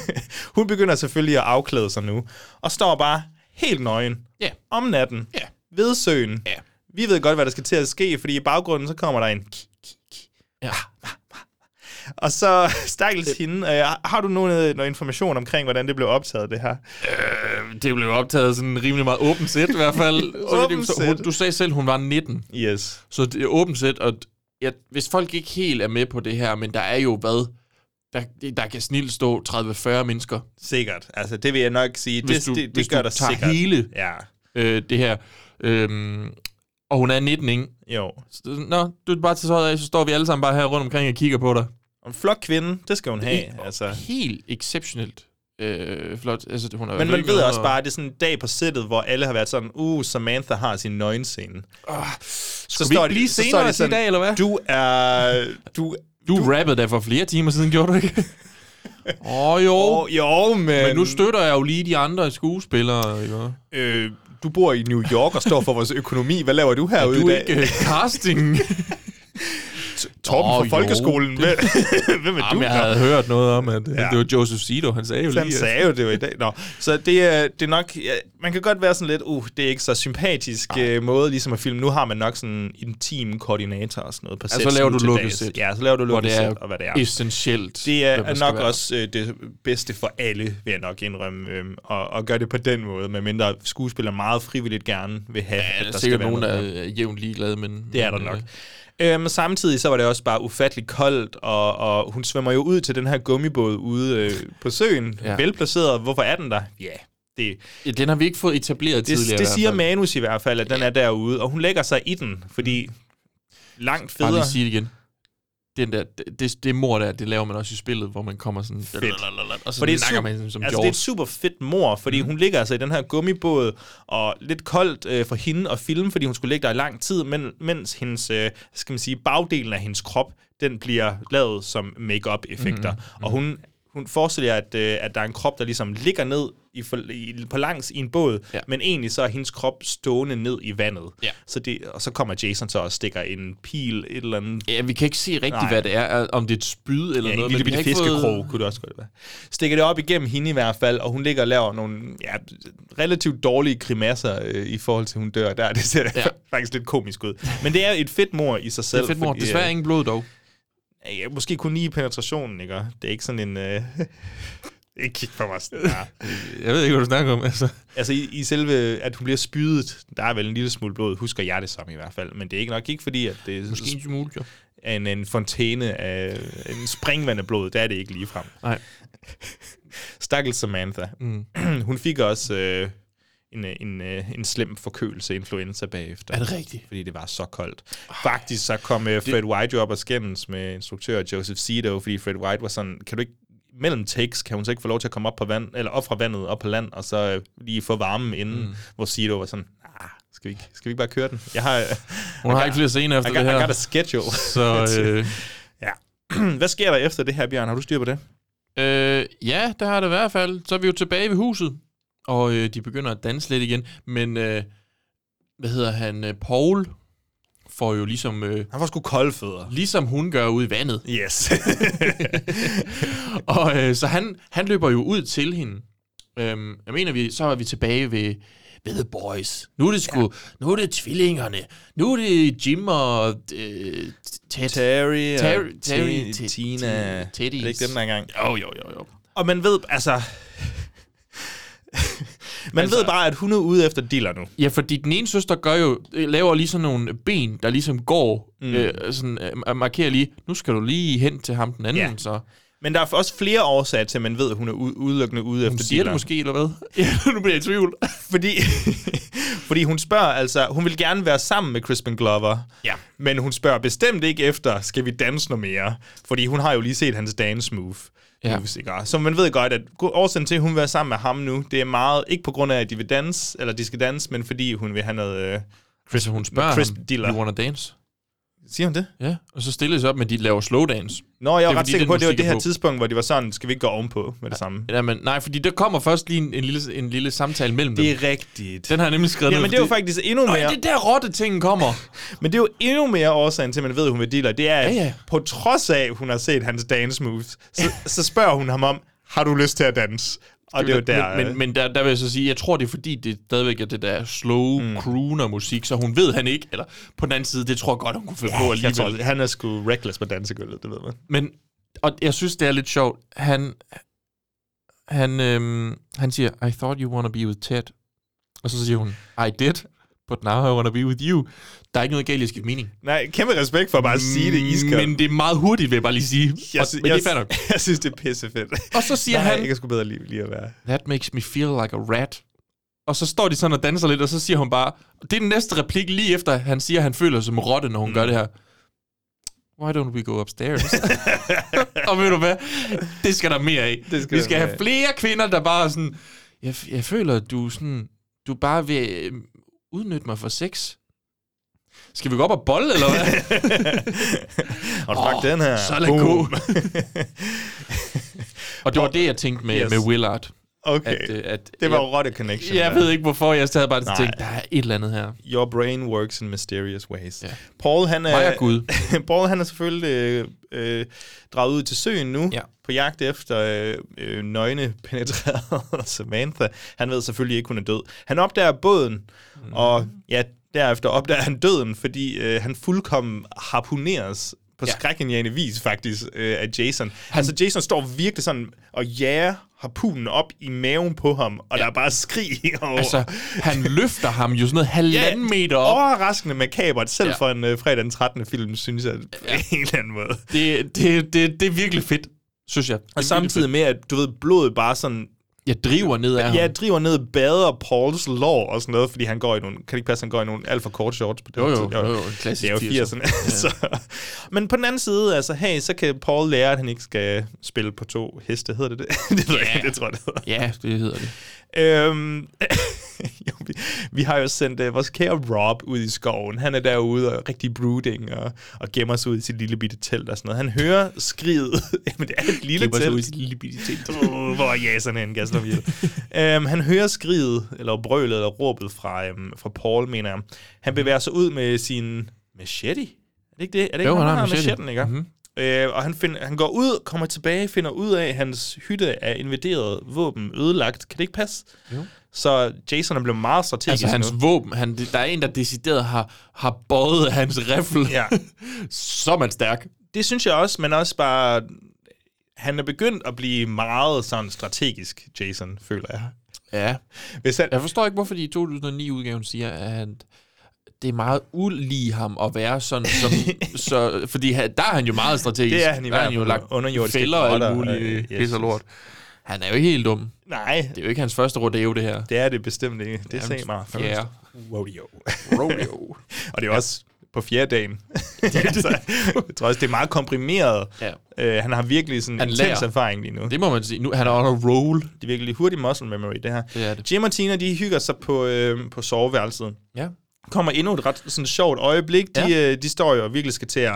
B: [LAUGHS] hun begynder selvfølgelig at afklæde sig nu, og står bare helt nøgen
C: Ja.
B: om natten
C: Ja.
B: ved søen.
C: Ja.
B: Vi ved godt, hvad der skal til at ske, fordi i baggrunden, så kommer der en ki, ki, ki.
C: Ja.
B: Og så, [LAUGHS] stakkels hende, øh, har du noget, noget information omkring, hvordan det blev optaget, det her?
C: Det blev optaget sådan rimelig meget åbent sæt i hvert
B: [LAUGHS]
C: fald. så,
B: Åbent
C: det, så,
B: sæt.
C: hun, du sagde selv, hun var 19.
B: Yes.
C: Så det er åbent sæt, og ja, hvis folk ikke helt er med på det her, men der er jo hvad? Der, der kan snilt stå 30-40 mennesker,
B: Sikkert. Altså, det vil jeg nok sige.
C: hvis
B: det,
C: du,
B: det,
C: hvis
B: det gør
C: du
B: dig
C: tager
B: sikkert.
C: hele
B: Ja,
C: øh, det her. Øhm, og hun er 19, ikke?
B: jo.
C: Så, Nå, du er bare til tøjet af, så står vi alle sammen bare her rundt omkring og kigger på dig.
B: En flot kvinde, det skal hun have.
C: Helt-
B: Altså.
C: Helt exceptionelt øh, flot. Altså, hun er
B: Men man ved også bare, at det er sådan en dag på sættet, hvor alle har været sådan, uh, Samantha har sin nøgenscene.
C: Så står vi ikke blive senere i dag, eller hvad? Du,
B: Du er... Du,
C: du rappede der for flere timer siden, gjorde du [LAUGHS] ikke? Åh oh, jo.
B: oh, jo, men...
C: Men nu støtter jeg jo lige de andre skuespillere, ikke? Er
B: øh, du bor i New York og står for vores økonomi. Hvad laver du herude
C: du
B: i dag?
C: ikke øh, casting?
B: Torben
C: Nå,
B: fra
C: jo,
B: folkeskolen.
C: det-
B: Hvem, hvem [LAUGHS] er du?
C: [LAUGHS] Jamen, jeg havde hørt noget om, at ja.
B: Ja.
C: det var Joseph Sido, han sagde jo
B: Han
C: lige... øh, at-
B: sagde jo det jo i dag. Nå. Så det, er- det er nok... Ja, man kan godt være sådan lidt, uh, det er ikke så sympatisk uh, måde ligesom at filme. Nu har man nok sådan en intim koordinator og sådan noget på
C: Ja, så
B: sæt
C: laver
B: nu
C: du
B: til
C: lukket
B: dags.
C: sæt,
B: Ja, så laver du
C: Hvor
B: lukket
C: det er,
B: sæt, og hvad det er.
C: essentielt.
B: Det
C: hvem der
B: er
C: skal
B: nok
C: være.
B: også øh, det bedste for alle, vil jeg nok indrømme, øh, og, og gøre det på den måde, medmindre skuespillere meget frivilligt gerne vil have,
C: Ja,
B: at
C: der
B: der
C: er
B: skal
C: sikkert
B: være
C: nogen, der
B: noget.
C: er øh, jævnt ligeglade, men...
B: Det er der
C: men,
B: nok.
C: øh,
B: Øhm, samtidig så var det også bare ufatteligt koldt, og, og hun svømmer jo ud til den her gummibåd ude øh, på søen.
C: Ja.
B: Ja. Velplaceret. Hvorfor er den der? Ja, yeah. det,
C: Ja, den har vi ikke fået etableret
B: det,
C: tidligere.
B: det
C: i
B: siger
C: hvert fald.
B: manus i hvert fald, at den er derude, og hun lægger sig i den, fordi langt
C: Mm. Bare
B: federe...
C: lige sige det igen. Den der, det- det, det mor der, det laver man også i spillet, hvor man kommer sådan... Fedt. Og så
B: For det er,
C: snakker
B: super,
C: man sådan som
B: altså, det er
C: George.
B: et super fedt mor, fordi mm. hun ligger altså i den her gummibåd, og lidt koldt øh, for hende at filme, fordi hun skulle ligge der i lang tid, men, mens hendes, øh, skal man sige, bagdelen af hendes krop, den bliver lavet som make-up-effekter.
C: Mhm,
B: Mm. Og hun, hun forestiller jer, at, øh, at der er en krop, der ligesom ligger ned i, for, i, på langs i en båd,
C: Ja.
B: ja. men egentlig så er hendes krop stående ned i vandet.
C: Ja.
B: Så det, og så kommer Jason så og stikker en pil, et eller andet
C: Ja, vi kan ikke se rigtigt,
B: Nej.
C: hvad det er. er- Om det er et spyd eller
B: Ja,
C: noget.
B: en
C: men
B: lille
C: vi har
B: bitte
C: ikke
B: fiskekrog
C: fået-
B: kunne det også godt være. Stikker det op igennem hende i hvert fald, og hun ligger og laver nogle ja, relativt dårlige grimasser øh, i forhold til, hun dør der. [LAUGHS] Det ser
C: Ja.
B: ja. faktisk lidt komisk ud. Men det er et fedt mor i sig selv.
C: Det er fedt mor.
B: fordi, øh,
C: Desværre ingen blod dog.
B: Ja, måske kun lige i penetrationen, ikke? Og Det er ikke sådan en... Øh, [LAUGHS] ikke kig på mig sådan der.
C: [LAUGHS] Jeg ved ikke, hvad du snakker om, altså.
B: Altså i, i selve, at hun bliver spydet, der er vel en lille smule blod, husker jeg det som i hvert fald. Men det er ikke nok ikke fordi, at det
C: Måske en
B: er
C: smule, jo.
B: en, en fontæne af en springvand af blod. Der er det ikke ligefrem.
C: Nej.
B: [LAUGHS] Stakkels Samantha. [CLEARS THROAT] Mm. Hun fik også øh, en, øh, en, øh, en slem forkølelse, influenza bagefter.
C: Er det rigtigt?
B: Fordi det var så koldt. Faktisk så kom øh, Fred White jo op og skændes med instruktør Joseph Sido, fordi Fred White var sådan, kan du ikke mellem takes, kan hun så ikke få lov til at komme op, på vand, eller op fra vandet, op på land, og så øh, lige få varmen inden, mm. hvor Sido var sådan, ah, skal vi, ikke, skal vi ikke bare køre den? Jeg
C: [LAUGHS]
B: har,
C: Hun har ikke flere scener efter
B: I
C: det
B: got, I
C: her.
B: got a schedule.
C: Så øh,
B: [CLEARS THROAT] Hvad sker der efter det her, Bjørn? Har du styr på det?
C: øh, ja, der har det i hvert fald. Så er vi jo tilbage ved huset, og øh, de begynder at danse lidt igen. Men, øh, hvad hedder han, øh, Paul får jo ligesom, øh,
B: Han var sgu kolde fødder.
C: ligesom hun gør ude i vandet.
B: [LAUGHS] Yes.
C: og øh, så han, han løber jo ud til hende. Øhm, jeg mener, vi, så er vi tilbage ved, ved The Boys. Nu er det sgu, ja. nu er det tvillingerne. Nu er det Jim og øh, Ted.
B: Terry og
C: Terry-
B: Ti-
C: Terry- Ti-
B: Tina.
C: Ti- Teddy's.
B: Er det ikke den der engang?
C: Jo, jo, jo, jo.
B: Og man ved, altså... [LAUGHS] man altså, ved bare, at hun er ude efter dealer nu.
C: Ja, fordi den ene søster gør jo, øh, laver lige sådan nogle ben, der ligesom går, mm. øh, sådan, øh, og markerer lige, nu skal du lige hen til ham den anden, ja.
B: Ja.
C: så
B: Men der er også flere årsager til, at man ved, at hun er u- udelukkende ude
C: hun
B: efter
C: siger det
B: dealeren.
C: måske, eller hvad? [LAUGHS] Ja, nu bliver jeg i tvivl.
B: Fordi, [LAUGHS] fordi hun spørger altså... Hun vil gerne være sammen med Crispin Glover.
C: Ja.
B: Men hun spørger bestemt ikke efter, skal vi danse noget mere? Fordi hun har jo lige set hans dance move.
C: Ja.
B: Ja. Så man ved godt, at gr- årsagen til, at hun vil være sammen med ham nu, det er meget ikke på grund af, at de vil danse, eller de skal danse, men fordi hun vil have noget... Øh,
C: Chris, hun spørger
B: Chris
C: ham,
B: Diller.
C: you wanna dance?
B: Siger hun det?
C: Ja, og så stille sig op med, at de laver slowdance.
B: Nå, jeg
C: Det
B: var ret
C: er fordi,
B: sikker
C: den
B: på, at det var
C: musik er
B: det her
C: på.
B: tidspunkt, hvor de var sådan, skal vi ikke gå ovenpå med det samme?
C: Jamen, nej, fordi der kommer først lige en, en, lille, en lille samtale mellem
B: Det
C: dem.
B: er rigtigt.
C: Den har jeg nemlig skrevet
B: Jamen,
C: ned,
B: det er jo
C: fordi-
B: faktisk endnu
C: Nå,
B: mere...
C: ja, det er der rotte-tingen kommer.
B: Men det er jo endnu mere årsagen til, at man ved, at hun vil dealer. Det er, at
C: Ja, ja.
B: på trods af, at hun har set hans dance moves,
C: [LAUGHS]
B: så, så spørger hun ham om, har du lyst til at danse? Og [LAUGHS] det er jo der... øh.
C: Men, men, men der, der vil jeg så sige, jeg tror, det er fordi, det stadigvæk er det der slow mm. crooner-musik, så hun ved han ikke. Eller på den anden side, det tror jeg godt, hun kunne finde på
B: jeg
C: alligevel.
B: tror, han er sgu reckless på dansegulvet, det ved man.
C: Men, og jeg synes, det er lidt sjovt. Han, han, øhm, han siger, I thought you wanna be with Ted. Og så siger hun, I did, but now I wanna be with you. Der er ikke noget galt i at skifte mening.
B: Nej, kæmpe respekt for at bare sige det iskoldt.
C: Mm, Men det er meget hurtigt, vil jeg bare lige sige.
B: jeg,
C: og,
B: sy-
C: men
B: jeg,
C: det er fair nok.
B: [LAUGHS] jeg synes, det er pissefedt.
C: Og så siger
B: Nej,
C: han,
B: jeg kan sgu bedre lige, lige at være.
C: That makes me feel like a rat. Og så står de sådan og danser lidt, og så siger hun bare... Det er den næste replik lige efter, han siger, at han føler sig som rotte, når hun mm. gør det her. Why don't we go upstairs? [LAUGHS] og ved du hvad? Det skal der mere af.
B: Det skal
C: vi
B: der
C: skal
B: mere
C: have
B: af.
C: flere kvinder, der bare er sådan... Jeg, f- jeg føler, at du er sådan... Du er bare vil øh, udnytte mig for sex. Skal vi gå op og bolle, eller [LAUGHS] hvad?
B: Og du oh, den her.
C: så er den
B: Boom. [LAUGHS]
C: god. og det var det, jeg tænkte med,
B: Yes.
C: yes. med Willard.
B: okay.
C: At, øh, at,
B: det var
C: jeg-
B: jo rotte connection.
C: Jeg
B: der.
C: ved ikke, hvorfor jeg sad bare
B: Nej.
C: og tænkte, der er et eller andet her.
B: Your brain works in mysterious ways.
C: Ja.
B: Paul, han er,
C: Mig og Gud.
B: [LAUGHS] Paul, han er selvfølgelig øh, øh, draget ud til søen nu,
C: Ja.
B: på jagt efter øh, øh, nøgne penetrerede [LAUGHS] Samantha. Han ved selvfølgelig ikke, hun er død. Han opdager båden,
C: Mhm.
B: mm. og ja, derefter opdager han døden, fordi øh, han fuldkommen harpuneres på ja.
C: Ja.
B: skrækkenjagende vis faktisk øh, af Jason. Han... Altså Jason står virkelig sådan og jager harpunen op i maven på ham, og ja. der er bare skrig over.
C: Altså, han løfter ham jo sådan noget halvanden meter op.
B: Overraskende makabert, selv ja.
C: Ja.
B: for en uh, fredag den 13. film, synes jeg på ja. en eller anden måde.
C: Det, det, det, det er virkelig fedt, synes jeg. Det er
B: Og samtidig
C: virkelig
B: med, at du ved, blodet bare sådan
C: fedt. Jeg driver ned af
B: ja,
C: ham.
B: driver ned og bader Pauls lår og sådan noget, fordi han går i nogle, kan det ikke passe, han går i nogle alt for korte shorts på det
C: Jo, jo, jo, jo, en klassisk
B: Det er jo
C: 80'er.
B: 80'erne. Ja. [LAUGHS] så. Men på den anden side, altså, hey, så kan Paul lære, at han ikke skal spille på to heste, hedder det [LAUGHS] det? det ved jeg ikke, det tror jeg, det hedder.
C: Ja, det hedder det.
B: Øhm, [LAUGHS] jo, vi, vi har jo sendt uh, vores kære Rob ud i skoven. Han er derude og rigtig brooding og, og gemmer sig ud i sit lille bitte telt og sådan noget. Han hører skriget. [LAUGHS] Jamen, det er et lille
C: Klipper sig ud i
B: telt.
C: sit lille bitte telt.
B: Uh, hvor er jaserne en gas øhm, Han hører skriget, eller brølet, eller råbet fra, øhm, fra Paul, mener jeg. Han bevæger sig ud med sin machete. Er det ikke det? Er det ikke
C: Jo,
B: ham,
C: han
B: der
C: har
B: har
C: machete.
B: machetten, ikke?
C: Mhm.
B: Mm-hmm. Øh, og han, find, han går ud, kommer tilbage, finder ud af, at hans hytte er invaderet, våben ødelagt. Kan det ikke passe? Jo. Så Jason er blevet meget strategisk
C: Altså, hans
B: nu.
C: våben, han, der er en, der decideret har, har bøjet hans riffel.
B: [LAUGHS] Ja.
C: Så er man stærk.
B: Det synes jeg også, men også bare... Han er begyndt at blive meget sådan strategisk, Jason, føler jeg.
C: Ja.
B: Hvis han,
C: Jeg forstår ikke, hvorfor de i 2009-udgaven siger, at det er meget ulige ham at være sådan, som,
B: [LAUGHS]
C: så, fordi han- der er han jo meget strategisk.
B: Det er han i
C: der
B: hvert
C: har han jo
B: fald.
C: lagt
B: Underjordiske
C: fælder og
B: grotter,
C: alt muligt
B: øh,
C: øh,
B: yes,
C: pis og lort. Han er jo ikke helt dum. Det
B: nej,
C: er jo ikke hans første rodeo, det her.
B: Det er det bestemt ikke. Det er
C: Nærmest
B: mig først.
C: fjerde.
B: Rodeo.
C: [LAUGHS] Rodeo.
B: [LAUGHS] og det er også på fjerde
C: [LAUGHS]
B: dagen. [LAUGHS] altså, jeg tror også, det er meget komprimeret.
C: Ja.
B: Øh, han har virkelig sådan
C: Han
B: intens
C: lærer.
B: erfaring lige nu. Det
C: Det må man sige. Nu, han er on a roll.
B: er virkelig hurtig muscle memory, det her.
C: Det er det.
B: Jim og Tina, de hygger sig på, øh, på soveværelset.
C: Ja.
B: kommer endnu et ret sådan, sjovt øjeblik. De, ja. de står jo og virkelig skal til at,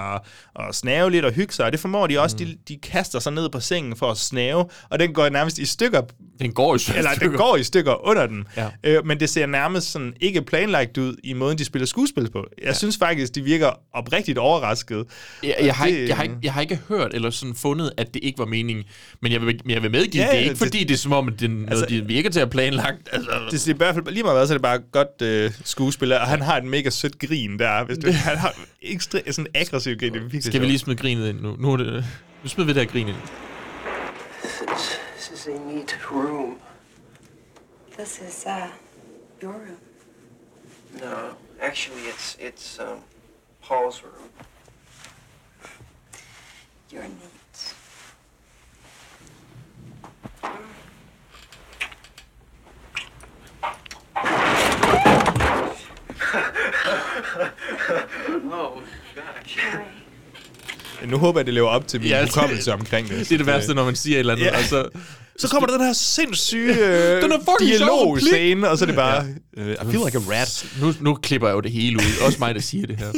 B: at snave lidt og hygge sig, og det formår de også. Mm. De, de kaster sig ned på sengen for at snave, og den går nærmest i
C: [LAUGHS]
B: stykker
C: Den går jo så.
B: eller det går i stykker under den. Ja.
C: Ja.
B: Øh, men det ser nærmest sådan ikke planlagt ud i måden, de spiller skuespil på. Jeg ja. synes faktisk, de virker oprigtigt overrasket.
C: Jeg,
B: Og
C: jeg, har
B: det-
C: ikke, jeg, har ikke, jeg har ikke hørt eller sådan fundet, at det ikke var meningen. Men jeg vil, men jeg vil medgive,
B: Ja,
C: ja, det er
B: ja,
C: ikke
B: det-
C: fordi, det er som om, at det, altså, de virker til at have planlagt. Altså,
B: Det er i hvert fald lige meget hvad, så er det bare godt øh, skuespiller, og han har et mega sødt grin der. Hvis du, han har ekstra, sådan en aggressiv grin, det er virkelig
C: Skal vi lige smide grinet ind nu? Nu, er det, nu smider vi det her grin ind.
G: This is a neat room.
H: This is, uh, your room.
G: No, actually, it's it's um, Paul's room.
H: You're neat.
G: [LAUGHS] Oh gosh.
B: lige... Nu håber jeg, det lever op til min
C: Ja,
B: ja,
C: det-
B: hukommelse omkring det.
C: Det er det værste, når man siger et eller andet.
B: Ja.
C: Ja. Altså,
B: Så kommer der den her sindssyge øh,
C: [LAUGHS] Den er fucking sjov
B: dialogscene, og så er det bare... Ja. I feel like a rat.
C: nu, nu klipper jeg jo det hele ud. Også mig, der siger det her.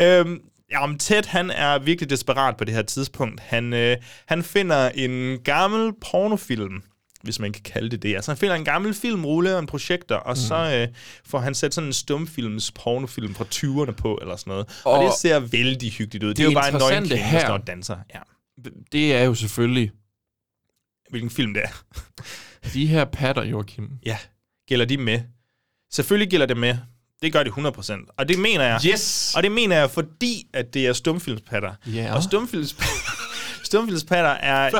B: Øhm, jamen, Ted, han er virkelig desperat på det her tidspunkt. Han, øh, han finder en gammel pornofilm, hvis man kan kalde det det. Altså, han finder en gammel filmrulle og en projektor, og mm. så øh, får han sat sådan en stumfilms pornofilm fra 20'erne på, eller sådan noget. Og, og
C: Og
B: det ser vældig hyggeligt ud. Det, det er jo bare en nøgen
C: interessante
B: kvinde, der
C: her-
B: står og danser. Ja.
C: Det er jo selvfølgelig
B: Hvilken film det er.
C: de her patter, Joachim.
B: Ja. Gælder de med? Selvfølgelig gælder det med. Det gør det 100%. Og det mener jeg.
C: Yes!
B: Og det mener jeg, fordi at det er stumfilmspatter.
C: Ja.
B: Og stumfilmspatter, [LAUGHS] stumfilmspatter
C: [LAUGHS]
B: er,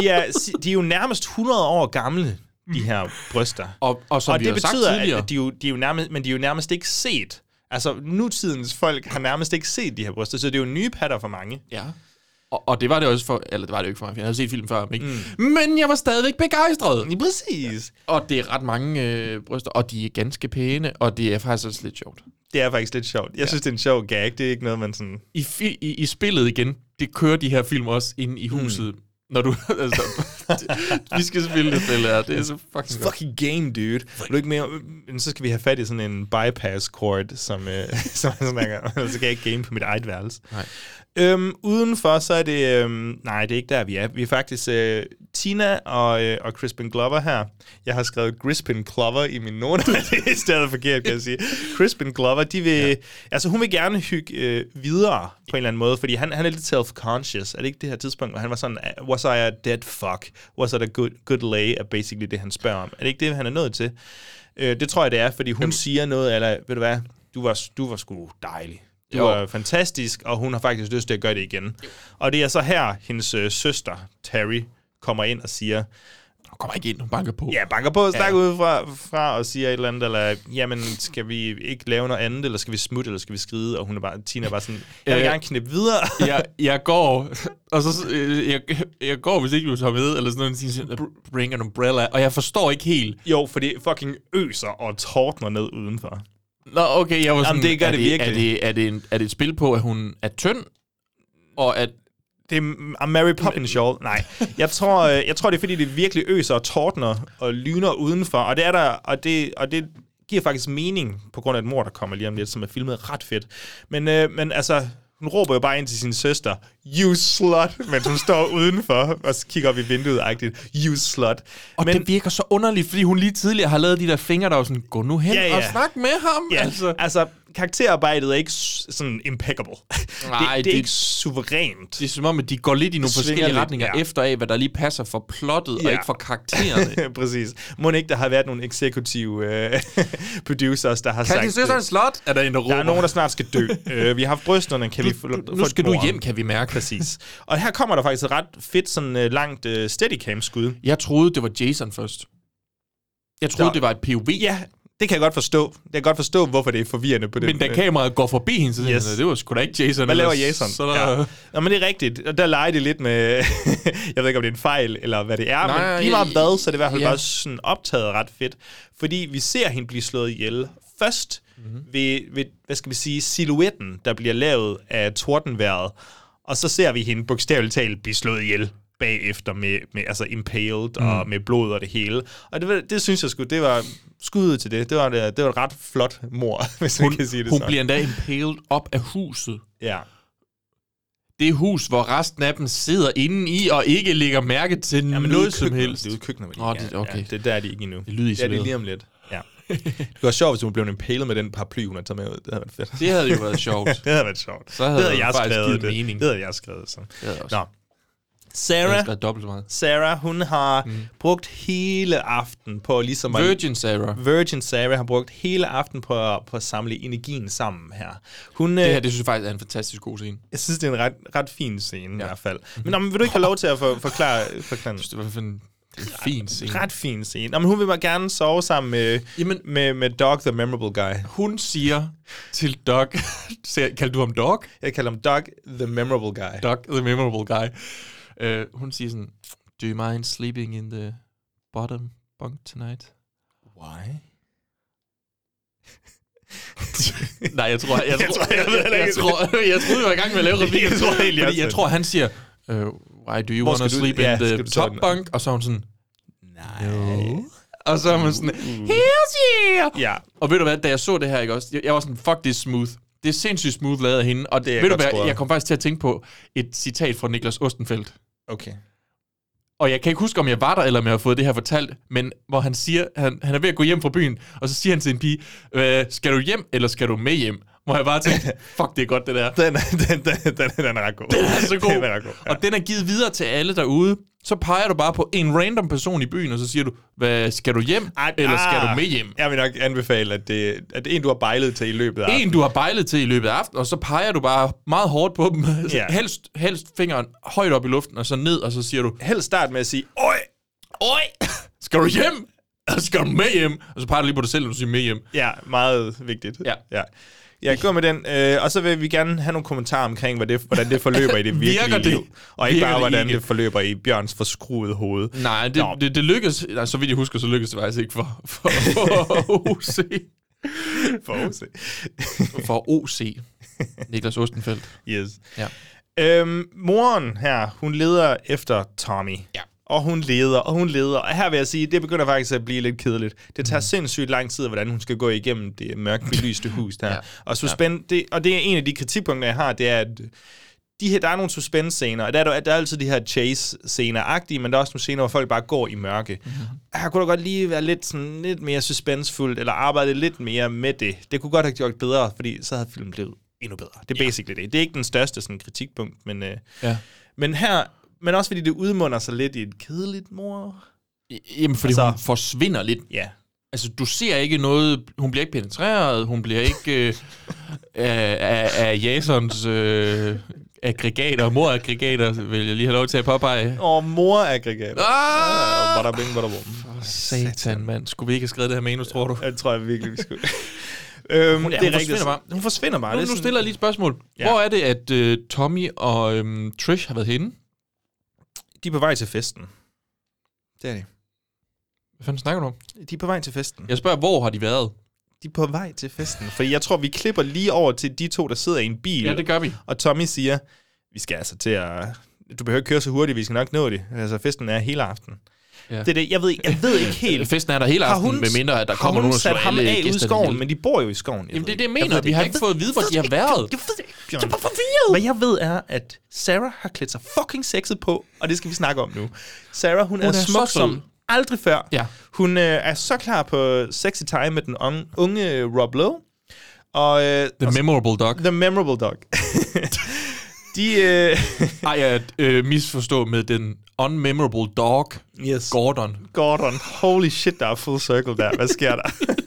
B: de er, si- de er jo nærmest 100 år gamle, de her bryster.
C: Mm. Og, og som
B: og
C: vi
B: det
C: har sagt
B: betyder,
C: tidligere,
B: at de er jo, de er jo nærmest, men de er jo nærmest ikke set. Altså, nutidens folk har nærmest ikke set de her bryster, så det er jo nye patter for mange.
C: Ja. Og, og det var det også for... Eller det var det jo ikke for mig, for jeg havde set filmen før. Ikke? Mm. Men jeg var stadigvæk begejstret.
B: Lige præcis.
C: Og det er ret mange øh, bryster, og de er ganske pæne, og det er faktisk også lidt sjovt.
B: Det er faktisk lidt sjovt. Jeg ja. synes, det er en sjov gag. Det er ikke noget, man sådan...
C: I, fi, i, I spillet igen, det kører de her film også inde i huset. Mm. Når du... [LAUGHS] altså, det- vi skal spille det spil her. Det er så fucking godt.
B: Fucking game, dude. Vil du ikke mere? Men så skal vi have fat i sådan en bypass cord, som, øh, [LAUGHS] som han snakker om. Ellers [LAUGHS] Så kan jeg ikke game på mit eget værelse.
C: Nej.
B: Øhm, udenfor så er det... Øhm, nej, det er ikke der, vi er. Vi er faktisk øh, Tina og, øh, og Crispin Glover her. Jeg har skrevet Crispin Glover i min noter. [LAUGHS] det er stadig forkert, kan jeg sige. Crispin Glover, de vil... Ja. Altså, hun vil gerne hygge øh, videre på en eller anden måde, fordi han, han er lidt self-conscious. Er det ikke det her tidspunkt, hvor han var sådan, "Ah, was I a dead fuck? Was I a good, good lay? Er basically det, han spørger om. Er det ikke det, han er nødt til? Øh, det tror jeg, det er, fordi hun Jamen. siger noget, eller ved du hvad, du var, du var sgu dejlig. Du
C: Jo.
B: var fantastisk, og hun har faktisk lyst til at gøre det igen. Jo. Og det er så her, hendes øh, søster, Terry, kommer ind og siger,
C: Hun kommer ikke ind, hun banker på.
B: ja, banker på, stak ja. ud fra, fra og siger et eller andet, eller jamen, skal vi ikke lave noget andet, eller skal vi smutte, eller skal vi skride? Og hun er bare, Tina er bare sådan, jeg vil
C: Øh.
B: gerne knippe videre.
C: jeg, jeg går, [LAUGHS] og så, øh, jeg, jeg går, hvis ikke du tager med, eller sådan noget, og siger, sådan, "Br- bring an umbrella, og jeg forstår ikke helt.
B: jo, for det fucking øser og tordner ned udenfor.
C: Nå, okay, jeg var sådan,
B: Jamen, det gør
C: er,
B: det
C: er,
B: virkelig.
C: det, er, det en, er det et spil på, at hun er tynd, og at
B: Det er M- Mary Poppins Show. Nej, jeg tror, øh, jeg tror, det er fordi, det virkelig øser og tordner og lyner udenfor. Og det, er der, og det, og det giver faktisk mening på grund af et mor, der kommer lige om lidt, som er filmet ret fedt. Men, øh, men altså, hun råber jo bare ind til sin søster, you slut, mens hun står udenfor og så kigger op i vinduet-agtigt, you slut.
C: og
B: men,
C: men, det virker så underligt, fordi hun lige tidligere har lavet de der fingre, der var sådan, gå nu hen
B: Ja,
C: ja,
B: ja.
C: ja. og snak med ham.
B: Ja, altså,
C: Altså,
B: altså karakterarbejdet er ikke s- sådan impeccable. det,
C: Nej,
B: det, er
C: det-
B: ikke suverænt.
C: det er som om, at de går lidt i nogle
B: svinger
C: forskellige
B: lidt,
C: retninger
B: ja.
C: ja. efter af, hvad der lige passer for plottet, ja.
B: Ja.
C: og ikke for [LAUGHS]
B: [LAUGHS]
C: karaktererne.
B: Præcis. Må ikke, der har været nogle executive øh, [LAUGHS] producers, der har
C: kan
B: sagt... øh,
C: de søster en slot? Er der en, der råber?
B: Der er nogen, der snart skal
C: [LAUGHS]
B: dø. øh, vi har haft brysterne, kan vi få
C: Nu-
B: få
C: Nu
B: et
C: skal du
B: mord?
C: hjem, kan vi mærke.
B: Præcis. Og her kommer der faktisk et ret fedt, sådan øh, langt øh, steadicam-skud.
C: Jeg troede, det var Jason først. Jeg troede,
B: Der-
C: der. det var et POV.
B: Ja, det kan jeg godt forstå. Jeg kan godt forstå, hvorfor det er forvirrende på den
C: Men da
B: øh,
C: kameraet går forbi hende, så
B: Yes.
C: yes. det var sgu da ikke Jason.
B: Hvad laver
C: ellers,
B: Jason?
C: Så der,
B: ja.
C: ja.
B: Nå, men det er rigtigt. Og der leger det lidt med... [LAUGHS] jeg ved ikke, om det er en fejl, eller hvad det er. Nej,
C: Nej,
B: men lige meget
C: jeg-
B: hvad, så er det i hvert fald ja.
C: ja.
B: bare sådan optaget ret fedt. Fordi vi ser hende blive slået ihjel først
C: Mhm.
B: mm-hmm. ved, ved, hvad skal vi sige, silhuetten, der bliver lavet af tordenværet. Og så ser vi hende bogstaveligt talt blive slået ihjel bagefter med, med altså impaled
C: Mhm.
B: og med blod og det hele. Og det, var- det synes jeg sgu, det var skuddet til det. Det var, det, det var et ret flot mor, [LAUGHS] hvis hun, man kan sige det
C: hun
B: sådan.
C: bliver endda impaled op af huset.
B: Ja.
C: Det hus, hvor resten af dem sidder inde i og ikke lægger mærke til ja,
B: det er ude i
C: noget som
B: køkkenet.
C: helst.
B: Det er ude i køkkenet, hvor
C: Nå,
B: de ikke
C: det-
B: er.
C: okay.
B: Ja, det der er de ikke endnu.
C: Det lyder
B: Det er de
C: isoleret.
B: lige om lidt. Ja. Det var sjovt, hvis hun blev impalet med den paraply, hun havde taget med ud. Det havde været fedt.
C: Det
B: [LAUGHS]
C: havde jo været sjovt.
B: det havde været sjovt.
C: Så havde
B: det havde
C: det
B: jeg
C: faktisk
B: skrevet
C: givet
B: det.
C: mening.
B: Det havde jeg skrevet. Så.
C: havde jeg også.
B: Nå.
C: Det
B: Sarah,
C: havde været dobbelt så meget.
B: Sarah, hun har mm. brugt hele aften på ligesom at
C: Virgin Sarah.
B: Virgin Sarah har brugt hele aften på, at- på at samle energien sammen her. Hun,
C: Det
B: øh,
C: her, det synes jeg faktisk er en fantastisk god scene.
B: Jeg synes, det er en ret, ret fin scene ja. i hvert fald.
C: Mhm.
B: Men, nå, men vil du ikke have lov til at for, forklare, forklare den?
C: Det var en, det er en fin scene.
B: Ret fin scene. Nå, men hun vil bare gerne sove sammen med,
C: Jamen-
B: med, med Dog the Memorable Guy.
C: Hun siger til Doc...
B: [LAUGHS]
C: Ser- Kaldte du ham Doc?
B: Jeg kalder ham Dog the Memorable Guy.
C: Doc, the memorable guy. Uh, hun siger sådan, Do you mind sleeping in the bottom bunk tonight?
B: Why?
C: [LAUGHS] Nej, jeg tror, jeg,
B: [LAUGHS] Jeg
C: jeg, jeg,
B: tror,
C: tror,
B: jeg ved heller
C: jeg,
B: ikke.
C: tror, jeg troede, vi var i gang med at lave replikken.
B: [LAUGHS] Jeg tror egentlig også
C: Fordi jeg
B: det.
C: tror, han siger, uh, why do you
B: Hvor
C: want to
B: skal du-
C: sleep
B: ja,
C: in the
B: skal du tage
C: top
B: den?
C: bunk? Og så er hun sådan,
B: Nej. Mm.
C: og så er hun sådan, hells yeah!
B: Ja,
C: Og ved du hvad, da jeg så det her, ikke også? Jeg, jeg var sådan, fuck, det er smooth. Det er sindssygt smooth lavet af hende. Og
B: Det er
C: det ved du
B: godt
C: hvad,
B: skåret.
C: jeg kom faktisk til at tænke på et citat fra Niklas Ostenfeldt.
B: Okay.
C: Og jeg kan ikke huske, om jeg var der, eller om jeg har fået det her fortalt, men hvor han siger, han, han er ved at gå hjem fra byen, og så siger han til en pige, "Øh, skal du hjem, eller skal du med hjem? Hvor jeg bare
B: [LAUGHS]
C: tænkte, fuck, det er godt, det der.
B: Den, er- den, den, den, den er ret god.
C: Den er så god.
B: Den er ret god. Ja.
C: Og den er givet videre til alle derude. Så peger du bare på en random person i byen, og så siger du, hvad, skal du hjem,
B: Ej,
C: eller skal
B: ah,
C: du med hjem?
B: Jeg vil nok anbefale, at det, at det er en, du har bejlet til i løbet af
C: En,
B: aftenen.
C: du har bejlet til i løbet af aftenen, og så peger du bare meget hårdt på [LAUGHS] dem.
B: Ja.
C: Yeah. Helst, helst fingeren højt op i luften, og så ned, og så siger du,
B: Helst start med at sige, Øj!
C: Oj, skal du hjem? Eller skal du med hjem? Og så peger du lige på dig selv, når du siger med hjem.
B: Ja, meget vigtigt.
C: Ja.
B: ja. Jeg går med den, øh, og så vil vi gerne have nogle kommentarer omkring, hvad det, hvordan det forløber i det virkelige
C: [LAUGHS] Virker det?
B: liv. Og ikke
C: Virker
B: bare,
C: det
B: hvordan
C: ikke?
B: det forløber i Bjørns forskruede hoved.
C: Nej, det,
B: Nå.
C: det, det lykkedes, nej, så vidt jeg husker, så lykkedes det faktisk ikke for, for, for OC.
B: [LAUGHS] For OC.
C: For OC, Niklas Ostenfeldt.
B: yes.
C: Ja.
B: Øhm, moren her, hun leder efter Tommy.
C: Ja.
B: Og hun leder, og hun leder. Og her vil jeg sige, det begynder faktisk at blive lidt kedeligt. Det
C: Mhm.
B: tager sindssygt lang tid, hvordan hun skal gå igennem det mørkt belyste hus der. ja.
C: Ja.
B: Og, suspend, det, og det er en af de kritikpunkter, jeg har, det er, at de her, der er nogle suspense-scener, og der er, der, der er altid de her chase-scener-agtige, men der er også nogle scener, hvor folk bare går i mørke.
C: Mhm.
B: Mm-hmm. Her kunne da godt lige være lidt, sådan, lidt mere suspensfuldt, eller arbejde lidt mere med det. Det kunne godt have gjort bedre, fordi så havde filmen blevet endnu bedre. Det er basically det. Det er ikke den største sådan, kritikpunkt, men, øh,
C: Ja.
B: men her, men også fordi det udmunder sig lidt i et kedeligt mor.
C: Jamen, fordi altså, hun
B: Altså-
C: forsvinder lidt.
B: Ja,
C: Altså, du ser ikke noget... Hun bliver ikke penetreret, hun bliver
B: [LAUGHS]
C: ikke øh, af, af, af Jasons øh, aggregater, moraggregater, vil jeg lige have lov til at påpege.
B: og moraggregater.
C: Ah!
B: Ah! Bada bing, bada bum.
C: Satan, mand. Skulle vi ikke have skrevet det her manus, tror du?
B: Det tror jeg virkelig, vi
C: [LAUGHS]
B: skulle. øhm, hun,
C: ja,
B: det er
C: hun
B: rigtigt.
C: forsvinder bare.
B: Hun forsvinder bare.
C: Nu,
B: Det er
C: nu
B: sådan-
C: stiller jeg lige et spørgsmål.
B: Ja.
C: Ja. Hvor er det, at øh, Tommy og øhm, Trish har været henne?
B: De er på vej til festen. Det er de.
C: Hvad fanden snakker du om?
B: De er på vej til festen.
C: Jeg spørger, hvor har de været?
B: De er på vej til festen. Fordi jeg tror, vi klipper lige over til de to, der sidder i en bil.
C: Ja, det gør vi.
B: Og Tommy siger, vi skal altså til at... Du behøver ikke køre så hurtigt, vi skal nok nå det. Altså, festen er hele aften. Ja.
C: Ja.
B: Det er det. Jeg ved, jeg ved
C: [LAUGHS]
B: ikke helt.
C: Festen er der hele aften, med mindre at der
B: har
C: kommer
B: hun
C: nogen og slår
B: sat ham
C: alle
B: af ude i
C: gæsterne
B: skoven,
C: ihjel?
B: men de bor jo i skoven. Jeg
C: Jamen,
B: ved
C: det er det, jeg
B: ikke.
C: mener.
B: ved
C: Vi har
B: Jeg
C: ikke
B: ved-
C: fået at vide, hvor de har
B: Jeg ved det
C: været.
B: ikke. Jeg ved det ikke, Bjørn. Hvad jeg ved er, at Sarah har klædt sig fucking sexet på, og det skal vi snakke om nu. Sarah, hun, hun er,
C: er så
B: smuk
C: sød.
B: som aldrig før.
C: Ja.
B: Hun øh, er så klar på sexy time med den unge, unge øh, Rob Lowe. Og, øh,
C: The
B: og
C: Memorable Dog.
B: The Memorable Dog. [LAUGHS] de, øh,
C: Ej, at øh, misforstå med den Unmemorable Dog,
B: Yes.
C: Gordon.
B: Gordon, holy shit, der er full circle der. Hvad sker der? [LAUGHS]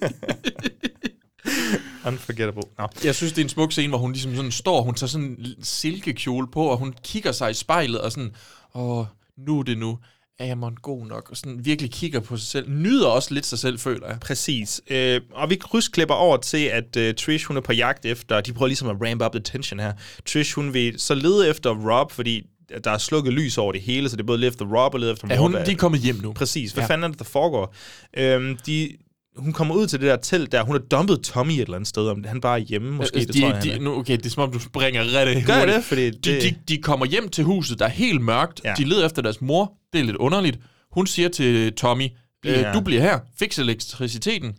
B: Unforgettable. Nå.
C: Jeg synes, det er en smuk scene, hvor hun ligesom sådan står, hun tager sådan en silkekjole på, og hun kigger sig i spejlet og sådan, åh, nu er det nu. Er jeg mon god nok? Og sådan virkelig kigger på sig selv. Nyder også lidt sig selv, føler jeg.
B: Præcis. Øh, og vi krydsklipper over til, at øh, Trish hun er på jagt efter, de prøver ligesom at ramp up the tension her. Trish hun vil så lede efter Rob, fordi der er slukket lys over det hele, så det er både lede efter Rob og lede efter
C: Er
B: Rob.
C: hun, de er kommet hjem nu.
B: Præcis. Hvad ja.
C: Ja.
B: fanden er det, der foregår? Øhm, de, hun kommer ud til det der telt der. Hun har dumpet Tommy et eller andet sted. Om han bare er hjemme, måske.
C: Altså,
B: det
C: de,
B: tror jeg,
C: de,
B: han er.
C: nu, okay, det er som om, du springer rigtig
B: Gør jeg
C: hurtigt.
B: det? Fordi
C: de,
B: det-
C: de, de kommer hjem til huset, der er helt mørkt.
B: Ja.
C: Ja. De leder efter deres mor. Det er lidt underligt. Hun siger til Tommy,
B: Bliv her."
C: øh, du bliver her, fix elektriciteten.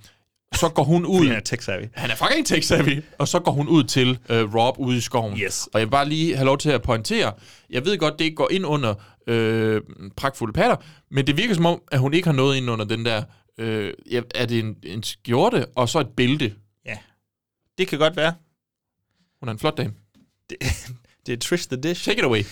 C: Så går hun ud.
B: Hun er tech-savvy.
C: Han er fucking tech savvy. Og så går hun ud til øh, Rob ude i skoven.
B: Yes.
C: Og jeg vil bare lige have lov til at pointere. Jeg ved godt, det ikke går ind under øh, pragtfulde patter, men det virker som om, at hun ikke har noget ind under den der... Øh, ja, er det en, en skjorte og så et bælte?
B: Ja. Det kan godt være.
C: Hun er en flot dame.
B: [LAUGHS] Det er Trish the Dish.
C: Take it away.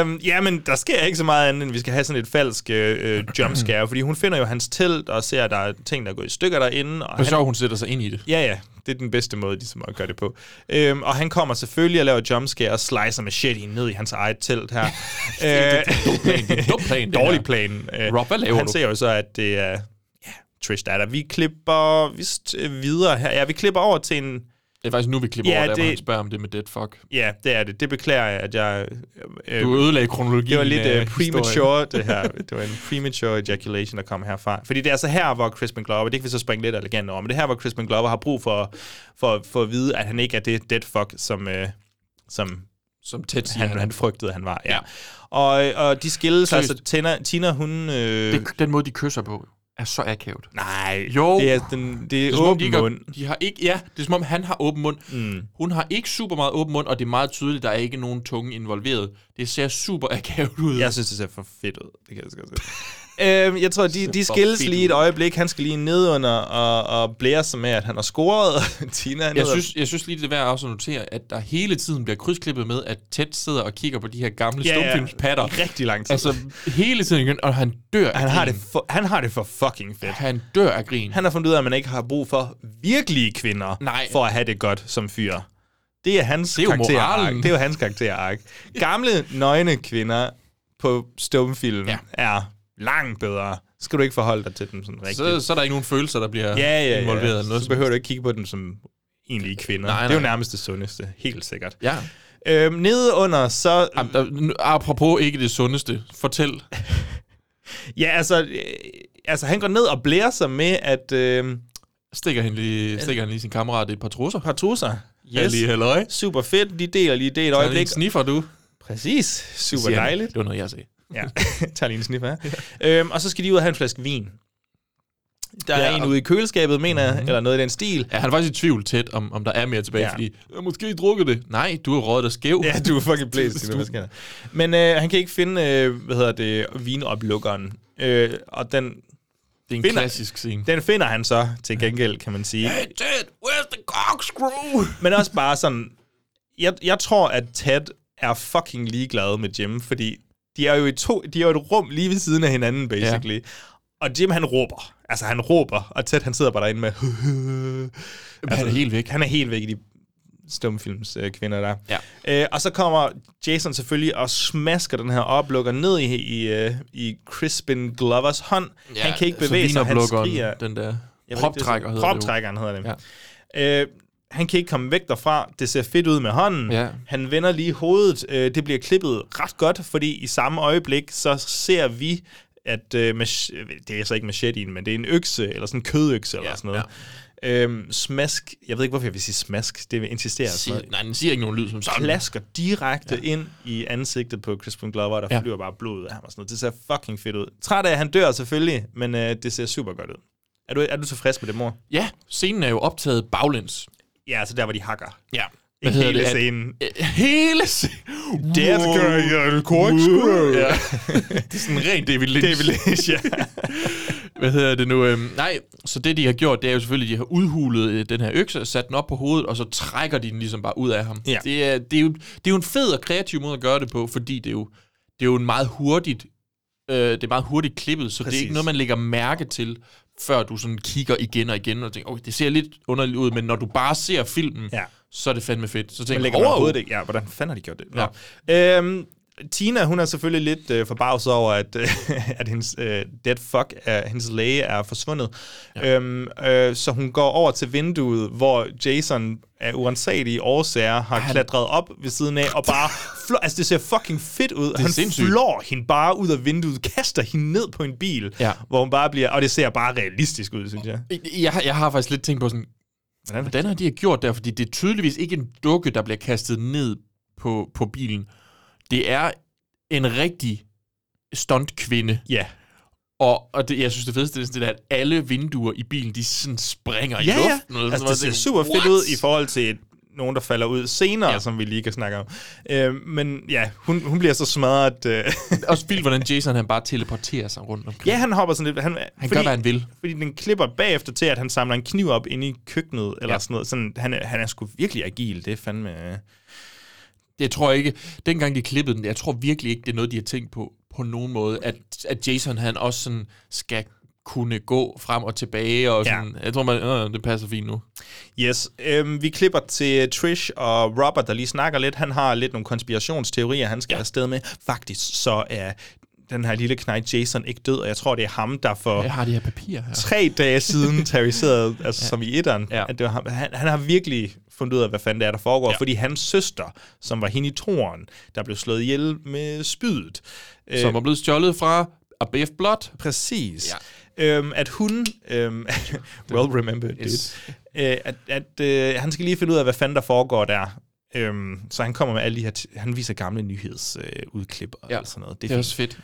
B: Øhm, ja, men der sker ikke så meget andet, end vi skal have sådan et falsk øh, øh, jumpscare, fordi hun finder jo hans telt og ser, at der er ting, der er gået i stykker derinde. Og
C: Og
B: han,
C: så hun sætter sig ind i det.
B: ja, ja, det er den bedste måde ligesom, at gøre det på. Øhm, og han kommer selvfølgelig og laver jumpscare og slicer machete ned i hans eget telt
C: [LAUGHS]
B: her. Øh,
C: Det er en dum plan. det
B: Dårlig
C: her.
B: plan. Øh,
C: Rob, hvad laver
B: Han
C: du?
B: ser jo så, at det er ja, Trish, der er der. Vi klipper vist øh, videre her. Ja, vi klipper over til en...
C: Det er faktisk nu, vi klipper
B: Ja,
C: ja, over, der, det...
B: det-
C: hvor han spørger om det med dead fuck.
B: Ja, det er det. Det beklager jeg, at jeg... Øh,
C: Du ødelagde kronologien.
B: Det var lidt uh,
C: af historien.
B: premature, det her. Det var en premature ejaculation, der kom herfra. Fordi det er altså her, hvor Crispin Glover, det kan vi så springe lidt elegant over, men det er her, hvor Crispin Glover har brug for, for, for at vide, at han ikke er det dead fuck, som, uh, som
C: Som tæt siger
B: han,
C: han.
B: han frygtede, han var. Ja.
C: Ja.
B: Og, og de skilles,
C: Seriøst.
B: altså Tina, Tina hun... Øh,
C: Det, den måde, de kysser på, er så akavet.
B: Nej,
C: Jo.
B: det er, den, det er,
C: Det
B: det
C: er, som om, de,
B: åben
C: ikke
B: mund.
C: har, de har ikke, ja, det er som om, han har åben mund. Mm. Hun har ikke super meget åben mund, og det er meget tydeligt, der er ikke nogen tunge involveret. Det ser super akavet ud.
B: Jeg synes, det ser for fedt ud. Det kan jeg så godt
C: [LAUGHS]
B: sige. øhm, jeg tror, de, de
C: for
B: skilles
C: fedt
B: lige et
C: ud.
B: øjeblik. Han skal lige ned under og, og blære sig med, at han har scoret. [LAUGHS] og Tina er ned
C: Jeg
B: og-
C: synes, jeg synes lige, det er værd også at notere, at der hele tiden bliver krydsklippet med, at Ted sidder og kigger på de her gamle
B: Ja, ja.
C: stumfilmspatter.
B: Rigtig lang tid.
C: Altså, hele tiden igen, og han dør
B: han
C: af
B: har, det
C: grin.
B: for, han har det for fucking fedt.
C: Han dør af grin.
B: Han har fundet ud af, at man ikke har brug for virkelige kvinder,
C: Nej.
B: for at have det godt som fyr. Det er hans
C: er jo
B: karakterark.
C: moralen.
B: Det er jo hans karakterark. Gamle, nøgne kvinder på stumfilm
C: Ja.
B: ja. er langt bedre. Skal du ikke forholde dig til dem sådan rigtigt.
C: så, så er der ikke nogen følelser, der bliver
B: ja, ja, ja.
C: involveret. Eller noget
B: så
C: som-
B: behøver du ikke kigge på dem som egentlige kvinder.
C: Nej,
B: Det er jo
C: nej.
B: nærmest det sundeste, helt sikkert.
C: Ja.
B: Øhm, nede under, så...
C: Am- der- n- Apropos ikke det sundeste. Fortæl.
B: Ja, altså, øh, altså han går ned og blærer sig med, at... Øh,
C: Stikker han lige, stikker han lige sin kammerat et par trusser?
B: har trusser.
C: Yes. Lige halløj.
B: Super fedt. De deler lige det et
C: Der er lige
B: øjeblik.
C: en sniffer, du.
B: Præcis. Super
C: Siger han.
B: dejligt.
C: Det var noget, jeg sagde.
B: Ja, [LAUGHS] tager lige en snif af. Øhm, og så skal de ud og have en flaske vin. Der er
C: Ja,
B: en
C: og-
B: ude i køleskabet, mener jeg, eller noget i den stil.
C: Ja, han er faktisk i tvivl tæt, om, om der er mere tilbage,
B: Ja.
C: ja. fordi "Øh, måske I drukket det. Nej, du har røget dig skæv.
B: Ja, du er fucking blæst.
C: Du-
B: Hvad sker der? Men øh, han kan ikke finde, øh, hvad hedder det, vinoplukkeren. Øh, og den,
C: Det er en
B: Finder-
C: klassisk scene.
B: den finder han så til gengæld, kan man sige.
C: Ted, where's the corkscrew?
B: Men også bare sådan, jeg, jeg tror, at Ted er fucking ligeglad med Jim, fordi de er jo i to, de er jo et rum lige ved siden af hinanden, basically. Ja. Og Jim, han råber. Altså, han råber, og Ted, han sidder bare derinde med... [LAUGHS] Altså,
C: Han er helt væk.
B: Han er helt væk i de stumfilms øh, kvinder der.
C: Ja.
B: Øh, og så kommer Jason selvfølgelig og smasker den her oplukker ned i, i, øh, i Crispin Glovers hånd. Ja, han kan ikke bevæge sig, han skriger.
C: Den der
B: Jeg ved ikke, det er sådan-
C: proptrækker hedder det jo.
B: Proptrækkeren hedder det. Ja. Øh, han kan ikke komme væk derfra. Det ser fedt ud med hånden.
C: Ja.
B: Han vender lige hovedet. Øh, det bliver klippet ret godt, fordi i samme øjeblik, så ser vi, at øh, mach- øh, det er så ikke machetten, men det er en økse, eller sådan en kødøkse, eller
C: Ja,
B: sådan noget. Ja. Øhm, smask, jeg ved ikke, hvorfor jeg vil sige smask, det vil insistere altså.
C: Siger, nej, den siger ikke nogen lyd som sådan.
B: Plasker direkte ja. ind i ansigtet på Crispin Glover, og der
C: Ja.
B: ja. flyver bare blod ud af ham og sådan noget. Det ser fucking fedt ud. Træt af, at han dør selvfølgelig, men øh, det ser super godt ud. Er du, er du tilfreds med det, mor?
C: Ja, scenen er jo optaget baglæns.
B: Ja, altså der, hvor de hakker.
C: Ja.
B: Ikke hele
C: At-
B: scenen.
C: Øh, Hele scenen.
B: Death Girl, you're corkscrew.
C: Ja. [LAUGHS] det er sådan rent David Lynch.
B: David Lynch, ja.
C: [LAUGHS] Hvad hedder det nu? Øhm, nej, så det de har gjort, det er jo selvfølgelig, at de har udhulet øh, den her økse, sat den op på hovedet, og så trækker de den ligesom bare ud af ham.
B: Ja.
C: Det, er, det, er jo, det er jo en fed og kreativ måde at gøre det på, fordi det er jo, det er jo en meget hurtigt, øh, det er meget hurtigt klippet, så Præcis. det er
B: Præcis.
C: ikke noget, man lægger mærke til, før du sådan kigger igen og igen og tænker, okay, det ser lidt underligt ud, men når du bare ser filmen,
B: Ja.
C: så er det fandme fedt. Så
B: Man
C: tænker
B: lægger oh.
C: wow,
B: overhovedet ikke. Ja, hvordan fanden har de gjort det? Nå. Ja. Øhm, Tina, hun er selvfølgelig lidt øh, forbavset over, at, øh, [LAUGHS] at hendes øh, dead fuck, er, hendes læge er forsvundet. Ja. Øhm, øh, så hun går over til vinduet, hvor Jason af uansagelige årsager har Ej. klatret op ved siden af, og bare flår, altså det ser fucking fedt ud. Han
C: sindssygt.
B: flår hende bare ud af vinduet, kaster hende ned på en bil,
C: Ja.
B: hvor hun bare bliver, og det ser bare realistisk ud, synes jeg.
C: Jeg, jeg har faktisk lidt tænkt på sådan, hvordan, hvordan har de her gjort det? Fordi det er tydeligvis ikke en dukke, der bliver kastet ned på, på bilen. Det er en rigtig stuntkvinde.
B: Ja.
C: Og, og det, jeg synes, det fedeste det er sådan det der, at alle vinduer i bilen, de sådan springer i luften. Og
B: Altså,
C: sådan
B: det
C: noget.
B: ser
C: Jeg
B: super
C: tænker,
B: fedt ud
C: "What?"
B: i forhold til nogen, der falder ud senere,
C: Ja.
B: ja. som vi lige kan snakke om. Øh, men ja, hun, hun bliver så smadret.
C: [LAUGHS]
B: Øh.
C: Også vildt, hvordan Jason han bare teleporterer sig rundt omkring.
B: ja, han hopper sådan lidt. Han,
C: Han gør, hvad han vil.
B: Fordi den klipper bagefter til, at han samler en kniv op inde i køkkenet, eller
C: Ja.
B: ja. sådan noget. Sådan, han, er- han er sgu virkelig agil, det er fandme... Øh.
C: Jeg tror ikke, dengang de klippede den, jeg tror virkelig ikke, det er noget, de har tænkt på på nogen måde, at, at Jason han også sådan skal kunne gå frem og tilbage, og
B: Ja.
C: sådan, ja. jeg tror, man, øh, det passer fint nu.
B: Yes, øhm, vi klipper til Trish og Robert, der lige snakker lidt. Han har lidt nogle konspirationsteorier, han skal ja. afsted med. Faktisk så er den her lille knægt Jason ikke død, og jeg tror, det er ham, der får...
C: Jeg har det her papir her.
B: tre dage [LAUGHS] siden terroriseret, altså ja. som i etteren,
C: Ja.
B: ja. at det var ham. Han, han har virkelig fundet ud af, hvad fanden det er, der foregår, ja. fordi hans søster, som var hende i toren, der blev slået ihjel med spydet. Øh,
C: Som er blevet stjålet fra ABF Blot.
B: præcis. Ja. Øhm, at hun, øhm, [LAUGHS] well remembered,
C: Yes.
B: yes. øh, at, at øh, han skal lige finde ud af, hvad fanden der foregår der. Øhm, så han kommer med alle de her, t- han viser gamle nyhedsudklip øh, udklip og
C: Ja.
B: ja. sådan noget.
C: Det er
B: fint.
C: også fedt.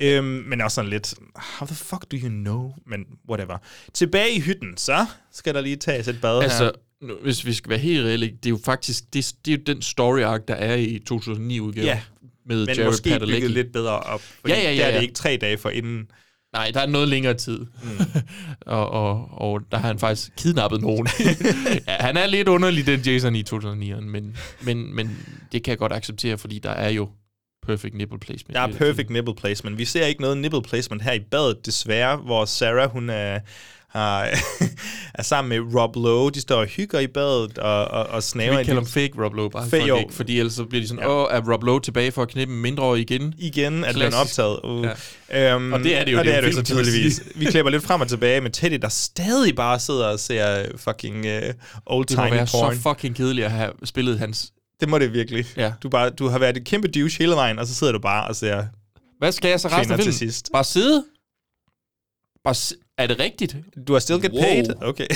B: Øhm, men også sådan lidt, how the fuck do you know? Men whatever. Tilbage i hytten, så skal der lige tages et bad
C: Altså,
B: her.
C: nu, hvis vi skal være helt reelle, det er jo faktisk det, det er jo den story arc, der er i 2009-udgaven
B: Ja,
C: med
B: Men
C: Jared
B: måske
C: Padalecki.
B: bygget lidt bedre op. Fordi
C: Ja, ja, ja,
B: Der er det
C: ja.
B: ikke tre dage for inden.
C: Nej, der er noget længere tid. Mm. [LAUGHS] og, og, og der har han faktisk kidnappet nogen. ja, han er lidt underlig, den Jason i 2009'eren, men, men, men det kan jeg godt acceptere, fordi der er jo perfect nipple placement.
B: Der
C: i
B: er
C: den film.
B: perfect nipple placement. Vi ser ikke noget nipple placement her i badet, desværre, hvor Sarah, hun er, har, [LAUGHS] er sammen med Rob Lowe. De står og hygger i badet og, og, og snaver
C: Vi
B: en
C: kalder
B: lille-
C: dem fake Rob Lowe, bare
B: Fake,
C: for
B: jo.
C: jo. Ikke, fordi ellers så bliver de sådan, åh, er Rob Lowe tilbage for at knippe en mindreårig igen?
B: igen, at den er
C: Klassisk.
B: optaget. Uh. Ja. Øhm,
C: Og det er det jo,
B: og
C: det
B: det
C: er
B: er
C: jo
B: det jo
C: fint, kan man [LAUGHS]
B: tydeligvis.
C: sige.
B: Vi klipper lidt frem og tilbage med Teddy, der stadig bare sidder og ser øh, fucking uh, old
C: Det må
B: tiny
C: være
B: porn.
C: så fucking kedeligt at have spillet hans...
B: det må det virkelig.
C: Ja.
B: Du, bare, du har været et kæmpe douche hele vejen, og så sidder du bare og ser...
C: Hvad skal jeg så resten
B: Kvinder
C: af
B: til
C: filmen?
B: sidst.
C: Bare sidde? Bare si- er det rigtigt?
B: Du har still get
C: Wow.
B: paid. Okay.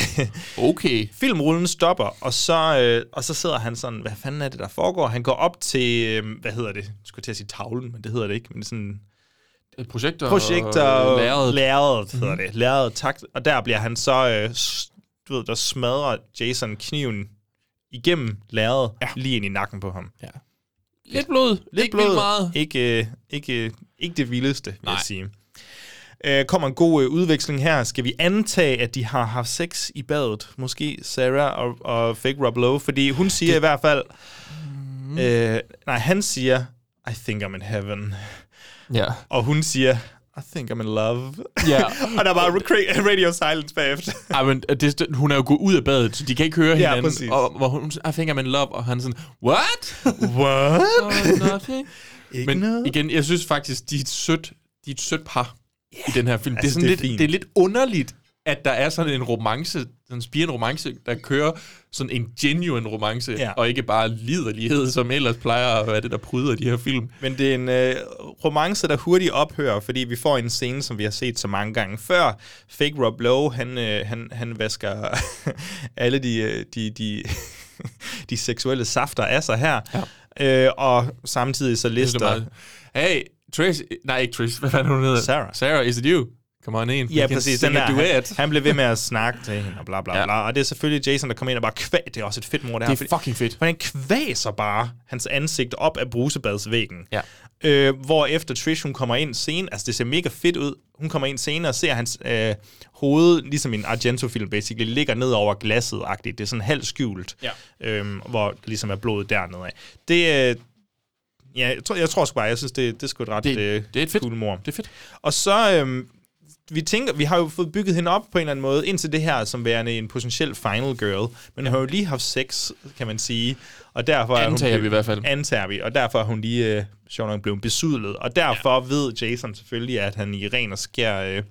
B: [LAUGHS]
C: Okay.
B: Filmrullen stopper, og så, øh, og så sidder han sådan, hvad fanden er det, der foregår? Han går op til, øh, hvad hedder det? Jeg skulle til at sige tavlen, men det hedder det ikke. Men det er sådan
C: Projekter,
B: projekter
C: og
B: og øh,
C: lærred.
B: lærredet Mhm. hedder det. Lærredet takt. Og der bliver han så, øh, s- du ved, der smadrer Jason kniven igennem lærredet, ja. lige ind i nakken på ham. Ja.
C: Lidt blod. Lidt ikke blod. meget.
B: Ikke, øh, ikke, øh, ikke det vildeste, vil jeg sige. Øh, kommer en god øh, udveksling her. Skal vi antage, at de har haft sex i badet? Måske Sarah og, og fake Rob Lowe, fordi hun siger det. i hvert fald... Øh, nej, han siger, I think I'm in heaven.
C: Ja.
B: Og hun siger, I think I'm in love.
C: Ja.
B: [LAUGHS] og der var ra- radio silence bagefter.
C: Ej, men øh, det, hun er jo gået ud af badet, så de kan ikke høre hinanden.
B: præcis.
C: Og hvor hun I think I'm in love, og han er sådan, what?
B: What?
C: Oh, nothing.
B: Ikke
C: men
B: noget?
C: igen, jeg synes faktisk, de er et sødt, de er et sødt par i den her film.
B: altså,
C: det, er sådan
B: det er
C: lidt,
B: fint.
C: det er lidt underligt, at der er sådan en romance, sådan en spirende romance, der kører sådan en genuine romance,
B: Ja.
C: ja. og ikke bare liderlighed, som ellers plejer at være det, der pryder de her film.
B: Men det er en øh, romance, der hurtigt ophører, fordi vi får en scene, som vi har set så mange gange før. Fake Rob Lowe, han, øh, han, han vasker [LAUGHS] alle de, øh, de, de, [LAUGHS] de seksuelle safter af sig her. Ja. Øh, og samtidig så
C: Det er
B: lister...
C: meget. Hey, Trish, nej ikke Trish, [LAUGHS] hvad fanden hun hedder?
B: Sarah.
C: Sarah, is it you? Come on in.
B: Ja, præcis. Den der, han,
C: duet.
B: han blev ved med at snakke til hende, og bla bla ja.
C: Ja.
B: bla. Og det er selvfølgelig Jason, der kommer ind og bare kvæg. Det er også et fedt mor, det her.
C: Det er fucking fedt.
B: For han kvaser bare hans ansigt op af brusebadsvæggen.
C: Ja.
B: Øh, hvor efter Trish, hun kommer ind senere, altså det ser mega fedt ud, hun kommer ind senere og ser hans øh, hoved, ligesom i en Argento-film basically, ligger ned over glasset -agtigt. Det er sådan halvt skjult,
C: Ja.
B: øhm, hvor der ligesom er blodet dernede af. Det, øh, ja, jeg, tror, jeg tror sgu bare, jeg synes, det, det er sgu et ret
C: Det-
B: øh,
C: det er et fedt-
B: cool mor.
C: Det er fedt.
B: Og så, øhm, vi tænker, vi har jo fået bygget hende op på en eller anden måde, indtil det her som værende en potentiel final girl. Men hun har jo lige haft sex, kan man sige. Og derfor er hun
C: Antager
B: blevet-
C: vi i hvert fald.
B: Antager vi, og derfor er hun lige, øh, sjovt nok, blevet besudlet. Og derfor ja. ved Jason selvfølgelig, at han i ren og skær øh,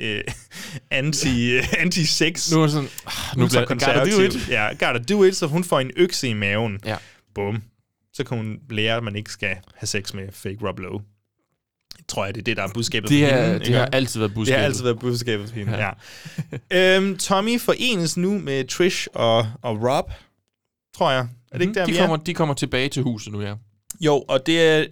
B: øh, [LAUGHS] anti, øh, anti-sex.
C: Nu er sådan, ah, nu bliver
B: Ultrakonservativ.
C: gotta do it.
B: Ja, gotta do it, så hun får en økse i maven.
C: Ja.
B: Bum. Så kan hun lære, at man ikke skal have sex med fake Rob Lowe. Tror jeg, det er det, der er budskabet
C: Det,
B: for
C: er,
B: hende,
C: det
B: ikke?
C: har altid været
B: Det
C: budskabet.
B: har altid været budskabet for hende, ja. ja. øhm, Tommy forenes nu med Trish og, og Rob, tror jeg. Er det ikke der,
C: Mhm, de,
B: vi
C: kommer,
B: er?
C: de kommer tilbage til huset nu, ja.
B: Jo, og det er,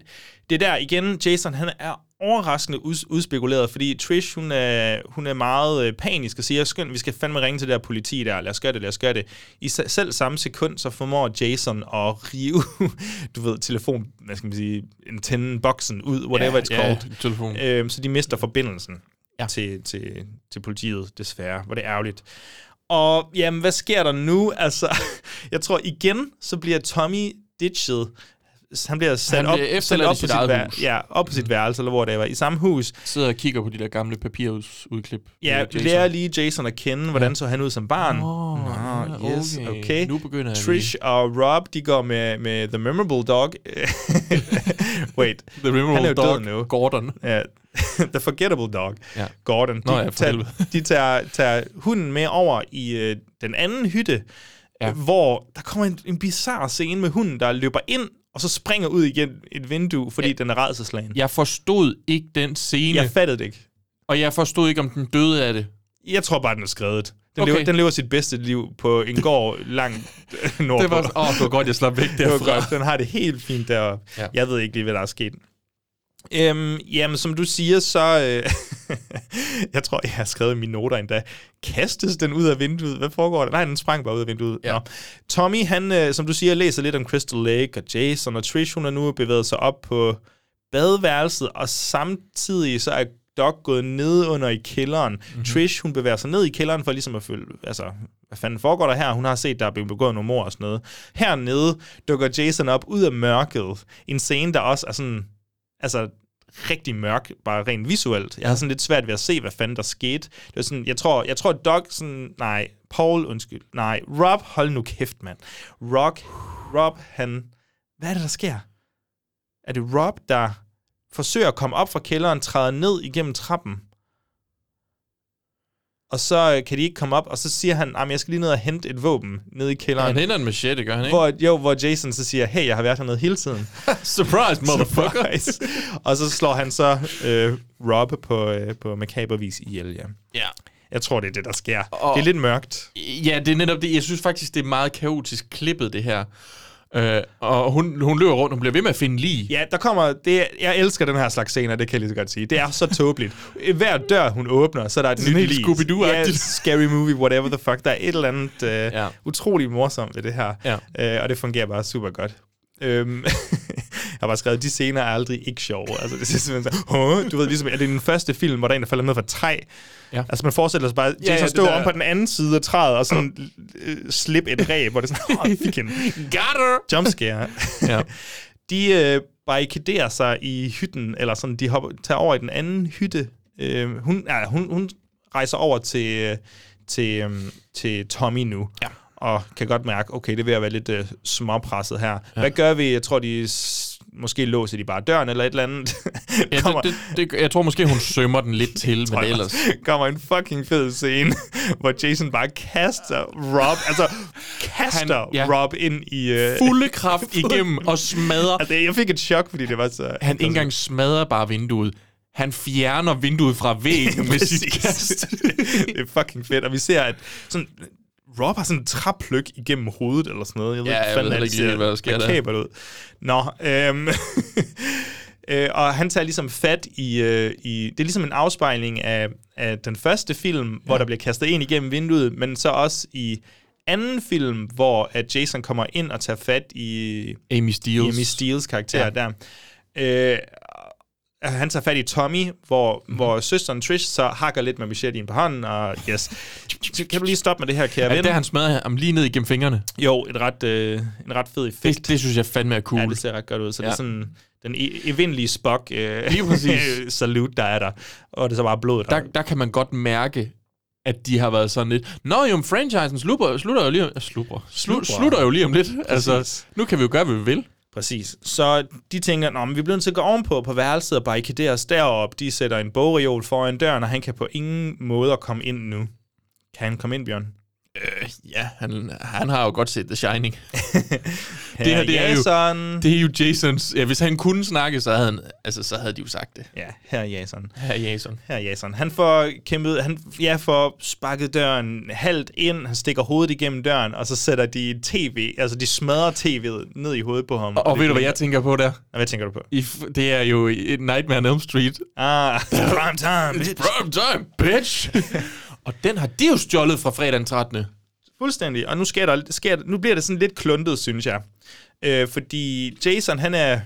B: det er der igen, Jason han er overraskende ud, udspekuleret, fordi Trish, hun er, hun er meget øh, panisk og siger, skynd, vi skal fandme ringe til det der politi der, lad os gøre det, lad os gøre det. I se- selv samme sekund, så formår Jason at rive, [LAUGHS] du ved, telefon, hvad skal man sige, antennen, boksen ud, whatever ja, it's
C: ja,
B: called.
C: telefon.
B: Øhm, så de mister forbindelsen ja.
C: Ja.
B: til, til, til politiet, desværre. Hvor det er ærgerligt. Og jamen, hvad sker der nu? Altså, [LAUGHS] jeg tror igen, så bliver Tommy ditchet. Han bliver sat
C: Han bliver
B: op, sat
C: efterladt i
B: op på
C: sit
B: sit,
C: eget
B: vær-
C: hus.
B: ja, op på sit værelse, eller hvor det var, i samme hus.
C: Sidder og kigger på de der gamle papirudklip.
B: Ja,
C: Øh, Jason.
B: lærer lige Jason at kende, hvordan så han ud som barn.
C: Åh,
B: Nå,
C: ja,
B: yes, okay.
C: okay. Nu begynder jeg
B: Trish og Rob, de går med, med The Memorable
C: [LAUGHS]
B: Dog. Wait,
C: The
B: han er jo
C: Memorable Dog,
B: død nu.
C: Gordon.
B: Ja, [LAUGHS] The Forgettable Dog, ja.
C: Ja.
B: Gordon. De,
C: Nå ja, for
B: tager,
C: helvede.
B: de tager, tager hunden med over i øh, den anden hytte, ja.
C: Ja.
B: hvor der kommer en, en bizarre scene med hunden, der løber ind, og så springer ud igennem et vindue, fordi ja. den er redselslagen. Ja.
C: Jeg forstod ikke den scene,
B: Jeg fattede det ikke.
C: og jeg forstod ikke, om den døde af det.
B: Jeg tror bare, den er skrevet. Den, okay.
C: Okay.
B: lever, den lever sit bedste liv på en gård langt nordpå.
C: [LAUGHS] Det var, åh, det var godt, jeg slap væk
B: det var
C: derfra.
B: godt. Den har det helt fint deroppe. Ja.
C: Ja.
B: Jeg ved ikke lige, hvad der er sket. Øhm, jamen, som du siger, så... Øh, [LAUGHS] jeg tror, jeg har skrevet i mine noter endda. Kastes den ud af vinduet? Hvad foregår der? Nej, den sprang bare ud af vinduet.
C: Ja.
B: Ja. Nå. Tommy, han, øh, som du siger, læser lidt om Crystal Lake og Jason, og Trish, hun er nu bevæget sig op på badeværelset, og samtidig så er Doc gået ned under i kælderen. Mm-hmm. Trish, hun bevæger sig ned i kælderen for ligesom at følge, altså, hvad fanden foregår der her? Hun har set, der er blevet begået nogle mord og sådan noget. Hernede dukker Jason op ud af mørket. En scene, der også er sådan, altså, rigtig mørk, bare rent visuelt. Jeg havde sådan lidt svært ved at se, hvad fanden der skete. Det var sådan, jeg tror, jeg tror Doc sådan, nej, Paul, undskyld, nej, Rob, hold nu kæft, mand. Rock, Rob, han, hvad er det, der sker? er det Rob, der forsøger at komme op fra kælderen, træder ned igennem trappen. Og så øh, kan de ikke komme op, og så siger han, at jeg skal lige ned og hente et våben nede i kælderen.
C: Han henter en machete, gør han ikke?
B: hvor, jo, hvor Jason så siger, hey, jeg har været hernede hele tiden.
C: Surprise, motherfucker!
B: Surprise. [LAUGHS] og så slår han så øh, Rob på, øh, på makabervis ihjel, ja.
C: Ja.
B: Jeg tror, det er det, der sker.
C: Og-
B: Det er lidt mørkt.
C: Ja, det er netop det. Jeg synes faktisk, det er meget kaotisk klippet, det her. Øh, og hun, hun løber rundt, hun bliver ved med at finde lige.
B: Ja, der kommer... Det, er- jeg elsker den her slags scener, det kan jeg lige så godt sige. Det
C: [LAUGHS]
B: er så tåbeligt. Hver dør, hun åbner, så er der et
C: Sådan
B: nyt
C: helt
B: lig.
C: Scooby-Doo-agtigt.
B: Ja, scary movie, whatever the fuck. Der er et eller andet øh,
C: Ja.
B: ja. utrolig morsomt ved det her.
C: Ja.
B: Øh, og det fungerer bare super godt. Øhm, [LAUGHS] jeg har bare skrevet, de scener er aldrig ikke sjove. Altså, det er simpelthen så, Hå? du ved, ligesom, er det den første film, hvor der er en, der falder ned fra et træ?
C: Ja.
B: Altså, man forestiller sig bare, Jason
C: ja,
B: ja, ja,
C: det
B: stå
C: der-
B: om på den anden side af træet, og sådan øh, slip et ræb, hvor det er sådan, åh, fik
C: [LAUGHS]
B: hende.
C: Got her!
B: Jumpscare.
C: Ja.
B: [LAUGHS] de øh, barrikaderer sig i hytten, eller sådan, de hopper, tager over i den anden hytte. Øh, hun, ja, hun, hun rejser over til, øh, til, øh, til Tommy nu. Ja. Og kan godt mærke, okay, det er ved at være lidt øh, småpresset her. Ja. Hvad gør vi? Jeg tror, de s- måske låser de bare døren eller et eller andet.
C: [LAUGHS] Ja, det, det, det, jeg tror måske, hun sømmer den lidt [LAUGHS] til, men
B: Spoilers.
C: ellers...
B: [LAUGHS] kommer en fucking fed scene, hvor Jason bare kaster Rob, altså kaster
C: Han- ja.
B: Rob ind i... Øh,
C: Fulde kraft igennem og smadrer.
B: [LAUGHS] altså, jeg fik et chok, fordi det var så...
C: Han ikke engang smadrer bare vinduet. Han fjerner vinduet fra [LAUGHS] væggen med
B: [LAUGHS]
C: sit
B: Præcis.
C: kast.
B: [LAUGHS] det er fucking fedt. Og vi ser, at sådan, Rob har sådan en træpløk igennem hovedet, eller sådan noget. Jeg ved
C: Ja, jeg
B: ikke,
C: ved
B: fanden,
C: heller ikke lige, hvad der sker der.
B: der. ud. Nå, øhm, [LAUGHS] øh, og han tager ligesom fat i, øh, i... Det er ligesom en afspejling af, af den første film, ja. hvor der bliver kastet en igennem vinduet, men så også i anden film, hvor at Jason kommer ind og tager fat i
C: Amy Steele.
B: Amy Steeles karakter ja. der. Øh, og han tager fat i Tommy, hvor, mm. hvor søsteren Trish så hakker lidt med machetten på hånden, og yes, kan du lige stoppe med det her, kære
C: Er
B: ven?
C: det der, han smadrer ham lige ned igennem fingrene?
B: Jo, et ret, øh, en ret fed effekt.
C: Det, det synes jeg fandme er cool.
B: Ja, det ser ret godt ud. Så ja. det
C: Ja.
B: er sådan den e- evindelige Spock øh,
C: Lige præcis.
B: [LAUGHS] salute, der er der. Og det er så bare blodet.
C: der, der kan man godt mærke, at de har været sådan lidt... Nå jo, men franchisen slutter, slutter jo lige om... Slutter, slu,
B: Slubrer.
C: slutter jo lige om lidt. Altså, nu kan vi jo gøre, hvad vi vil.
B: Præcis. Så de tænker, Nå, men vi bliver nødt til at gå ovenpå på værelset og barrikadere os derop. De sætter en bogreol foran døren, og han kan på ingen måde komme ind nu. Kan han komme ind, Bjørn?
C: Ja, han, han har jo godt set The Shining.
B: Det her, det er jo... Jason.
C: Det er jo Jasons... Ja, hvis han kunne snakke, så havde, han, altså, så havde de jo sagt det.
B: Ja, her er Jason.
C: Her er Jason.
B: Her er Jason. Han får kæmpet, han ja, får sparket døren halvt ind, han stikker hovedet igennem døren, og så sætter de et tv, altså de smadrer tv'et ned i hovedet på ham.
C: Og, og
B: det
C: ved du, hvad
B: bliver-
C: jeg tænker på der?
B: Hvad tænker du på?
C: I, f- det er jo i- Nightmare on Elm Street.
B: Ah, prime
C: [LAUGHS]
B: time. bitch.
C: Prime time, bitch! [LAUGHS] og den har de jo stjålet fra fredag den 13.
B: Fuldstændig. Og nu, sker der, sker, nu bliver det sådan lidt kluntet, synes jeg. Øh, fordi Jason, han er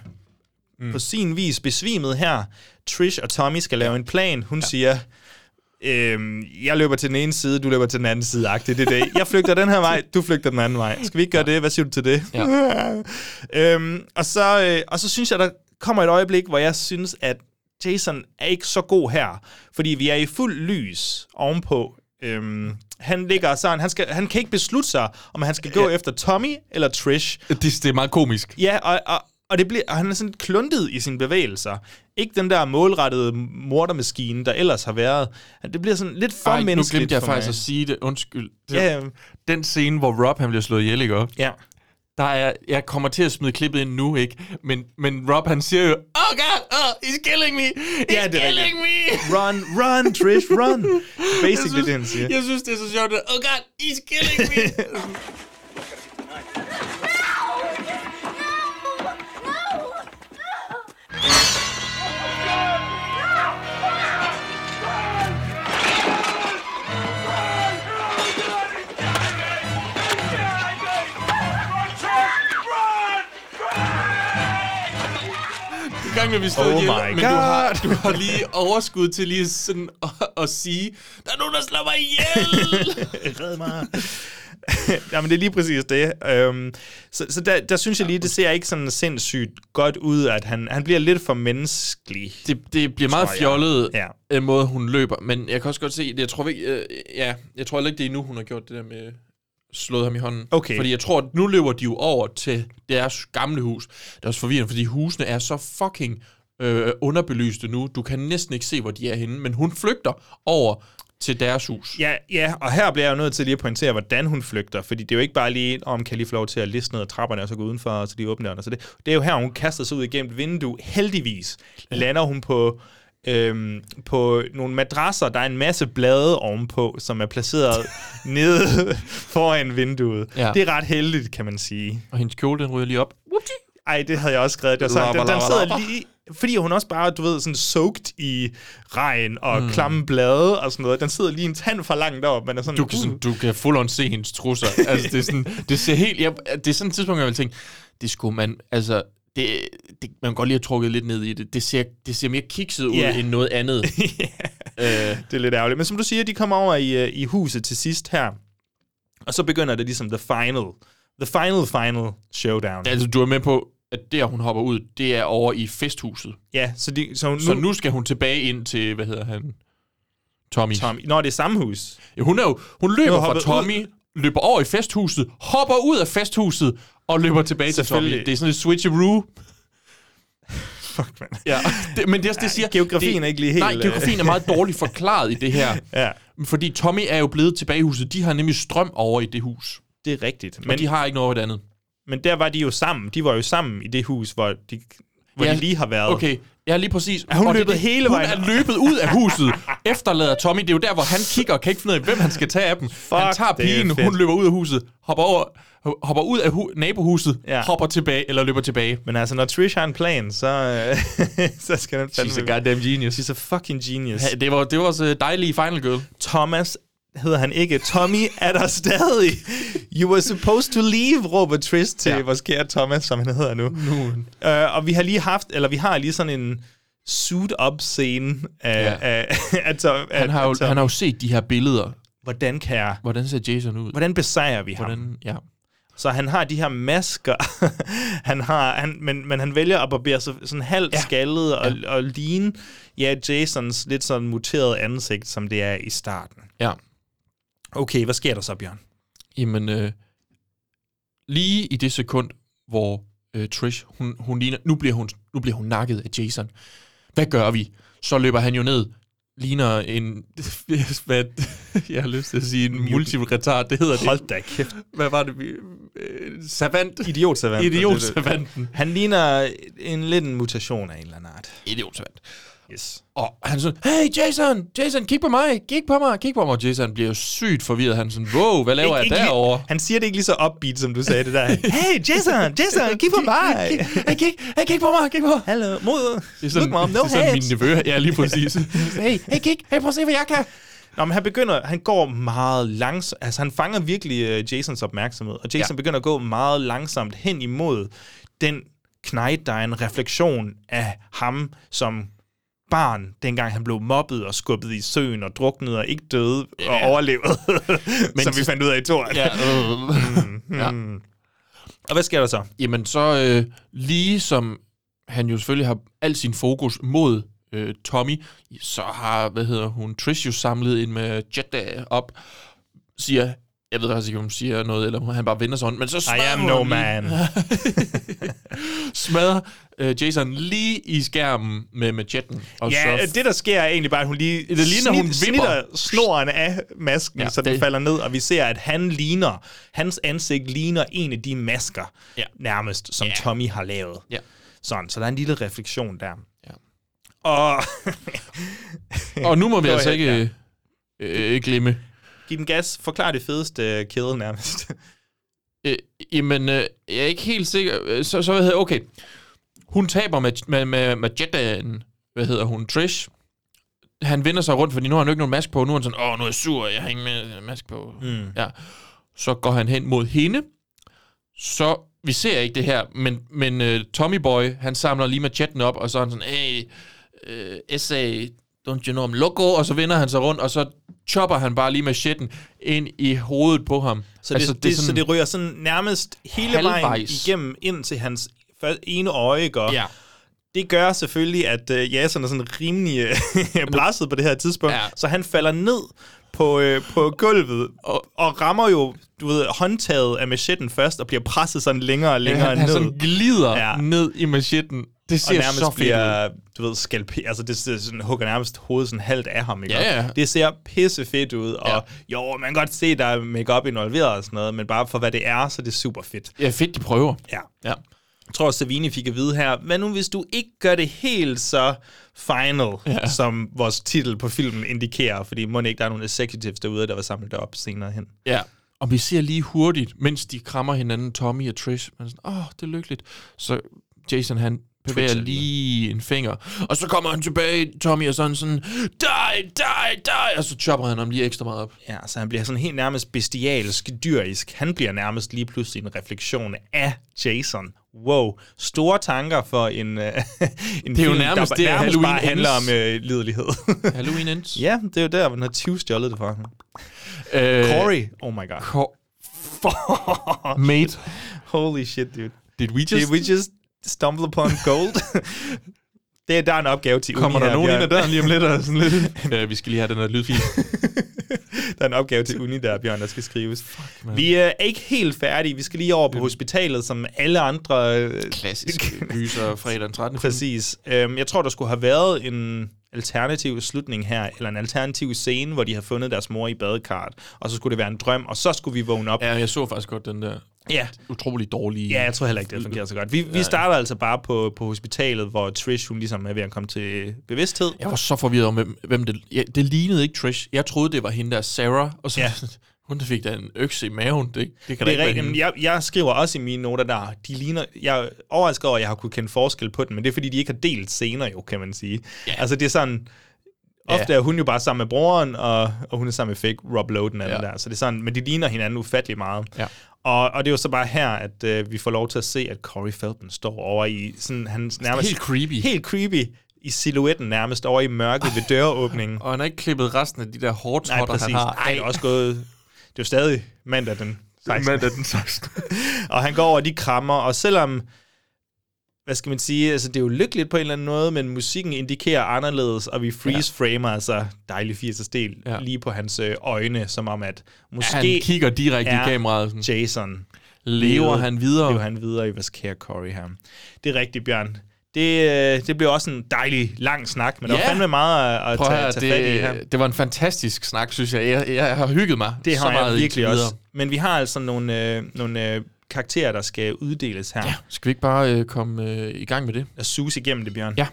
B: mm. på sin vis besvimet her. Trish og Tommy skal lave en plan. Hun ja. siger, øhm, jeg løber til den ene side, du løber til den anden side. agtigt. Det er det. Jeg flygter den her vej, du flygter den anden vej. Skal vi ikke gøre det? Hvad siger du til det? Ja. [LAUGHS] øhm, og, så, øh, og så synes jeg, der kommer et øjeblik, hvor jeg synes, at Jason er ikke så god her. Fordi vi er i fuld lys ovenpå. Øhm, han ligger sådan, han, skal, han kan ikke beslutte sig, om han skal gå ja. efter Tommy eller Trish.
C: Det, det er meget komisk.
B: Ja, og, og, og, det bliver, og han er sådan kluntet i sine bevægelser. Ikke den der målrettede mordermaskine, der ellers har været. Det bliver sådan lidt for
C: Ej, nu
B: menneskeligt
C: glemte jeg
B: for
C: faktisk
B: mig.
C: at sige det. Undskyld. Det,
B: Ja, ja.
C: Den scene, hvor Rob han bliver slået ihjel, ikke?
B: ja.
C: Der er, jeg kommer til at smide klippet ind nu, ikke? Men, men Rob, han siger jo, Oh God, oh, he's killing me! He's
B: Ja, det er
C: killing me!
B: Run, run, Trish, run.
C: Jeg
B: Basically
C: synes,
B: det, han siger.
C: jeg synes, det er så sjovt. at, Oh God, he's
B: [LAUGHS]
C: killing me!
F: No! No! No!
C: i gang med, at vi stod
B: Oh
C: hjemme,
B: my
C: men du har, du har lige overskud til lige sådan at, at sige, der er nogen, der slår mig ihjel!
B: [LAUGHS] Red mig. [LAUGHS] Jamen, det er lige præcis det. Øhm, så så der, der synes jeg lige, det ser ikke sådan sindssygt godt ud, at han, han bliver lidt for menneskelig.
C: det, det bliver meget
B: jeg.
C: fjollet
B: Ja.
C: ja. måde, hun løber. Men jeg kan også godt se, det, jeg tror, ikke, øh, ja, jeg tror heller ikke, det er endnu, hun har gjort det der med slået ham i hånden.
B: Okay.
C: Fordi jeg tror, at nu løber de jo over til deres gamle hus. Det er også forvirrende, fordi husene er så fucking øh, underbelyste nu. Du kan næsten ikke se, hvor de er henne. Men hun flygter over til deres hus.
B: Ja, ja, og her bliver jeg jo nødt til lige at pointere, hvordan hun flygter, fordi det er jo ikke bare lige, om kan jeg lige få lov til at liste ned ad trapperne, og så gå udenfor, og så lige åbne døren. og Så det, det er jo her, hun kaster sig ud igennem et vindue. Heldigvis lander hun på, øhm, på nogle madrasser, der er en masse blade ovenpå, som er placeret nede foran vinduet.
C: Ja.
B: Ja. Det er ret heldigt, kan man sige.
C: Og hendes kjole, den ryger lige op.
B: Ej, det havde jeg også skrevet. Det var sådan,
C: Lapper,
B: den, den
C: lapper,
B: sidder
C: lapper.
B: lige... Fordi hun også bare, du ved, sådan soaked i regn og mm. klamme blade og sådan noget. Den sidder lige en tand for langt op. Man er sådan,
C: Du kan, sådan, du kan full on se hendes trusser. altså, det, er sådan, det ser helt... Jeg, det er sådan et tidspunkt, hvor jeg vil tænke, det skulle man... Altså, det, det, man kan godt lige have trukket lidt ned i det. Det ser, det ser mere kikset ud
B: Ja.
C: end noget
B: [LAUGHS]
C: andet. øh,
B: Det er lidt ærgerligt. Men som du siger, de kommer over i, øh, i huset til sidst her. Og så begynder det ligesom the final. The final, final showdown.
C: altså, du er med på, at der, hun hopper ud, det er over i festhuset.
B: ja, så, de, så, nu,
C: Så nu skal hun tilbage ind til, hvad hedder han? Tommy.
B: Tom, når det er samme hus.
C: Ja, hun, er jo, hun løber
B: Nu
C: fra
B: hopper
C: Tommy, ud. løber over i festhuset, hopper ud af festhuset og løber tilbage til Tommy.
B: Selvfølgelig.
C: Det er sådan et switcheroo.
B: Fuck, man.
C: Ja, [LAUGHS] det, men det, er også det jeg siger...
B: geografien
C: det,
B: er ikke lige helt,
C: Nej,
B: øh.
C: geografien er meget dårligt forklaret i det her.
B: [LAUGHS] Ja.
C: Fordi Tommy er jo blevet tilbage i huset. De har nemlig strøm over i det hus.
B: Det er rigtigt.
C: Men
B: Men,
C: de har ikke noget over det andet.
B: men der var de jo sammen. De var jo sammen i det hus, hvor de, hvor
C: Ja,
B: de lige har været.
C: Okay, ja, lige præcis.
B: hun
C: Og det er
B: løbet
C: det.
B: hele vejen?
C: Hun er løbet ud af huset, [LAUGHS] efterlader Tommy. Det er jo der, hvor han kigger og kan ikke finde ud af, hvem han skal tage af dem. Fuck, han tager
B: det er
C: pigen, hun
B: fedt.
C: løber ud af huset, hopper, over, hopper ud af hu- nabohuset, ja.
B: Ja.
C: hopper tilbage, eller løber tilbage.
B: Men altså, når Trish har en plan, så, øh, [LAUGHS] så skal den fandme...
C: genius.
B: She's a fucking genius.
C: Ja, det var, det var også øh, dejlige Final Girl.
B: Thomas hedder han ikke. Tommy er der stadig. You were supposed to leave, råber Trist til
C: Ja.
B: ja. vores kære Thomas, som han hedder nu. nu. Uh, og vi har lige haft, eller vi har lige sådan en suit-up scene af,
C: Ja.
B: ja. af, af Tom.
C: Han har, jo,
B: af Tom.
C: han har jo set de her billeder.
B: Hvordan kan jeg...
C: Hvordan ser Jason ud?
B: Hvordan besejrer vi ham? Hvordan?
C: Hvordan ja.
B: Så han har de her masker, [LAUGHS] han har, han, men, men han vælger at barbere sig sådan halvt ja. skaldet og, ja. og ligne ja, Jasons lidt sådan muterede ansigt, som det er i starten.
C: ja.
B: Okay, hvad sker der så, Bjørn?
C: Jamen, øh, lige i det sekund, hvor øh, Trish, hun, hun ligner, nu bliver hun, nu bliver hun nakket af Jason. Hvad gør vi? Så løber han jo ned, ligner en, [LAUGHS] hvad, jeg har lyst til at sige, en multiretard, det hedder det.
B: Hold da kæft.
C: Hvad var det? vi- Øh, savant?
B: Idiotsavant.
C: Idiotsavanten.
B: Han ligner en lidt en mutation af en eller anden art.
C: Idiot-savant.
B: Yes.
C: Og han sådan, hey Jason, Jason, kig på mig, kig på mig, kig på mig. Og Jason bliver jo sygt forvirret. Han sådan, wow, hvad laver jeg derovre?
B: han siger det ikke lige så upbeat, som du sagde det der. Hey, Jason, Jason, kig på
C: [LAUGHS]
B: mig.
C: Hey, kig, hey, kig på mig, kig på mig.
B: Hallo, mod.
C: Det er sådan,
B: Look, mom, no
C: det er sådan min
B: hands.
C: nevø. Ja, lige
B: [LAUGHS]
C: præcis. hey, hey, kig. Hey, prøv at se, hvad jeg kan.
B: Nå, men han begynder, han går meget langsomt, altså han fanger virkelig øh, Jasons opmærksomhed, og Jason
C: Ja.
B: ja. begynder at gå meget langsomt hen imod den knejt, der er en refleksion af ham som barn, dengang han blev mobbet og skubbet i søen og druknede og ikke døde og overlevede,
C: [LAUGHS] Men
B: men som
C: så-
B: vi fandt ud af i toren. [LAUGHS] Mm-hmm.
C: Ja, øh. ja.
B: Og hvad sker der så?
C: Jamen, så øh, lige som han jo selvfølgelig har al sin fokus mod øh, Tommy, så har, hvad hedder hun, Trish jo samlet en med Jetta op, siger, jeg ved også ikke, om hun siger noget, eller om han bare vender sig rundt, men så
B: I
C: smadrer
B: am
C: hun
B: no
C: lige-
B: man.
C: smadrer øh, Jason lige i skærmen med, med jetten. Og
B: Ja, øh,
C: så
B: det der sker er egentlig bare, at hun lige
C: Det ligner, hun
B: snitter
C: vipper.
B: snoren af masken,
C: Ja,
B: ja, så den
C: det-
B: det. falder ned, og vi ser, at han ligner, hans ansigt ligner en af de masker,
C: Ja.
B: ja. nærmest, som
C: Ja.
B: ja. Tommy har lavet.
C: Ja.
B: Sådan, så der er en lille refleksion der.
C: Ja.
B: Og [LAUGHS]
C: Og nu må vi
B: Nå,
C: altså
B: ja,
C: ikke øh, øh, glemme.
B: giv den gas, forklar det fedeste øh, kæde nærmest.
C: Øh, jamen, øh, jeg er ikke helt sikker. Øh, Så, så hvad hedder okay. Hun taber med, med, med, med Jettaen, hvad hedder hun, Trish. Han vender sig rundt, fordi nu har han jo ikke nogen mask på. Nu er han sådan, åh, nu er jeg sur, jeg har øh, ingen ma- mask på. Mm. Ja. Så går han hen mod hende. Så vi ser ikke det her, men, men uh, Tommy Boy, han samler lige machetten op, og så er han sådan, hey, uh, SA, don't you know I'm loco? Og så vender han sig rundt, og så chopper han bare lige machetten ind i hovedet på ham.
B: Så det, altså, det, det, sådan, så det ryger sådan nærmest hele vejen
C: Halvvejs.
B: igennem ind til hans fø- ene øje, gør.
C: Ja.
B: Det gør selvfølgelig, at øh, Jason er sådan rimelig øh, [LAUGHS] blasset på det her tidspunkt,
C: Ja.
B: ja. så han falder ned på, øh, på gulvet og, og rammer jo du ved, håndtaget af machetten først og bliver presset sådan længere og længere
C: han, han
B: ned.
C: sådan glider
B: Ja.
C: ned i machetten. Det
B: og
C: ser
B: nærmest
C: så fedt ud.
B: bliver, du ved, skalpe, altså det ser sådan, hugger nærmest hovedet sådan halvt af ham, ikke?
C: Ja, ja.
B: Det ser pisse fedt ud, og jo, man kan godt se, der er makeup involveret og sådan noget, men bare for hvad det er, så er det super fedt.
C: Ja, fedt, de prøver.
B: Ja.
C: Ja.
B: Jeg tror, Savini fik at vide her, hvad nu hvis du ikke gør det helt så final, ja. som vores titel på filmen indikerer, fordi må ikke, der er nogle executives derude, der var samlet op senere hen.
C: Ja. Og vi ser lige hurtigt, mens de krammer hinanden, Tommy og Trish, man er sådan, åh, oh, det er lykkeligt. Så Jason, han bevæger
B: Twitcher
C: lige en finger, og så kommer han tilbage, Tommy, og sådan sådan, die, die, die, og så chopper han ham lige ekstra meget op.
B: Ja, så han bliver sådan helt nærmest bestialsk, dyrisk. Han bliver nærmest lige pludselig en refleksion af Jason. Wow, store tanker for en, øh, [LAUGHS] en det
C: jo nærmest
B: der
C: det, at
B: nærmest
C: Halloween
B: bare handler om
C: ends.
B: øh, lidelighed. [LAUGHS]
C: Halloween ends.
B: ja, det er jo der, hvor den har 20 stjålet det fra.
C: Øh,
B: Corey, oh my [LAUGHS] god.
C: Cor- Mate.
B: Holy shit, dude.
C: Did we just...
B: Did we just stumble upon gold? [LAUGHS] det er, der er en opgave til
C: Kommer
B: uni
C: der
B: her,
C: nogen ind
B: Bjørn.
C: ad døren lige om lidt? Og sådan [LAUGHS] lidt? ja, Øh, vi skal lige have den her lydfil.
B: [LAUGHS] Der er en opgave til uni der, Bjørn, der skal skrives. Fuck, vi øh, er ikke helt færdige. Vi skal lige over på
C: Øhm.
B: hospitalet, som alle andre... Øh,
C: Klassisk gyser fredag den 13.
B: Præcis. Øhm, jeg tror, der skulle have været en alternativ slutning her, eller en alternativ scene, hvor de har fundet deres mor i badekart, og så skulle det være en drøm, og så skulle vi vågne op.
C: Ja, jeg så faktisk godt den der
B: Ja,
C: utrolig dårlige...
B: ja jeg tror heller ikke, det fungerer så godt. Vi, vi starter altså bare på, på hospitalet, hvor Trish, hun ligesom er ved at komme til bevidsthed.
C: Jeg var så forvirret om, hvem, hvem det... Ja, det lignede ikke Trish. Jeg troede, det var hende der, Sarah. Og så, ja.
B: Ja.
C: [LAUGHS] hun der fik da en økse i maven. Det, det kan da
B: Det
C: ikke
B: er
C: være
B: rigtigt.
C: hende.
B: men Jeg, jeg skriver også i mine noter der, de ligner, jeg er overrasket over, at jeg har kunne kende forskel på dem, men det er fordi, de ikke har delt scener jo, kan man sige.
C: Ja.
B: Yeah. Altså det er sådan, ofte
C: Ja.
B: er hun jo bare sammen med broren, og, og hun er sammen med fake Rob Lowe, den anden
C: Ja.
B: der. Så det er sådan, men de ligner hinanden ufattelig meget.
C: Ja.
B: Og, og det er jo så bare her, at øh, vi får lov til at se, at Corey Feldman står over i sådan, han nærmest...
C: Helt creepy.
B: Helt creepy i silhuetten nærmest over i mørket
C: [LAUGHS]
B: ved døråbningen.
C: Og han har ikke klippet resten af de der
B: Nej,
C: hårdtrotter,
B: præcis.
C: han har.
B: Nej, det er også gået... Det er jo stadig mandag den 16.
C: [LAUGHS] Mandag den 16.
B: [LAUGHS] og han går over, og de krammer, og selvom, hvad skal man sige, altså det er jo lykkeligt på en eller anden måde, men musikken indikerer anderledes, og vi freeze-framer altså dejlig 80'ers del
C: Ja.
B: ja. lige på hans øh, øjne, som om at måske
C: han kigger direkte i
B: er
C: kameraet. Sådan.
B: Jason
C: Lever han videre?
B: lever han videre i, hvad sker Corey her? Det er rigtigt, Bjørn. Det, øh, det blev også en dejlig lang snak, men der
C: Ja.
B: var fandme meget at, at
C: Prøv at høre,
B: tage, tage fat i her.
C: det, det var en fantastisk snak, synes jeg. Jeg, jeg har hygget mig
B: Det
C: så
B: har
C: meget
B: jeg
C: indtil
B: virkelig
C: videre.
B: også. Men vi har altså nogle, øh, nogle øh, karakterer, der skal uddeles her. Ja.
C: Skal vi ikke bare øh, komme øh, i gang med det?
B: At suse igennem det, Bjørn.
C: Ja.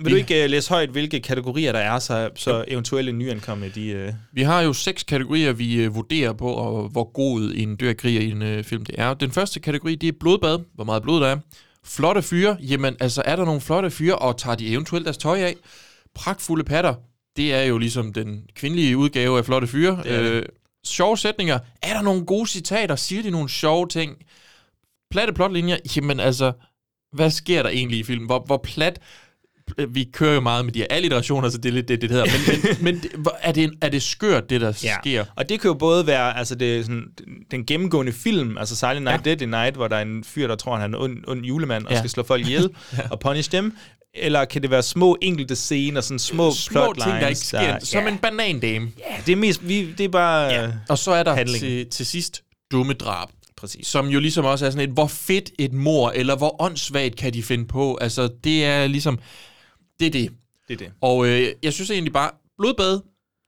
B: Vil du ikke øh, læse højt, hvilke kategorier der er, så, så eventuelle nyankomne, de... Øh...
C: Vi har jo seks kategorier, vi øh, vurderer på, og hvor god en dyrkrig i en øh, film det er. Den første kategori, det er blodbad. Hvor meget blod der er. Flotte fyre. Jamen, altså, er der nogle flotte fyre, og tager de eventuelt deres tøj af? Pragtfulde patter. Det er jo ligesom den kvindelige udgave af flotte fyre.
B: er det.
C: Øh, sjove sætninger. Er der nogle gode citater? Siger de nogle sjove ting? Platte plotlinjer. Jamen, altså, hvad sker der egentlig i filmen? Hvor, hvor plat øh, vi kører jo meget med de her alliterationer, så det er lidt det, det hedder. Men, men, men det- hvor- er, det en, er det skørt, det der ja. sker?
B: Og det kan jo både være altså det, er sådan, den gennemgående film, altså Silent Night, ja. Deadly Night, hvor der er en fyr, der tror, han er en ond, ond julemand og
C: Ja.
B: skal slå folk ihjel
C: [LAUGHS]
B: ja. og punish dem. Eller kan det være små enkelte scener, sådan små,
C: Små
B: plotlines?
C: ting, der ikke sker.
B: der-
C: Som
B: ja.
C: en banandame.
B: ja, det er mest... Vi, det er bare... Ja.
C: Og så er der
B: Handling.
C: til, til sidst dumme drab.
B: Præcis.
C: Som jo ligesom også er sådan et, hvor fedt et mor, eller hvor åndssvagt kan de finde på. Altså, det er ligesom, det er det.
B: Det er det.
C: Og øh, jeg synes egentlig bare, blodbad,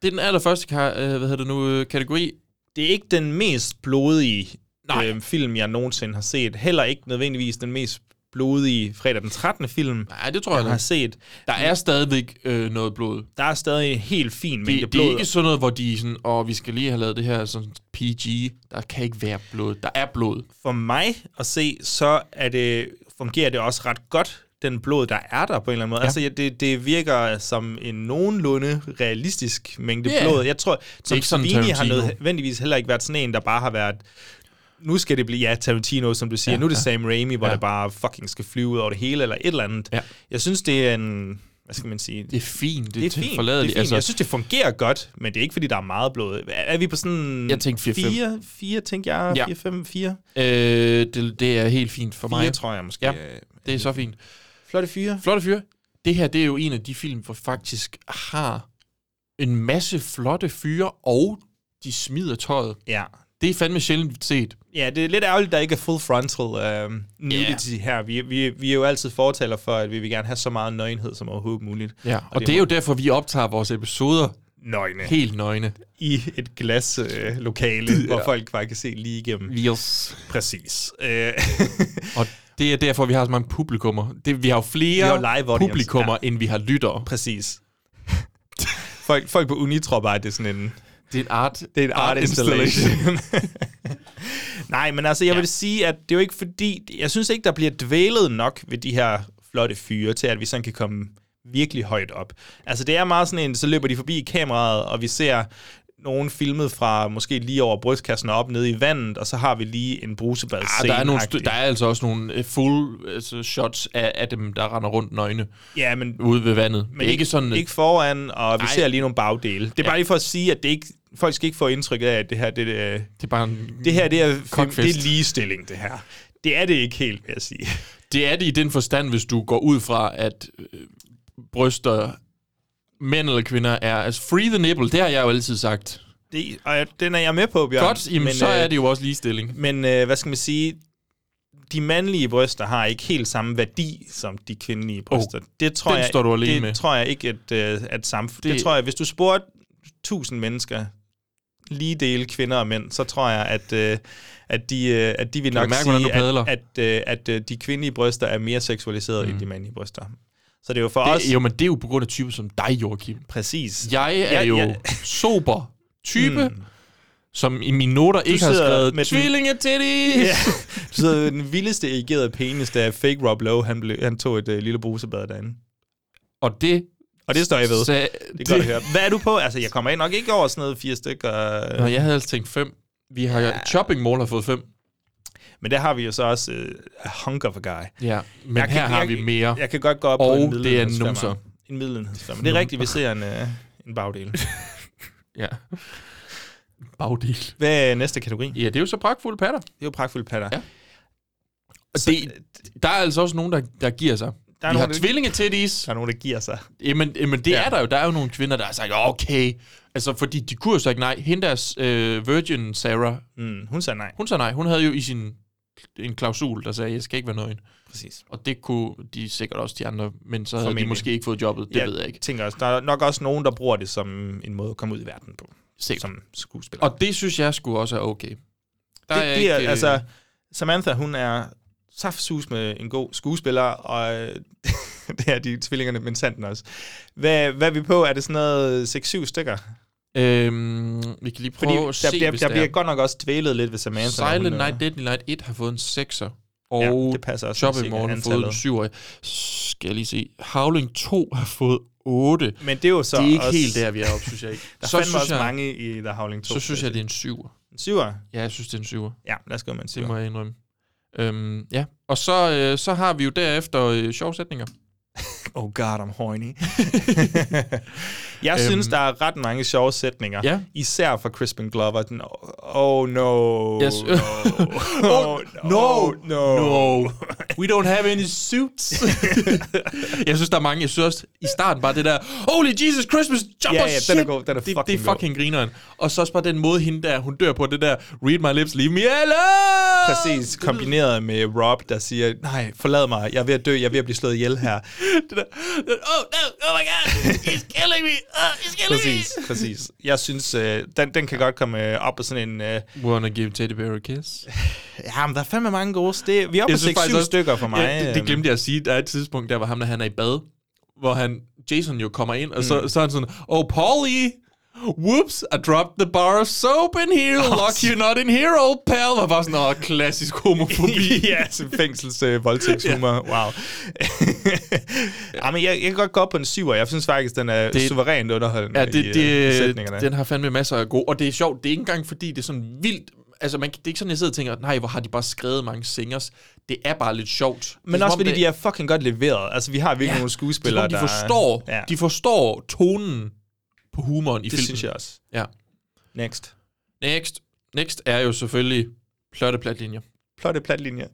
C: det er den allerførste ka- øh, hvad hedder det nu, øh, kategori.
B: det er ikke den mest blodige
C: Nej.
B: øh, film, jeg nogensinde har set. Heller ikke nødvendigvis den mest blodige fredag den 13. film,
C: Nej, det tror jeg,
B: jeg har
C: jeg
B: set.
C: Der er stadigvæk øh, noget blod.
B: Der er stadig en helt fin mængde
C: det, det er
B: blod.
C: ikke sådan noget, hvor de er sådan, og vi skal lige have lavet det her sådan PG. Der kan ikke være blod. Der er blod.
B: For mig at se, så er det, fungerer det også ret godt, den blod, der er der på en eller anden måde. Ja. Altså, ja, det, det virker som en nogenlunde realistisk mængde
C: Ja.
B: blod. Jeg tror, som
C: ikke sådan
B: Savini har
C: Tarantino.
B: nødvendigvis heller ikke været sådan en, der bare har været nu skal det blive, ja, Tarantino, som du siger, ja, nu er det ja. Sam Raimi, hvor ja. det bare fucking skal flyve ud over det hele, eller et eller andet.
C: Ja.
B: Jeg synes, det er en, hvad skal man sige,
C: Det er fint, det,
B: det er fint. Det er
C: forladeligt.
B: fint. Altså, jeg synes, det fungerer godt, men det er ikke, fordi der er meget blod. Er, er vi på sådan...
C: Jeg tænkte 4-5.
B: 4, 4, tænkte jeg.
C: Ja.
B: 4, 5, 4.
C: øh, det, det er helt fint for
B: 4,
C: mig.
B: tror jeg måske.
C: Ja,
B: er-
C: det er så fint.
B: Flotte 4.
C: Flotte fyre. Det her, det er jo en af de film, hvor faktisk har en masse flotte fyre, og de smider tøjet.
B: Ja.
C: Det er fandme sjældent set.
B: Ja, det er lidt ærgerligt, der ikke er full frontal øh, nudity yeah. her. Vi, vi, vi er jo altid fortaler for, at vi vil gerne have så meget nøgenhed som overhovedet muligt.
C: Ja, og, og det, er jo derfor, vi optager vores episoder
B: nøgne
C: helt nøgne.
B: i et glas øh, lokale, ja. hvor folk bare kan se lige igennem.
C: Yes.
B: Præcis. Øh, [LAUGHS]
C: Og det er derfor, vi har så mange publikummer. Det, vi har jo flere
B: Vi har jo live audience,
C: publikummer,
B: ja.
C: end vi har lyttere.
B: præcis. Folk, folk på uni tror bare, at det er sådan en...
C: Det er en art,
B: Det er en art, installation. [LAUGHS] Nej, men altså, jeg ja. vil sige, at det er jo ikke fordi... Jeg synes ikke, der bliver dvælet nok ved de her flotte fyre, til at vi sådan kan komme virkelig højt op. Altså, det er meget sådan en, så løber de forbi kameraet, og vi ser nogen filmet fra måske lige over brystkassen og op nede i vandet, og så har vi lige en brusebad
C: Ja, Ah, der, er nogle st- der er altså også nogle øh, full altså, shots af, af dem, der render rundt nøgne
B: Ja, men
C: ude ved vandet. Men det er ikke sådan...
B: Ikke foran, og vi Ej.
C: Nej.
B: ser lige nogle bagdele. Det er ja. bare lige for at sige, at det ikke, folk skal ikke få indtrykket af, at det her, det, øh,
C: det er bare en,
B: det her det er, film,
C: Mm. Cockfest.
B: det er ligestilling, det her. Det er det ikke helt, vil jeg sige.
C: Det er det i den forstand, hvis du går ud fra, at øh, bryster, mænd eller kvinder, er... Altså, free the nipple, det har jeg jo altid sagt.
B: Det, og jeg- den er jeg med på, Bjørn.
C: Ja, Godt, jamen, men, så
B: øh,
C: er det jo også ligestilling.
B: Men øh, hvad skal man sige? De mandlige bryster har ikke helt samme værdi som de kvindelige bryster. Oh, det tror
C: den
B: jeg,
C: står du alene
B: det
C: med.
B: tror jeg ikke, at, øh, at samf- det,
C: Det-
B: det tror jeg, hvis du spurgte 1000 mennesker, lige dele kvinder og mænd, så tror jeg, at, øh, at, de, øh, at de vil nok
C: mærke, hvordan du
B: sige,
C: padler?
B: at, at, øh, at øh, de kvindelige bryster er mere seksualiseret mm. end de mandlige bryster. Så det er jo for os...
C: Det, jo, men det er jo på grund af typer som dig, Joachim.
B: Præcis.
C: Jeg er
B: Ja,
C: jo
B: ja.
C: sober type, mm. som i mine noter ikke har
B: sidder
C: skrevet
B: med den-
C: tvillingetitties.
B: [LAUGHS] Ja. Så den vildeste erigerede penis, der fake Rob Lowe, han, blev, han tog et øh, lille brusebad derinde.
C: Og det...
B: Og det står jeg ved.
C: Sag,
B: Det er godt at høre. Hvad er du på? Altså, jeg kommer nok ikke over sådan noget fire stykker.
C: Nå,
B: Øh,
C: jeg havde altså tænkt fem. Vi har ja. Shopping Mall har fået fem.
B: men der har vi jo så også øh, Hunger for Guy.
C: Ja. Men
B: Jeg
C: her
B: kan-
C: har
B: jeg-
C: vi mere.
B: Jeg kan godt gå op
C: Og
B: på en
C: det er
B: middelenhedsfemmer.
C: numser.
B: En middelenhedsfemmer. Det er rigtigt, vi ser en, øh, en bagdel.
C: Ja. Bagdel.
B: Hvad er næste kategori? Det
C: Ja, det er jo så pragtfulde patter.
B: er jo pragtfulde patter.
C: Ja.
B: Ja.
C: Så, det, der er altså også nogen, der, der giver sig. Der
B: er
C: vi
B: nogen,
C: har
B: der-
C: tvillinge titties.
B: Der er nogen, der giver sig.
C: Jamen, jamen det ja.
B: Ja.
C: er der jo. Der er jo nogle kvinder, der har sagt, okay. Altså, fordi de kunne jo sagt nej. Hende deres øh, virgin Sarah,
B: Mm, hun sagde nej.
C: hun sagde nej. Hun havde jo i sin en klausul, der sagde, jeg skal ikke være nøgen.
B: Præcis.
C: Og det kunne de sikkert også de andre, men så havde Formentlig. de
B: Formentlig.
C: måske ikke fået jobbet. Det ja. ved jeg ikke.
B: tænker også, der er nok også nogen, der bruger det som en måde at komme ud i verden på.
C: Sikkert.
B: Som skuespiller.
C: Og det synes jeg skulle også er okay. Der
B: det, det er,
C: øh,
B: altså, Samantha, hun er saftsus med en god skuespiller, og øh, [LAUGHS] det er de tvillingerne, men sanden også. Hvad, hvad er vi på? Er det sådan noget 6-7 stykker?
C: Øhm, vi kan lige
B: Fordi
C: prøve
B: oh,
C: at
B: der,
C: se,
B: bliver,
C: hvis
B: der
C: det
B: bliver
C: er.
B: godt nok også dvælet lidt ved Samantha. når hun,
C: Silent
B: øh,
C: Night, Deadly Night 1 har fået en 6'er.
B: Ja,
C: Og
B: det passer også
C: Shopping
B: med
C: Mall har fået en
B: antallet.
C: 7'er. Skal jeg lige se. Howling 2 har fået 8. Det
B: Men det er jo så
C: er ikke
B: også,
C: helt der, vi er oppe, synes jeg ikke.
B: [LAUGHS] Der
C: så,
B: så fandme
C: synes
B: også
C: jeg,
B: jeg, mange i The Howling 2.
C: så synes jeg, det er en 7'er.
B: En syver?
C: Ja, jeg synes, det er en 7'er.
B: Ja, lad os gå med en
C: Det
B: syver.
C: må jeg indrømme. Øhm, ja, og så, øh, så har vi jo derefter øh, sjove sætninger.
B: Oh god, I'm horny. [LAUGHS] Øhm. jeg synes, der er ret mange sjove sætninger.
C: Ja.
B: Især fra Crispin Glover. Den, oh no.
C: Yes.
B: no. [LAUGHS] oh no. no.
C: no. [LAUGHS] We don't have any
B: [LAUGHS]
C: suits. jeg synes, der er mange. Jeg synes også, i starten bare det der, holy Jesus Christmas, jump
B: Ja,
C: or
B: ja, den
C: shit.
B: er god. Den er
C: det, det
B: fucking
C: er
B: god.
C: fucking grineren. Og så også bare den måde, hende der, hun dør på det der, read my lips, leave me alone.
B: Præcis, kombineret med Rob, der siger, nej, forlad mig, jeg er ved at dø, jeg er ved at blive slået ihjel [LAUGHS] her.
C: Det der, oh, no, oh my god, he's killing me,
B: Uh,
C: oh, he's killing
B: Præcis, præcis. Jeg synes, øh, den, den kan godt komme øh, op på sådan en... Øh,
C: me. Wanna give teddy bear a
B: [LAUGHS]
C: kiss?
B: ja, men der er fandme mange gode steder. Vi er oppe på 6-7 stykker for mig.
C: Ja, det, det
B: øh,
C: glemte jeg at sige. Der er et tidspunkt, der var ham, der han er i bad, hvor han, Jason jo kommer ind, og
B: Mm.
C: så, så er han sådan, Oh, Polly! Whoops, I dropped the bar of soap in here. Lock you not in here, old pal. Var bare sådan, åh, klassisk homofobi.
B: [LAUGHS]
C: [LAUGHS]
B: ja, som fængsels øh, voldtægtshumor. [LAUGHS] Wow. ja, men jeg, jeg kan godt gå op på en syver. Jeg synes faktisk, den er
C: Det-
B: det, suverænt underholdende
C: Ja,
B: i,
C: det,
B: øh, i
C: det,
B: sætningerne.
C: den har fandme masser af gode. Og det er sjovt, det er ikke engang fordi, det er sådan vildt altså man, kan- det er ikke sådan, jeg sidder og tænker, nej, hvor har de bare skrevet mange singers. Det er bare lidt sjovt.
B: Men også fordi de er fucking godt leveret. Altså, vi har virkelig ja, nogle
C: spillere,
B: skuespillere,
C: de
B: der...
C: forstår,
B: Ja,
C: de forstår tonen på humoren i
B: det
C: filmen.
B: synes jeg også.
C: Ja.
B: Next.
C: Next. Next er jo selvfølgelig plotte platlinjer.
B: Plotte
C: [LAUGHS]
B: platlinjer.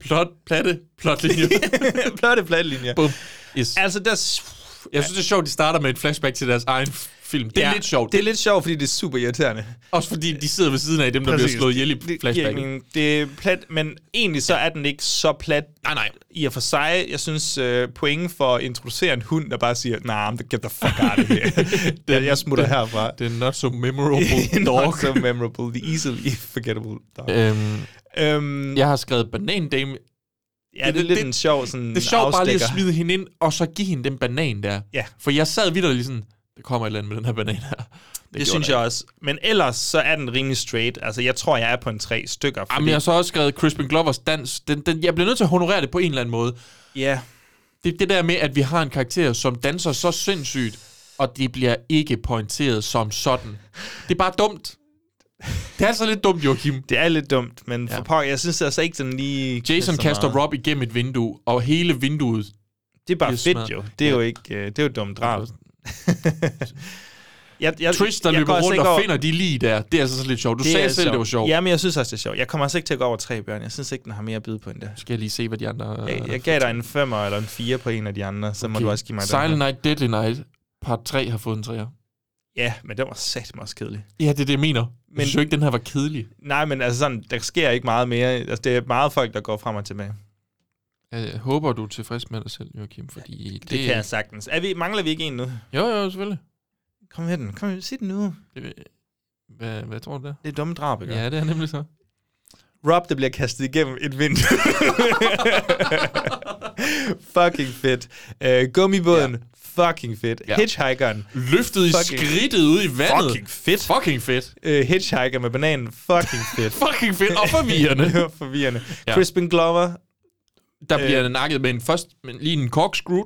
C: Plot, platte, plotlinjer.
B: [LAUGHS] Plotte platlinjer.
C: Bum. Yes.
B: Altså, der... s-
C: Jeg synes, det er sjovt, de starter med et flashback til deres egen film. Det er ja, lidt sjovt.
B: Det er lidt sjovt, fordi det er super irriterende.
C: Også fordi de sidder ved siden af dem, der Præcis. bliver slået ihjel
B: Det-
C: i
B: det-
C: flashbacken.
B: jamen, Det er plat, men egentlig så er den ikke så plat
C: Nej, nej.
B: i og for sig. Jeg synes, øh, pointen for at introducere en hund, der bare siger, nah, men get the fuck out of
C: [LAUGHS]
B: here. den, jeg smutter
C: den- [LAUGHS]
B: herfra.
C: Det er not so memorable
B: [LAUGHS]
C: dog.
B: Not so memorable. The easily forgettable dog.
C: Øhm,
B: Øhm,
C: jeg har skrevet banandame.
B: ja, det, er lidt en sjov sådan
C: Det er sjovt bare lige at
B: afstikker.
C: smide hende ind, og så give hende den banan der.
B: Ja.
C: For jeg sad videre lige sådan, der kommer et eller andet med den her banan her.
B: Det, det synes jeg også. Men ellers så er den rimelig straight. Altså, jeg tror, jeg er på en tre stykker. Fordi,
C: Jamen, jeg har så også skrevet Crispin Glovers dans. Den, den, jeg bliver nødt til at honorere det på en eller anden måde.
B: ja.
C: Det er det der med, at vi har en karakter, som danser så sindssygt, og det bliver ikke pointeret som sådan. Det er bare dumt. Det er altså lidt dumt, Joachim.
B: Det er lidt dumt, men ja. for pokker, jeg synes altså ikke, den lige...
C: Jason
B: knipser
C: kaster
B: meget.
C: Rob igennem et vindue, og hele vinduet...
B: Det er bare
C: bliver
B: fedt
C: smadret.
B: jo. Det er jo ikke... Øh, det er jo dumt drab. jeg, jeg,
C: Trish, der
B: jeg går
C: løber
B: altså
C: rundt
B: ikke
C: og
B: over-
C: finder de lige der. Det er altså sådan lidt sjovt. Du det sagde
B: er
C: selv, sjovt. det var sjovt.
B: Jamen, jeg synes også, det er sjovt. Jeg kommer altså ikke til at gå over tre børn. Jeg synes ikke, den har mere at byde på end det.
C: Så skal jeg lige se, hvad de andre...
B: Jeg, jeg gav dig en femmer eller en fire på en af de andre, så okay. må du også give mig den.
C: Silent
B: her.
C: Night, Deadly Night, part 3 har fået en 3'er.
B: Ja, men den var sat også kedelig.
C: Ja, det er det, jeg mener. Men, jeg
B: Men-
C: synes jo ikke, den her var kedelig.
B: Nej, men altså sådan, der sker ikke meget mere. Altså, det er meget folk, der går frem og tilbage.
C: Jeg Øh, håber, du er tilfreds med dig selv, Joachim, fordi...
B: Det, det kan jeg sagtens. Er vi, mangler vi ikke en nu?
C: Jo, jo, selvfølgelig.
B: Kom med den. Kom med, sig den nu.
C: Det- Hvad, hvad tror du der?
B: Det er dumme drab, ikke?
C: Ja, det er nemlig så.
B: Rob, der bliver kastet igennem et vindue.
C: [LAUGHS]
B: fucking fedt. Uh, gummibåden, ja. fucking fedt.
C: Ja.
B: Ja. Hitchhikeren,
C: Løftet i
B: Fucking-
C: skridtet ud i vandet.
B: fucking fedt.
C: Fucking fedt.
B: Uh, hitchhiker med bananen, fucking
C: [LAUGHS]
B: fedt.
C: Fucking fedt og forvirrende.
B: Det var forvirrende.
C: [LAUGHS] Ja.
B: Ja. Crispin Glover,
C: Der bliver nakket med en først, men lige en corkscrew.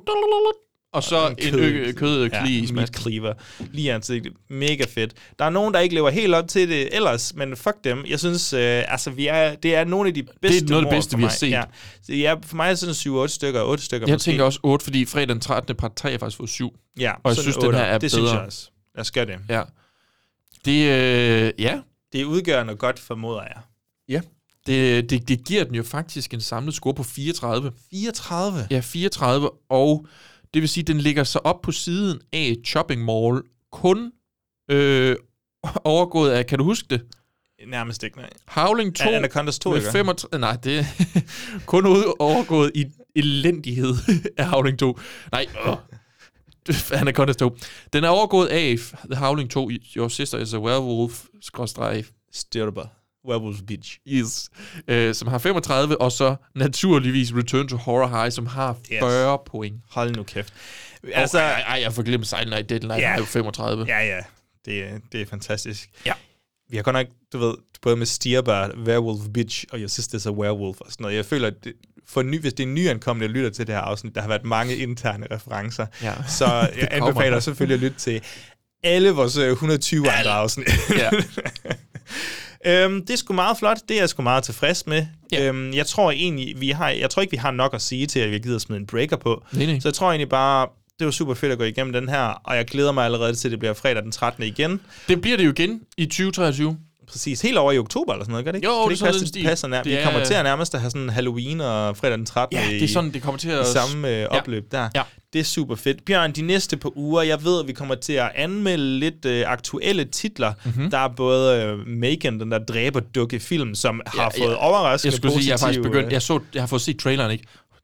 C: Og så en ø- kød
B: ja,
C: kli i
B: meat
C: smasken.
B: cleaver. Lige i ansigtet. Mega fedt. Der er nogen, der ikke lever helt op til det ellers, men fuck dem. Jeg synes, øh, altså, vi er, det er nogle af de bedste
C: noget af det
B: mord
C: bedste,
B: for
C: vi har
B: mig.
C: set.
B: Ja. Så ja, for mig er sådan 7-8 stykker, 8 stykker
C: Jeg
B: måske.
C: tænker også 8, fordi fredag den 13. part 3 har faktisk fået 7.
B: ja,
C: og jeg
B: sådan
C: synes, den
B: otter.
C: her er
B: det synes
C: bedre.
B: jeg også. Lad os gøre det.
C: Ja. Det, øh, ja.
B: Det er udgørende og godt, formoder jeg.
C: Ja. Det, det, det giver den jo faktisk en samlet score på 34.
B: 34?
C: Ja, 34, og det vil sige, at den ligger sig op på siden af Chopping Mall, kun øh, overgået af, kan du huske det?
B: Nærmest ikke, nej.
C: Howling 2
B: Er Anacondas 2,
C: med
B: ikke?
C: 35, nej, det [LAUGHS] er kun ud- overgået i elendighed [LAUGHS] af Howling 2. Nej, åh. [LAUGHS] Anacondas 2. Den er overgået af The Howling 2, Your Sister is a Werewolf, skråstreg,
B: Styrper. Werewolf Beach.
C: yes, øh, som har 35, og så naturligvis Return to Horror High, som har 40 yes. point.
B: Hold nu kæft.
C: Altså,
B: Altså,
C: ej, ej, jeg får glemt Silent Night Deadline,
B: Ja.
C: yeah. er jo 35.
B: ja, ja. Det, er- det er fantastisk.
C: Ja.
B: Vi har godt nok, du ved, både med Stierbar, Werewolf Bitch og Your Sister's a Werewolf og sådan noget. Jeg føler, at det, for ny, hvis det er nyankommende, der lytter til det her afsnit, der har været mange interne referencer.
C: Ja. [LAUGHS]
B: Så jeg
C: kommer.
B: anbefaler selvfølgelig at lytte til alle vores øh, 120 andre afsnit.
C: Ja.
B: Øhm, det er sgu meget flot. Det er jeg sgu meget tilfreds med.
C: Ja.
B: Ja. Øhm, jeg tror egentlig, vi har, jeg tror ikke, vi har nok at sige til, at vi gider smide en breaker på.
C: Nej, nej.
B: Så jeg tror egentlig bare, det var super fedt at gå igennem den her, og jeg glæder mig allerede til, at det bliver fredag den 13. igen.
C: Det bliver det jo igen i 2023.
B: Præcis, helt over i oktober eller sådan noget, gør det ikke?
C: Jo,
B: Kan
C: det er
B: det ikke
C: sådan
B: passe,
C: den
B: det
C: stil.
B: passer nær.
C: Det
B: Vi
C: er-
B: kommer til at nærmest at have sådan Halloween og fredag den 13.
C: Ja,
B: i,
C: det er sådan, det kommer til
B: i
C: at...
B: samme øh, opløb der.
C: Ja.
B: Det er super fedt. Bjørn, de næste par uger, jeg ved, at vi kommer til at anmelde lidt øh, aktuelle titler.
C: Mhm.
B: Mm-hmm. Der er både øh, Megan, den der dræberdukke film, som har
C: Ja,
B: fået
C: ja.
B: overraskende
C: Jeg skulle sige, jeg har faktisk
B: positive,
C: begyndt...
B: øh,
C: Jeg, så, jeg har fået set traileren, ikke?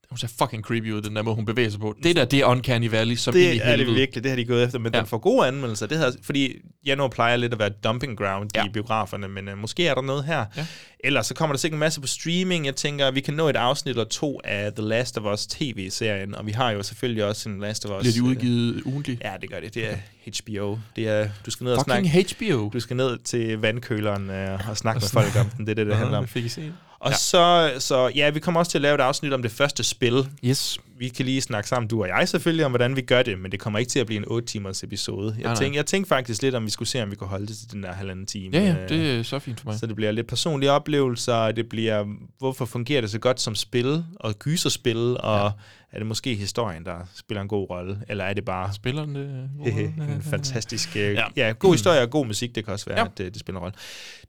C: Hun ser fucking creepy ud, den der måde, hun bevæger sig på. Det der, det er Uncanny Valley, som ind i
B: Mm. øh, Det er det
C: helvede.
B: virkelig, det har de gået efter, men
C: Ja.
B: ja. den får gode anmeldelser. Det her, fordi januar plejer lidt at være dumping ground ja.
C: Ja.
B: i biograferne, men uh, måske er der noget her.
C: Ja.
B: Ja. Ellers så kommer der sikkert en masse på streaming. Jeg tænker, vi kan nå et afsnit eller to af The Last of Us tv-serien, og vi har jo selvfølgelig også en Last of Us...
C: Bliver de
B: øh,
C: udgivet ugentligt?
B: Ja, det gør det. Det er HBO. Det er, du skal ned og
C: Fucking
B: snakke...
C: HBO.
B: Du skal ned til vandkøleren øh, og snakke med folk om den. Det er det, det handler om.
C: Fik I set?
B: Og ja. Så, så ja, vi kommer også til at lave et afsnit om det første spil.
C: Yes.
B: Vi kan lige snakke sammen, du og jeg selvfølgelig, om hvordan vi gør det, men det kommer ikke til at blive en 8-timers episode. Jeg,
C: nej.
B: tænkte, jeg tænkte faktisk lidt, om vi skulle se, om vi kunne holde det til den der halvanden time.
C: Ja, ja,
B: Øh,
C: det er så fint for mig.
B: Så det bliver lidt personlige oplevelser, og det bliver, hvorfor fungerer det så godt som spil, og gyserspil, og ja. er det måske historien, der spiller en god rolle, eller er det bare
C: Spiller den øh, det?
B: en fantastisk... Ja.
C: Ja.
B: ja, god historie og god musik, det kan også være, ja.
C: Ja.
B: at øh, det spiller en rolle.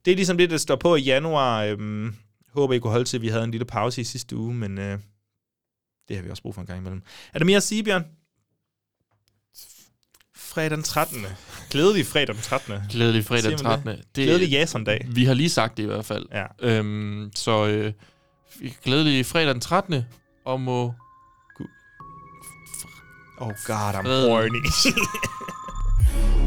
B: Det er ligesom det, der står på i januar. Øhm, håber, I kunne holde til, vi havde en lille pause i sidste uge, men øh, det har vi også brug for en gang imellem. Er der mere at sige, Bjørn? Fredag den 13. Glædelig fredag den 13.
C: Glædelig fredag
B: Siger
C: den
B: man det?
C: 13. Det, Mm.
B: Glædelig jasondag.
C: Vi har lige sagt det i hvert fald.
B: Ja.
C: Øhm, så øh, glædelig fredag den 13. Og må...
B: Oh god, I'm
C: Fred.
B: horny.